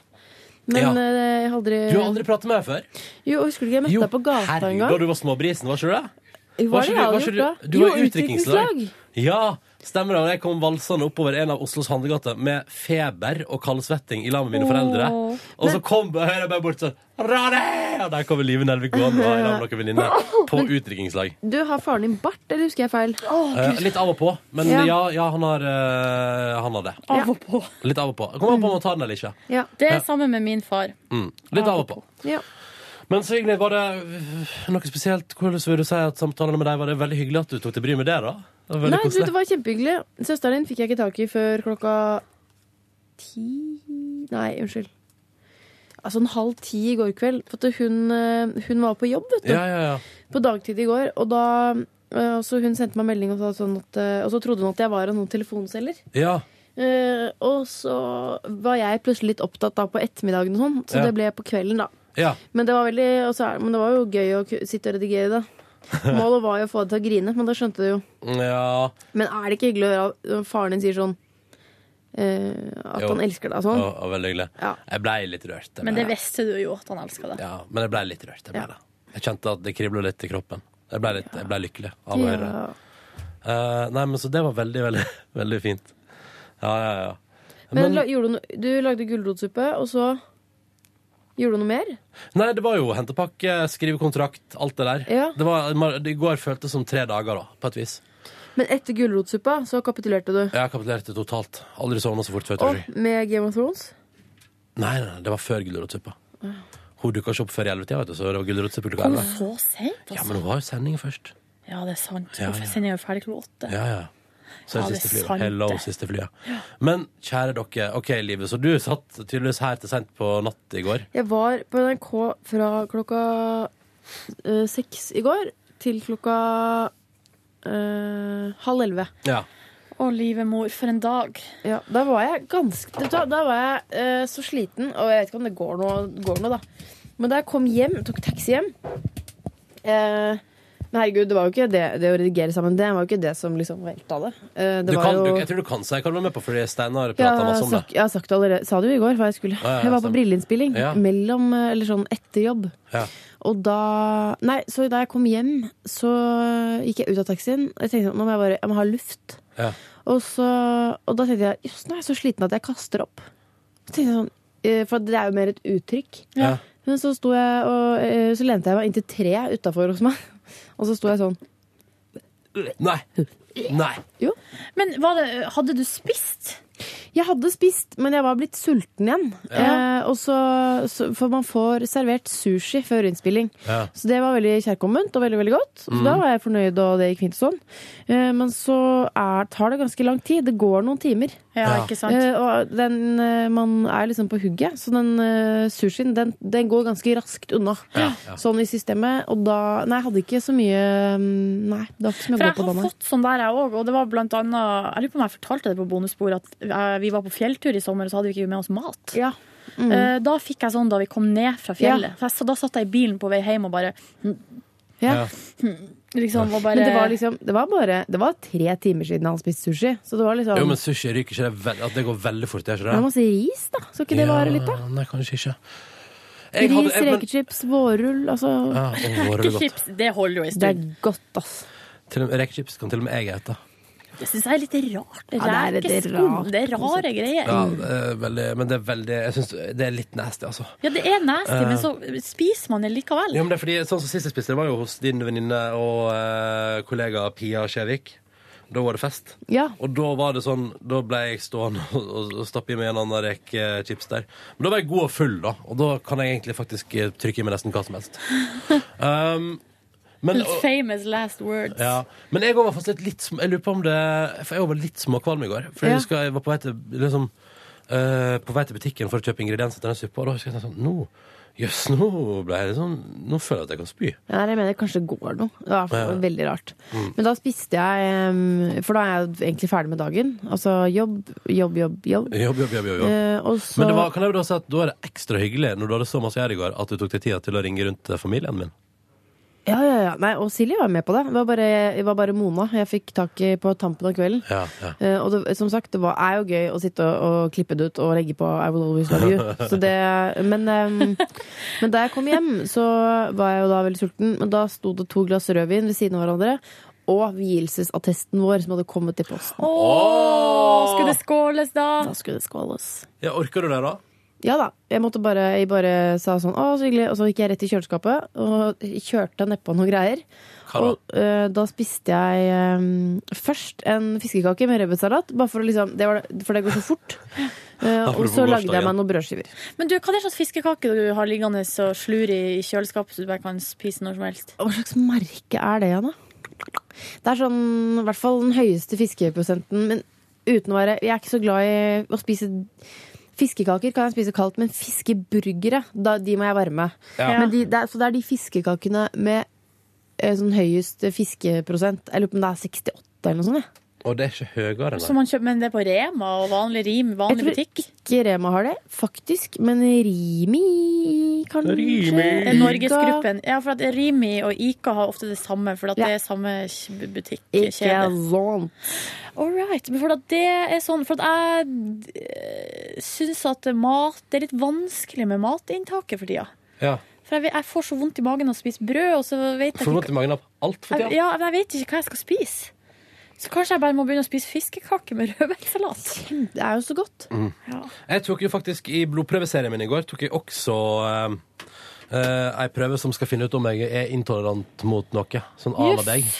S6: Men
S2: Ja.
S6: eh, jeg har aldri
S2: Du har aldri pratet med henne før.
S6: Jo, husker du ikke jeg møtte deg på gata en
S2: Herregud,
S6: gang?
S2: da du var småbrisen, var ikke du det?
S6: Jo,
S2: Var
S6: var det
S2: ikke
S6: jeg
S2: var
S6: hadde
S2: ikke
S6: gjort da?
S2: Du var
S6: Jo,
S2: utdrikningslag.
S6: utdrikningslag.
S2: Ja, stemmer det. Og jeg kom valsende oppover en av Oslos handlegater med feber og kaldsvetting i lag med mine
S6: Åh.
S2: foreldre. Og så kom hører jeg bare bort sånn Rane! Og der kommer Live Nelvik gående og i lag med noen venninner på utdrikningslag.
S6: Du, har faren din bart, eller husker jeg feil?
S2: Eh, litt av og på, men ja,
S6: Ja.
S2: ja, han, har, eh, han har det.
S3: Av og på.
S2: Litt av og på. Kommer an på om han tar den eller ikke.
S3: Det er
S2: Ja.
S3: sammen med min far.
S2: Mm. Litt av og på.
S6: Ja.
S2: Men så hyggelig, var det noe spesielt? Hvordan vil du si at samtalene med deg var det veldig hyggelig at du tok til bry med det, da? Det var veldig
S6: Nei, du,
S2: koselig.
S6: det var kjempehyggelig. Søsteren din fikk jeg ikke tak i før klokka ti Nei, unnskyld. Altså en halv ti i går kveld. For at hun, eh, hun var på jobb, vet du.
S2: Ja, ja, ja.
S6: På dagtid i går. Og da eh, så hun sendte meg melding og sa sånn at eh, Og så trodde hun at jeg var en sånn telefonselger.
S2: ja.
S6: Eh, og så var jeg plutselig litt opptatt da på ettermiddagen og sånn, så
S2: Ja.
S6: det ble på kvelden, da.
S2: Ja.
S6: Men det var, veldig, og så er- men det var jo gøy å ku- sitte og redigere, da. Målet var jo å få det til å grine, men da skjønte du jo.
S2: ja.
S6: Men er det ikke hyggelig å høre at faren din sier sånn eh, at
S2: Jo.
S6: han elsker deg og sånn.
S2: Ja, ja, veldig hyggelig. Jeg blei litt rørt. jeg
S3: Men
S2: ble
S3: det visste du jo at han elska deg.
S2: Ja, men jeg ble litt rørt. Jeg, ble det. jeg kjente at det kribla litt i kroppen. Jeg ble, litt, jeg ble lykkelig av å
S3: Ja.
S2: høre det. Eh, nei, men så det var veldig, veldig, veldig fint. Ja, ja, ja.
S6: Men, la, gjorde du, no- du lagde gulrotsuppe, og så gjorde du noe mer?
S2: Nei, det var jo hentepakke, skrive kontrakt, alt det der.
S6: Ja.
S2: Det var, det I går føltes som tre dager, da, på et vis.
S6: Men etter gulrotsuppa så kapitulerte du.
S2: Jeg kapitulerte totalt. Aldri sovna så fort før
S6: Og
S2: torgi.
S6: med Game of Thrones.
S2: Nei, nei, nei, det var før gulrotsuppa. Hun dukka ikke opp før i ellevetida, vet du, så det var gulrotsuppe klokka
S3: Kom
S2: elleve.
S3: så seint,
S2: Ja,
S3: altså.
S2: men hun har jo sending først.
S3: Ja, det er sant.
S2: Ja,
S3: Hvorfor
S2: ja.
S3: sender jeg jo ferdig klokka åtte?
S2: Ja, ja. Så er
S3: Ja,
S2: det
S3: det
S2: siste
S3: er sant,
S2: flyet. Hello,
S3: det.
S2: siste flyet. Men kjære dere, OK, livet, så du satt tydeligvis her til sent på natt i går.
S6: Jeg var på NRK fra klokka eh, seks i går til klokka eh, halv elleve.
S2: Ja.
S6: Å, livet mor, for en dag. Ja, Da var jeg ganske vet du hva, Da var jeg eh, så sliten, og jeg vet ikke om det går noe, går noe da. Men da jeg kom hjem, tok taxi hjem eh, Men herregud, det var jo ikke det, det å redigere sammen, det var jo ikke det som liksom velta det. Eh, det
S2: Du
S6: var
S2: kan,
S6: jo,
S2: du, jeg tror du kan si hva du var med på, fordi Steinar
S6: ja,
S2: prata masse om det.
S6: sak- jeg har sagt det allerede. Sa det jo i går hva jeg skulle.
S2: Ja, ja,
S6: jeg var på
S2: stemmer.
S6: brilleinnspilling
S2: Ja.
S6: mellom, eh, eller sånn etter jobb.
S2: Ja.
S6: Og da Nei, så da jeg kom hjem, så gikk jeg ut av taxien. Og jeg tenkte sånn, nå må jeg bare jeg må ha luft.
S2: Ja.
S6: Og, så, og da tenkte jeg jøss, nå er jeg så sliten at jeg kaster opp. Så tenkte jeg sånn, eh, For det er jo mer et uttrykk.
S2: Ja.
S6: Men så, sto jeg og, eh, så lente jeg meg inntil tre utafor hos meg, og så sto jeg sånn.
S2: Nei. Nei.
S6: Jo. Men hadde du spist? Jeg hadde spist, men jeg var blitt sulten igjen.
S2: Ja.
S6: Eh, og så, så, for man får servert sushi før innspilling.
S2: Ja.
S6: Så det var veldig kjærkomment og veldig veldig godt. Så
S2: Mm.
S6: da var jeg fornøyd, og det gikk fint og sånn. Eh, men så er, tar det ganske lang tid. Det går noen timer.
S3: Ja, Ja. ikke sant?
S6: Eh, og den, eh, man er liksom på hugget, så den eh, sushien den, den går ganske raskt unna.
S3: Ja, ja.
S6: Sånn i systemet. Og da Nei, jeg hadde ikke så mye mm, Nei, det var ikke så mye
S3: For
S6: å
S3: jeg
S6: gå på da,
S3: har
S6: nei.
S3: fått sånn der, jeg òg. Og det var blant annet Jeg lurer på om jeg fortalte det på bonusspor, at eh, vi var på fjelltur i sommer, og så hadde vi ikke med oss mat.
S6: Mm.
S3: Eh, Da fikk jeg sånn da vi kom ned fra fjellet.
S6: Ja.
S3: For jeg, sa- da satt jeg i bilen på vei hjem og bare mm,
S6: Ja.
S3: mm, Liksom, og bare
S6: Men det var liksom Det var bare Det var tre timer siden han spiste sushi. Så det var liksom
S2: Jo, men sushi ryker ikke det veld, at det går veldig fort, gjør
S6: Men det var
S2: ikke det?
S6: masse ris, da. Så ikke det vare litt, da?
S2: Nei, kanskje ikke. Jeg hadde-
S6: Ris,
S2: jeg- men-
S6: rekechips, vårrull, altså
S2: Ja, og vårrull er godt. Rekechips,
S3: det holder jo en
S6: Det er godt, ass.
S2: Til og med- Rekechips kan til og med jeg ete.
S3: Det syns jeg er litt rart.
S6: Ja, det er litt
S3: Rekeskum,
S6: rart.
S3: Det er rare greier.
S2: Ja,
S6: Mm.
S2: det er veldig, men det er veldig Jeg syns det er litt nasty, altså.
S3: Ja, det er nasty,
S2: Eh.
S3: men så spiser man det likevel.
S2: Ja, men det er fordi, sånn som Sist jeg spiste, det var jo hos din venninne og eh, kollega Pia Skjevik. Da var det fest.
S6: Ja.
S2: Og da var det sånn, da ble jeg stående og, og, og stappe i meg en annen rekechips der. Men da var jeg god og full, da. Og da kan jeg egentlig faktisk eh, trykke i meg nesten hva som helst. Um, men, og,
S3: Famous last words.
S2: ja. men jeg òg var faktisk litt, litt sm- Jeg lurer på om det For jeg var litt småkvalm i går. For
S3: Ja.
S2: jeg husker jeg var på vei til liksom, eh, På vei til butikken for å kjøpe ingredienser til den suppa, og da husker jeg sånn Nå, jøss, nå ble jeg liksom Nå føler jeg at jeg kan spy.
S6: Ja, jeg mener kanskje det går noe. Det var
S2: Ja.
S6: veldig rart.
S2: Mm.
S6: Men da spiste jeg em, For da er jeg jo egentlig ferdig med dagen. Altså jobb, jobb, jobb,
S2: Jobb,
S6: jobb.
S2: jobb, jobb. jobb, jobb.
S6: Eh, og så
S2: Men det var, kan jeg jo da si at da er det ekstra hyggelig når du hadde så masse å gjøre i går, at du tok deg tida til å ringe rundt til familien min.
S6: Ja, ja, ja. Nei, og Silje var med på det. Det var bare, det var bare Mona jeg fikk tak i på tampen av kvelden.
S2: Ja, ja.
S6: Eh, og det, som sagt, det var, er jo gøy å sitte og, og klippe det ut og legge på I Will Always Love You. Så det, men, em, men da jeg kom hjem, så var jeg jo da veldig sulten. Men da sto det to glass rødvin ved siden av hverandre. Og vielsesattesten vår som hadde kommet i posten.
S3: Åh, skulle det skåles, da?
S6: Da skulle det skåles.
S2: Ja, orker du det, da?
S6: Ja da. Jeg måtte bare, jeg bare sa sånn 'Å, så hyggelig', og så gikk jeg rett i kjøleskapet og kjørte nedpå noen greier.
S2: Hva da?
S6: Og eh, da spiste jeg eh, først en fiskekake med rødbetsalat, bare for å liksom det var, det- For det går så fort. Eh,
S3: Da får
S6: og
S3: du
S6: så
S3: på
S6: lagde jeg
S3: gårsdagen.
S6: meg noen brødskiver.
S3: Men du, hva er det slags fiskekake du har liggende og slur i kjøleskapet, så du bare kan spise når som helst?
S6: Hva slags merke er det, Anna? Det er sånn i hvert fall den høyeste fiskeprosenten, men uten å være Jeg er ikke så glad i å spise Fiskekaker kan jeg spise kaldt, men fiskeburgere, da, de må jeg varme.
S3: Ja.
S6: Men de, det er, så det er de fiskekakene med eh, sånn høyest fiskeprosent. Jeg lurer på om det er 68 eller noe sånt. jeg.
S2: Og det er ikke høyere,
S3: Så man kjøper, men det er på Rema og vanlig Rim, vanlig
S6: Jeg tror
S3: butikk.
S6: Ikke Rema har det, faktisk, men Rimi, kanskje?
S3: Det er
S6: Ica.
S3: Eh, Norgesgruppen. Ja, for at Rimi og Ica har ofte det samme, for at det er samme kj- butikk.
S6: Ikke
S3: kjede.
S6: sant.
S3: All right. Men for at det er sånn For at jeg syns at mat Det er litt vanskelig med matinntaket for tida.
S2: Ja.
S3: For jeg, vet- jeg får så vondt i magen av å spise brød, og så vet jeg
S2: Får vondt i magen av alt for
S3: jeg,
S2: tida.
S3: ja, men jeg vet ikke hva jeg skal spise. Så kanskje jeg bare må begynne å spise fiskekake med rødbetsalat.
S6: Det er jo så godt.
S2: Mm. Jeg tok jo faktisk i blodprøveserien min i går tok jeg også eh, eh, ei prøve som skal finne ut om jeg er intolerant mot noe. Sånn à la
S3: Juff.
S2: deg.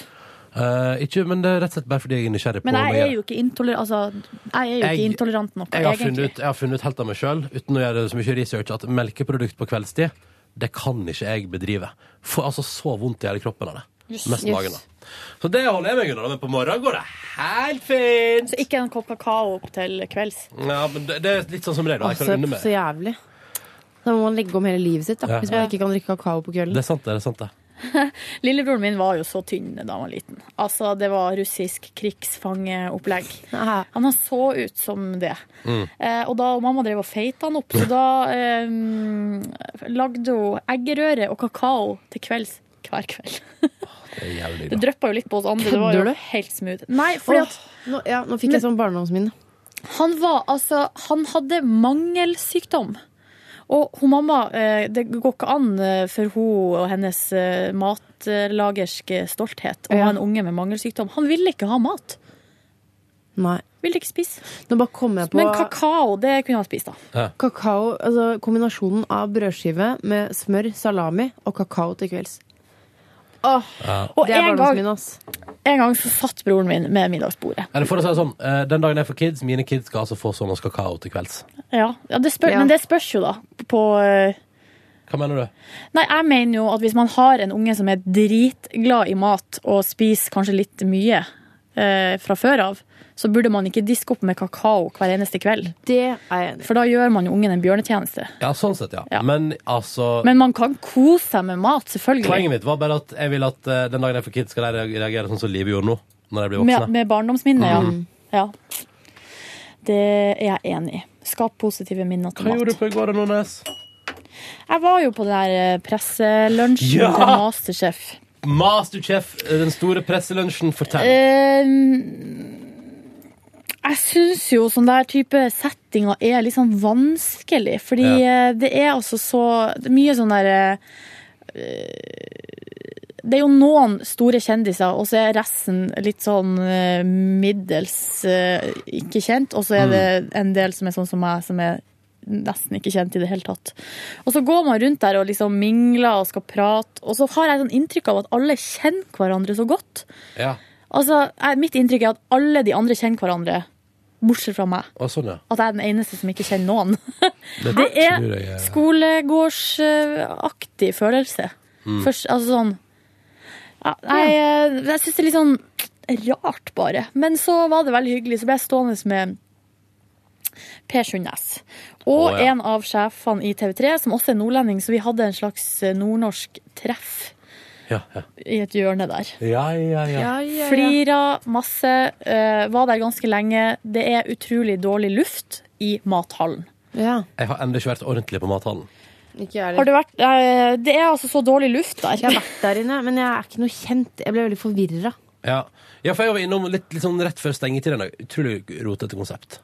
S2: Eh, ikke, men det er rett og slett bare fordi jeg er nysgjerrig på
S3: Men
S2: om
S3: jeg
S2: jeg
S3: er jo ikke intolerant altså, Jeg er jo ikke
S2: Jeg-
S3: intolerant nok,
S2: Jeg har,
S3: egentlig.
S2: funnet ut, jeg har funnet ut helt av meg sjøl, uten å gjøre så mye research, at melkeprodukt på kveldstid, det kan ikke jeg bedrive. Får altså så vondt i hele kroppen av det.
S3: Yes.
S2: Mest
S3: Yes.
S2: magen, da. Så det holder jeg meg unna, men på morgenen går det helt fint.
S3: Så ikke en kopp kakao opp til kvelds.
S2: Ja, men det, det er litt sånn som deg, da. Jeg kan unne
S6: Altså, så
S2: meg.
S6: jævlig. Da må man legge om hele livet sitt, da,
S2: Ja.
S6: hvis man ikke kan drikke kakao på kvelden.
S2: Det er sant, det. det er sant det.
S3: Lillebroren min var jo så tynn da han var liten. Altså, det var russisk krigsfangeopplegg. Han så ut som det.
S14: Mm.
S3: Eh, og da og mamma drev og feita han opp, så da eh, lagde hun eggerøre og kakao til kvelds hver kveld.
S2: Det er jævlig
S3: Det dryppa jo litt på oss andre. Det var
S6: Kødder
S3: jo
S6: du?
S3: helt smooth. Nei, fordi
S6: Åh,
S3: at
S6: nå, ja, nå fikk jeg sånn barndomsminne.
S3: Han var altså Han hadde mangelsykdom. Og hun mamma eh, Det går ikke an eh, for hun og hennes eh, matlagerske stolthet å ha en unge med mangelsykdom. Han ville ikke ha mat.
S6: Nei.
S3: Ville ikke spise.
S6: Nå bare kom jeg på
S3: Men kakao, det kunne han spist, da.
S6: Kakao, altså kombinasjonen av brødskive med smør, salami og kakao til kvelds. Åh,
S3: Og
S6: det er
S3: en gang-
S6: barndomsminnet, ass.
S3: En gang så satt broren min med middagsbordet.
S2: Eller for å si det sånn, eh, den dagen jeg får kids, mine kids skal altså få sånn og kakao til kvelds.
S3: Ja, ja, det spør,
S2: Ja.
S3: Men det spørs jo, da. På eh,
S2: Hva mener du?
S3: Nei, jeg mener jo at hvis man har en unge som er dritglad i mat og spiser kanskje litt mye eh, fra før av, så burde man ikke diske opp med kakao hver eneste kveld.
S6: Det er jeg enig
S3: For da gjør man jo ungen en bjørnetjeneste.
S2: Ja, sånn sett, ja. Men altså
S3: Men man kan kose seg med mat, selvfølgelig.
S2: Poenget mitt var bare at jeg vil at eh, den dagen jeg får kids, skal de reagere sånn som Live gjorde nå. Når de blir voksne.
S3: Med, med barndomsminnet, ja.
S2: Mm.
S3: ja. Det er jeg enig i. Skap positive minner til
S2: Hva
S3: mat.
S2: gjorde du på i går, da, Nordnes?
S3: Jeg var jo på den der eh, presselunsjen
S2: Ja!
S3: til Masterchef.
S2: Masterchef, eh, den store presselunsjen, fortell.
S3: Eh, jeg syns jo sånn der type settinger er litt sånn vanskelig, fordi eh, det er altså så det er mye sånn der eh, Det er jo noen store kjendiser, og så er resten litt sånn eh, middels eh, ikke kjent, og så er det en del som er sånn som meg, som er nesten ikke kjent i det hele tatt. Og så går man rundt der og liksom mingler og skal prate, og så har jeg sånn inntrykk av at alle kjenner hverandre så godt.
S2: Ja.
S3: Altså, jeg, Mitt inntrykk er at alle de andre kjenner hverandre, bortsett fra meg.
S2: Å, sånn, ja.
S3: At jeg er den eneste som ikke kjenner noen.
S2: Det
S3: Det er
S2: tror jeg, eh,
S3: skolegårdsaktig følelse.
S2: Mm.
S3: Først, altså sånn ja, Jeg, eh, jeg syns det er litt sånn rart, bare. Men så var det veldig hyggelig. Så ble jeg stående med Per Sundnes. Og
S14: Å, ja.
S3: en av sjefene i TV3, som også er nordlending, så vi hadde en slags eh, nordnorsk treff
S2: Ja, ja.
S3: i et hjørne der.
S2: Ja, ja, ja.
S3: Flira masse, eh, var der ganske lenge. Det er utrolig dårlig luft i mathallen.
S2: Jeg har ennå ikke vært ordentlig på mathallen.
S3: Har du vært, eh, det er altså så dårlig luft der.
S6: Jeg har vært der inne, men jeg er ikke noe kjent. Jeg ble veldig forvirra.
S2: Ja. ja, for jeg var innom litt, litt sånn rett før stengetid en dag. Utrolig rotete konsept.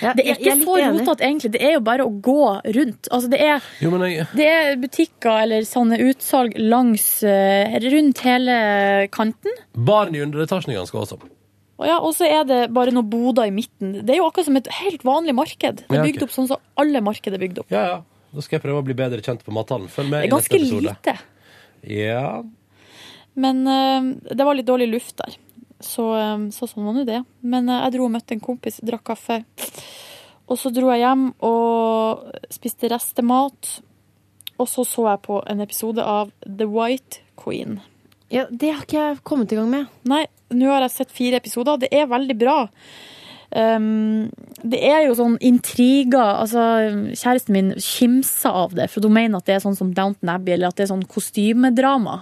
S3: det er
S6: jeg- jeg
S3: ikke
S6: er litt
S3: så
S6: enig.
S3: rotete, egentlig. Det er jo bare å gå rundt. Altså, det, er,
S2: Jo, men jeg
S3: det er butikker eller sånne utsalg langs eh, rundt hele kanten.
S2: Barn i underetasjen er ganske awesome.
S3: Og ja, og så er det bare noen boder i midten. Det er jo akkurat som et helt vanlig marked. Det
S2: Ja,
S3: er
S2: ok.
S3: bygd opp sånn som alle marked er bygd opp.
S2: Ja, ja. Da skal jeg prøve å bli bedre kjent på mathallen. Følg
S3: Det
S2: med
S3: er
S2: i neste
S3: ganske
S2: episode.
S3: lite.
S2: Ja.
S3: Men eh, det var litt dårlig luft der. Så, eh, så sånn var nå det. Men eh, jeg dro og møtte en kompis, drakk kaffe. Og så dro jeg hjem og spiste restemat. Og så så jeg på en episode av The White Queen.
S6: Ja, det har ikke jeg kommet i gang med.
S3: Nei, nå har jeg sett fire episoder. Det er veldig bra. Um, det er jo sånn intriger altså, Kjæresten min kimser av det, for hun mener at det er sånn som Downton Abbey, eller at det er sånn kostymedrama.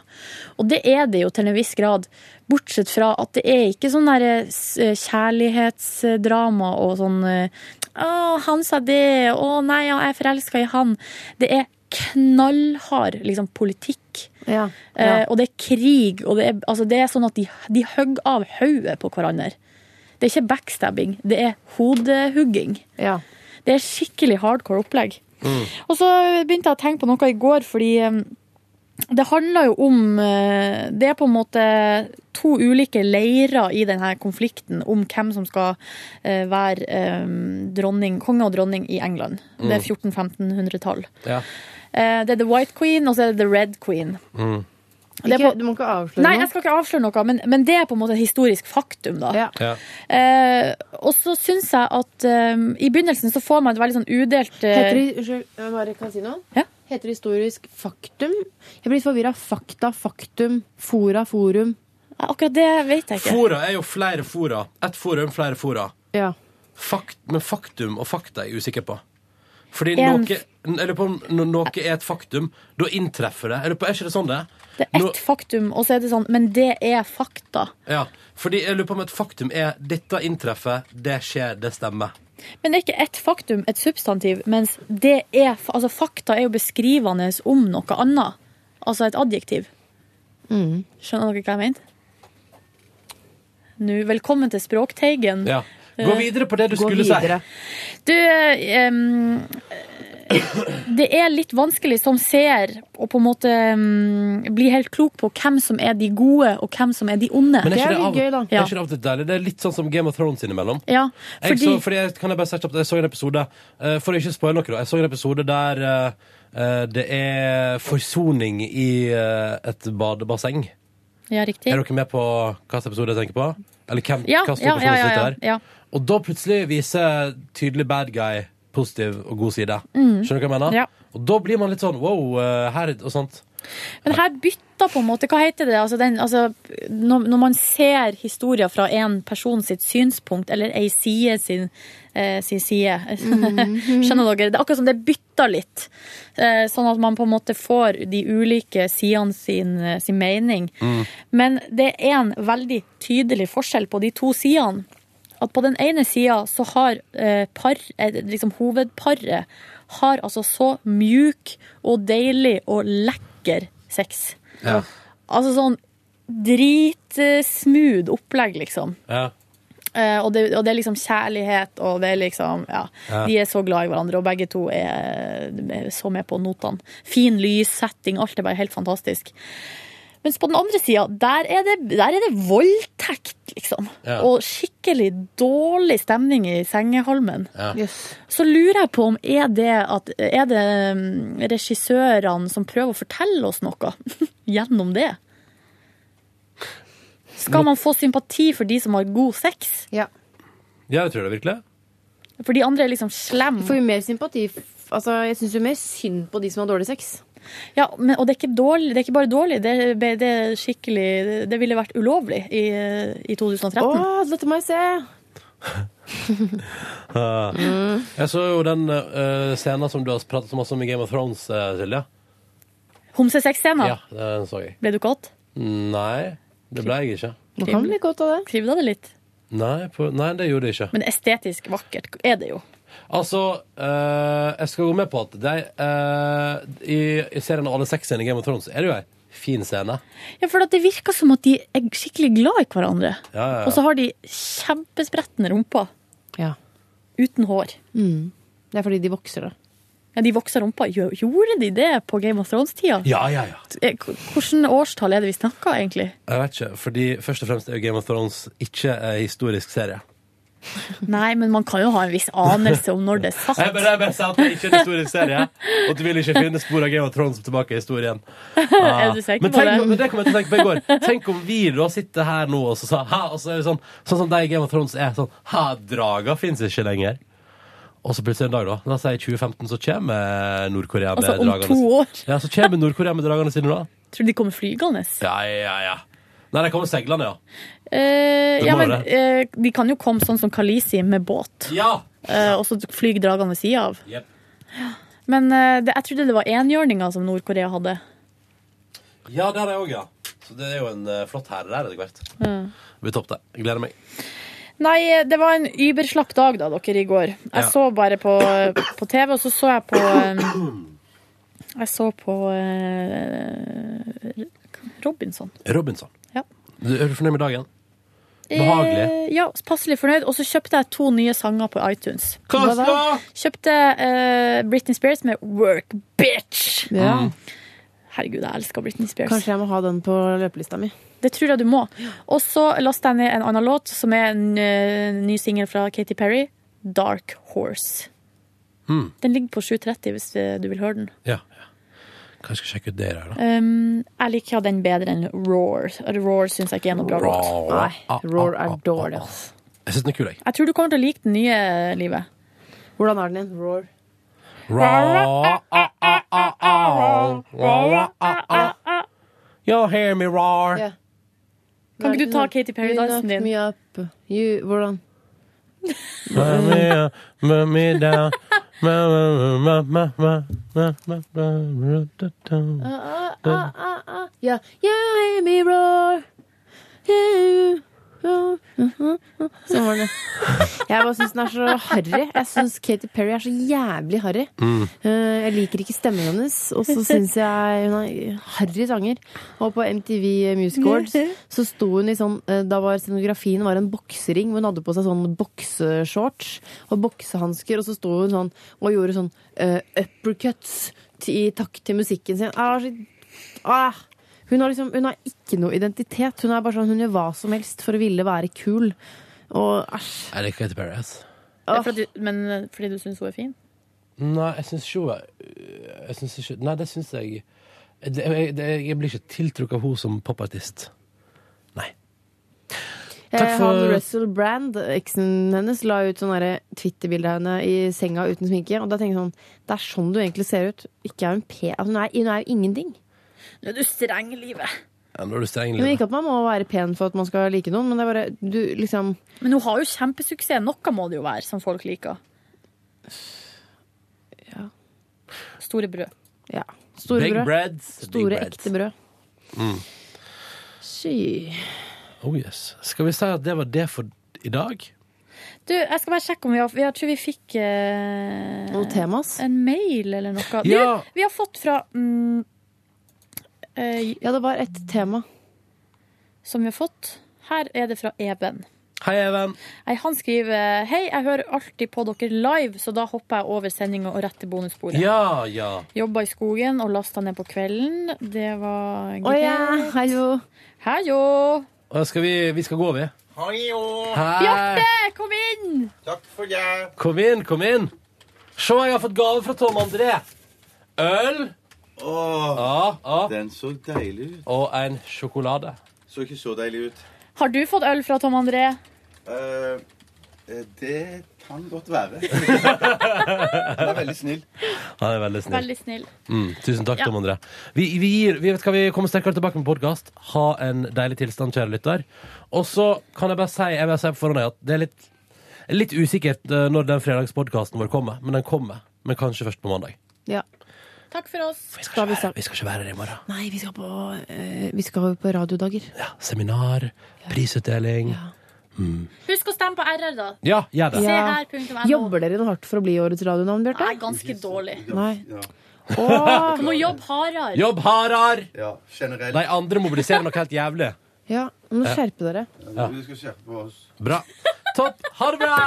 S3: Og det er det jo til en viss grad, bortsett fra at det er ikke sånn der eh, s- kjærlighetsdrama og sånn eh, Å, han sa det, å nei, ja, jeg er forelska i han. Det er knallhard liksom, politikk. Eh, og det er krig, og det er, altså, det er sånn at de, de hogger av hodet på hverandre. Det er ikke backstabbing, det er hodehugging. Det er skikkelig hardcore opplegg. Og så begynte jeg å tenke på noe i går, fordi eh, det handler jo om eh, Det er på en måte to ulike leirer i denne konflikten om hvem som skal eh, være eh, dronning, konge og dronning i England. Det er
S15: Mm.
S3: 1400-1500-tall.
S2: Ja.
S3: Eh, Det er The White Queen, og så er det The Red Queen. Det er på-
S6: du må ikke avsløre
S3: Nei,
S6: noe.
S3: jeg skal ikke avsløre noe, men, men det er på en måte et historisk faktum, da.
S2: Ja.
S3: Eh, og så syns jeg at eh, i begynnelsen så får man et veldig sånn udelt eh,
S6: Heter det, unnskyld, jeg bare kan si noe? Heter det historisk faktum? Jeg blir forvirra. Fakta, faktum, fora, forum.
S3: Akkurat det vet jeg
S2: Fora er jo flere fora. Ett forum, flere fora.
S6: Ja.
S2: Fakt, men faktum og fakta er jeg usikker på. Fordi
S3: En
S2: noe, eller på, om når noe er et faktum, da inntreffer det. Eller på, er ikke det sånn det er?
S3: Det er ett faktum, og så er det sånn Men det er fakta.
S2: Ja, fordi jeg lurer på om et faktum er dette inntreffer, det skjer, det stemmer.
S3: Men det er ikke ett faktum, et substantiv, mens det er fa- Altså, fakta er jo beskrivende om noe annet. Altså et adjektiv. Skjønner dere hva jeg mener? Nå, velkommen til Språkteigen.
S2: Ja. Gå
S3: Eh,
S2: videre på det du skulle si.
S3: Du, eh, em, det er litt vanskelig som ser å på en måte em, bli helt klok på hvem som er de gode, og hvem som er de onde.
S2: Men er ikke det, av, er
S3: Ja.
S2: ikke det av og til deilig? Det er litt sånn som Game of Thrones innimellom.
S3: Ja,
S2: Jeg,
S3: fordi,
S2: så, fordi jeg, kan jeg bare sette opp, jeg så en episode eh, For å ikke spoile noe, da. Jeg så en episode der eh, eh, det er forsoning i eh, et badebasseng.
S3: ja, riktig.
S2: Er dere med på hvilken episode jeg tenker på? Eller hvem,
S3: Ja,
S2: hva
S3: ja,
S2: står
S3: ja, ja,
S2: personen
S3: ja,
S2: sitt
S3: ja.
S2: der? Og da plutselig viser tydelig bad guy positiv og god side.
S3: Mm.
S2: Skjønner du hva jeg mener?
S3: Ja.
S2: Og da blir man litt sånn wow, eh, her og sånt.
S3: Men her bytter på en måte, hva heter det? Altså den, altså, når, når man ser historier fra en person sitt synspunkt, eller ei side sin, eh, sin side. Skjønner dere? Det er akkurat som det bytter litt. Eh, sånn at man på en måte får de ulike sidene sin, eh, sin mening. Men det er en veldig tydelig forskjell på de to sidene. At på den ene sida så har eh, par, eh, liksom hovedparet har altså så mjuk og deilig og lekker sex.
S2: Ja.
S3: Altså sånn dritsmooth opplegg, liksom.
S2: Ja.
S3: Eh, og, det, og det er liksom kjærlighet, og det er liksom Ja.
S2: Ja.
S3: De er så glad i hverandre, og begge to er, er så med på notene. Fin lyssetting, alt er bare helt fantastisk. Mens på den andre sida, der, er det- der er det voldtekt, liksom.
S15: Ja.
S3: Og skikkelig dårlig stemning i sengehalmen.
S15: Ja. Yes.
S3: Så lurer jeg på om er det, at, er det mm, regissørene som prøver å fortelle oss noe gjennom det? Skal man få sympati for de som har god sex?
S2: Ja, jeg tror det virkelig.
S3: For de andre er liksom slem.
S6: Får jo mer sympati f- Altså, jeg syns jo mer synd på de som har dårlig sex.
S3: Ja, men, og det er, ikke dårlig, det er ikke bare dårlig, det, er- det er skikkelig Det ville vært ulovlig i, i 2013.
S6: Å, dette må jeg se!
S2: Ah. Jeg så jo den eh, scenen som du har pratet så masse om i Game of Thrones, eh, Silje.
S3: Homsesex-scena.
S2: Ja, den så jeg.
S3: Ble du kåt?
S2: Nei, det ble jeg ikke.
S3: Du kan bli
S6: kåt av det.
S3: Krivda det litt?
S2: Nei, på, nei det gjorde jeg ikke.
S3: Men estetisk vakkert er det jo.
S2: Altså, eh, jeg skal gå med på at det, er, eh, i, i serien Alle sexene i Game of Thrones er det jo ei fin scene.
S3: Ja, for at det virker som at de er skikkelig glad i hverandre.
S2: Ja, ja, ja.
S3: Og så har de kjempesprettende rumpa.
S6: Ja.
S3: Uten hår.
S6: Det er fordi de vokser, da.
S3: Ja, de vokser rumpa. Gjø- Gjorde de det på Game of Thrones-tida?
S2: Ja, ja, ja.
S3: Eh, k- Hvordan årstall er det vi snakker, egentlig?
S2: Jeg vet ikke, fordi først og fremst er jo Game of Thrones ikke en historisk serie.
S3: Nei, men man kan jo ha en viss anelse om når det er
S2: Jeg
S3: satt.
S2: bare, jeg bare sier at det ikke er en historisk serie, og at du vil ikke finne spor av Game of Thrones tilbake i historien. Ah.
S3: Er du sikker
S2: men
S3: på
S2: tenk,
S3: det?
S2: men det kom jeg til å tenke på i går. Tenk om vi da sitter her nå og så sa ha, og så er det sånn, sånn som de i Game of Thrones er sånn ha, draga fins ikke lenger. Og så plutselig en dag, da. La oss si i 2015, så kommer Nord-Korea med
S3: Altså, om
S2: dragene
S3: to
S2: sine.
S3: år.
S2: Ja, så kommer Nord-Korea med dragene sine da.
S3: Tror du de kommer flygende?
S2: Ja, ja, ja. Nei, de kommer seilende, ja.
S3: Eh,
S16: Det
S3: ja,
S16: må det.
S3: men eh, de kan jo komme sånn som Kalisi med båt.
S2: Ja.
S3: Eh, og så flyr dragene ved sida av.
S2: Jep.
S3: Men eh, det, jeg trodde det var enhjørninger som Nord-Korea hadde.
S2: Ja, der er jeg òg, ja. Så det er jo en eh, flott herre der etter hvert.
S3: Mm.
S2: Det blir topp, det. Jeg Gleder meg.
S3: Nei, eh, det var en überslapp dag da, dere, i går. Jeg
S2: Ja.
S3: så bare på, på TV, og så så jeg på eh, Jeg så på eh, Robinson.
S2: Robinson.
S3: Ja.
S2: Du, er du fornøyd med dagen? Behagelig.
S3: Eh, ja, passelig fornøyd. Og så kjøpte jeg to nye sanger på iTunes.
S2: Hva
S3: Hva da?
S2: da?
S3: Kjøpte eh, Britney Spears med Work Bitch.
S6: Ja. Mm.
S3: Herregud, jeg elsker Britney Spears.
S6: Kanskje jeg må ha den på løpelista mi.
S3: Det tror jeg du må. Og så lasta jeg ned en annen låt, som er en eh, ny singel fra Katy Perry, Dark Horse.
S2: Hmm.
S3: Den ligger på 7.30 hvis eh, du vil høre den.
S2: Ja. ja. Kanskje jeg skal sjekke ut det der, da.
S3: Um, jeg liker den bedre enn Roar. Roar syns jeg ikke er noe bra låt.
S2: Roar. Ah,
S3: Nei, Roar er dårlig, ass.
S2: Jeg syns den er kul, jeg.
S3: Jeg tror du kommer til å like den nye eh, livet.
S6: Hvordan er den igjen? Roar.
S2: Ra, a, a, a, a, ra, ra, a, a. You hear me roar.
S6: Ja.
S3: Kan ikke du ta Katy Perry-dansen
S6: din? Me up. You, hvordan?
S2: Mommy, uh, mommy down. Ma, ma, ma, ma, ma, ma, ma, ma, ma, da, da.
S6: Ah, ah, ah, ah. Ja, you hear me roar. You- Uh-huh, Sånn var det. Jeg bare syns den er så harry. Jeg syns Katy Perry er så jævlig harry.
S17: Mm.
S6: Eh, Jeg liker ikke stemmen hennes, og så syns jeg hun har harry sanger. Og på MTV Music Awards så sto hun i sånn eh, Da var scenografien var en boksering, hvor hun hadde på seg sånn bokseshorts og boksehansker, og så sto hun sånn og gjorde sånn eh, uppercuts til- i takt til musikken sin. Ah, så, ah. Hun, har liksom, hun har ikke noe identitet. Hun er bare sånn, hun gjør hva som helst for å ville være kul. Og æsj.
S2: Jeg liker Katy Perry. ass.
S3: Det er fordi, men eh, fordi du syns hun er fin?
S2: Nei, jeg syns ikke hun er- øh, Jeg syns ikke Nei, det syns jeg det, jeg, det, jeg blir ikke tiltrukket av henne som popartist.
S6: Eh,
S2: Takk for-
S6: Han Russell Brand, eksen hennes, la ut sånn derre Twitter-bilde av henne i senga uten sminke. Og da tenker jeg sånn Det er sånn du egentlig ser ut. Ikke er hun pen. Altså, hun, er, hun er jo ingenting.
S3: Nå er du streng, livet.
S2: Ja, nå er du streng,
S6: Men
S2: Line.
S6: ikke at man må være pen for at man skal like noen, men det er bare du liksom
S3: Men hun har jo kjempesuksess. Noe må det jo være som folk liker.
S6: Ja.
S3: Store brød.
S6: Ja. Store
S2: Big
S6: brød.
S2: breads, big
S6: Store
S2: breads.
S6: ekte brød.
S2: Mm.
S6: Sy.
S2: Oh yes. Skal vi si at det var det for i dag?
S3: Du, jeg skal bare sjekke om vi har Jeg tror vi fikk eh,
S6: Noen temas?
S3: En mail eller noe.
S6: Ja.
S3: Du, vi har fått fra mm, eh,
S6: Ja, det var ett tema.
S3: Som vi har fått. Her er det fra Eben.
S2: Hei, Even.
S3: Nei, han skriver Hei, jeg hører alltid på dere live, så da hopper jeg over sendinga og rett til bonussporet.
S2: Ja, ja.
S3: Jobba i skogen og lasta ned på kvelden. Det var greit.
S6: ja. Hallo.
S3: Hallo.
S2: Og skal vi, vi skal gå, vi. Hei.
S3: Bjarte, kom inn!
S18: Takk for det.
S2: Kom inn, kom inn. Se, jeg har fått gave fra Tom André. Øl. Ja, ja.
S7: Den så deilig ut.
S2: Og en sjokolade.
S7: Så ikke så deilig ut.
S3: Har du fått øl fra Tom André?
S7: Eh, eh, det kan godt være. Han er veldig snill.
S2: Han er veldig snill.
S3: Veldig snill.
S2: Mm, tusen takk,
S3: Ja.
S2: Tom André. Vi, vi, gir, vi, vet hva, vi kommer sterkere tilbake med podkast. Ha en deilig tilstand, kjære lytter. Og så kan jeg bare si, jeg vil si på forhånd at det er litt, litt usikkert eh, når den fredagspodkasten vår kommer, men den kommer. Men kanskje først på mandag.
S6: Ja.
S3: Takk for oss.
S2: Vi skal, sånn. ikke være, vi skal ikke være her i morgen.
S6: Nei, vi skal på, eh, vi skal på radiodager.
S2: Seminar, prisutdeling. Mm.
S3: Husk å stemme på RR, da.
S2: Ja, gjør det.
S3: Se her, punktum no.
S6: Jobber dere noe hardt for å bli årets radionavn, Bjarte?
S3: Nei, ganske dårlig.
S6: Nei.
S3: Åh, Du må jobbe hardere.
S2: Jobb hardere! De andre mobiliserer noe helt jævlig.
S6: Ja, nå
S2: Ja.
S6: skjerpe dere.
S2: Ja.
S7: Vi skal skjerpe på oss.
S2: Bra. Topp. Ha det bra!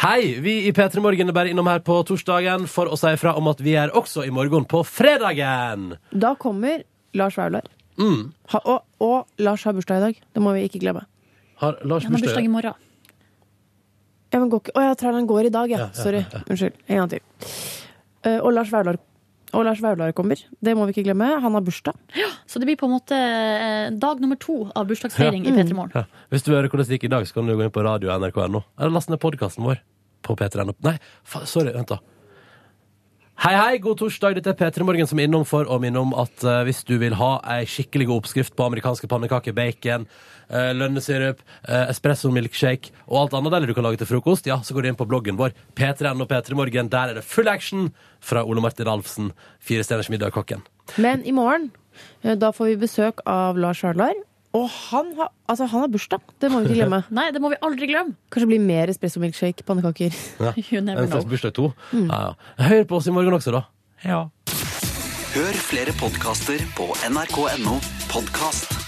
S2: Hei! Vi i P3 Morgen er bare innom her på torsdagen for å si ifra om at vi er også i morgen på fredagen!
S6: Da kommer Lars Vaular.
S2: Mm.
S6: Ha, og, og Lars har bursdag i dag. Det må vi ikke glemme.
S2: Har Lars bursdag?
S3: morgen.
S6: Ja, men går ikke. Å, jeg tror den går i dag, ja.
S2: Ja, ja,
S6: Sorry.
S2: ja, ja.
S6: Unnskyld. En gang til. Eh, og Lars Vaular. Og Lars Vaular kommer. Det må vi ikke glemme. Han har bursdag.
S3: Så det blir på en måte eh, dag nummer to av bursdagsfeiring i P3 Morgen.
S2: Ja. Hvis du vil høre hvordan det gikk i dag, så kan du gå inn på radio NRK.no. Eller last ned podkasten vår på P3.no. Nei, fa sorry, vent, da. Hei, hei, god torsdag. Dette er P3 Morgen som er innom for å minne om at eh, hvis du vil ha ei skikkelig god oppskrift på amerikanske pannekaker, bacon, eh, lønnesirup, eh, espresso milkshake og alt annet deilig du kan lage til frokost, ja, så går du inn på bloggen vår p3.no p3morgen. Der er det full action fra Ole Martin Alfsen, Fire stjerners middag-kokken.
S6: Men i morgen, eh, da får vi besøk av Lars Jarlar. Og han har, altså, han har bursdag, det må vi ikke glemme.
S3: Nei, det må vi aldri glemme.
S6: Kanskje det blir mer espresso milkshake, pannekaker.
S2: Ja.
S6: You never
S2: En slags
S6: know.
S2: bursdag to.
S6: Mm.
S2: Ja, ja. Hør på oss i morgen også, da.
S5: Hør flere podkaster på nrk.no podkast.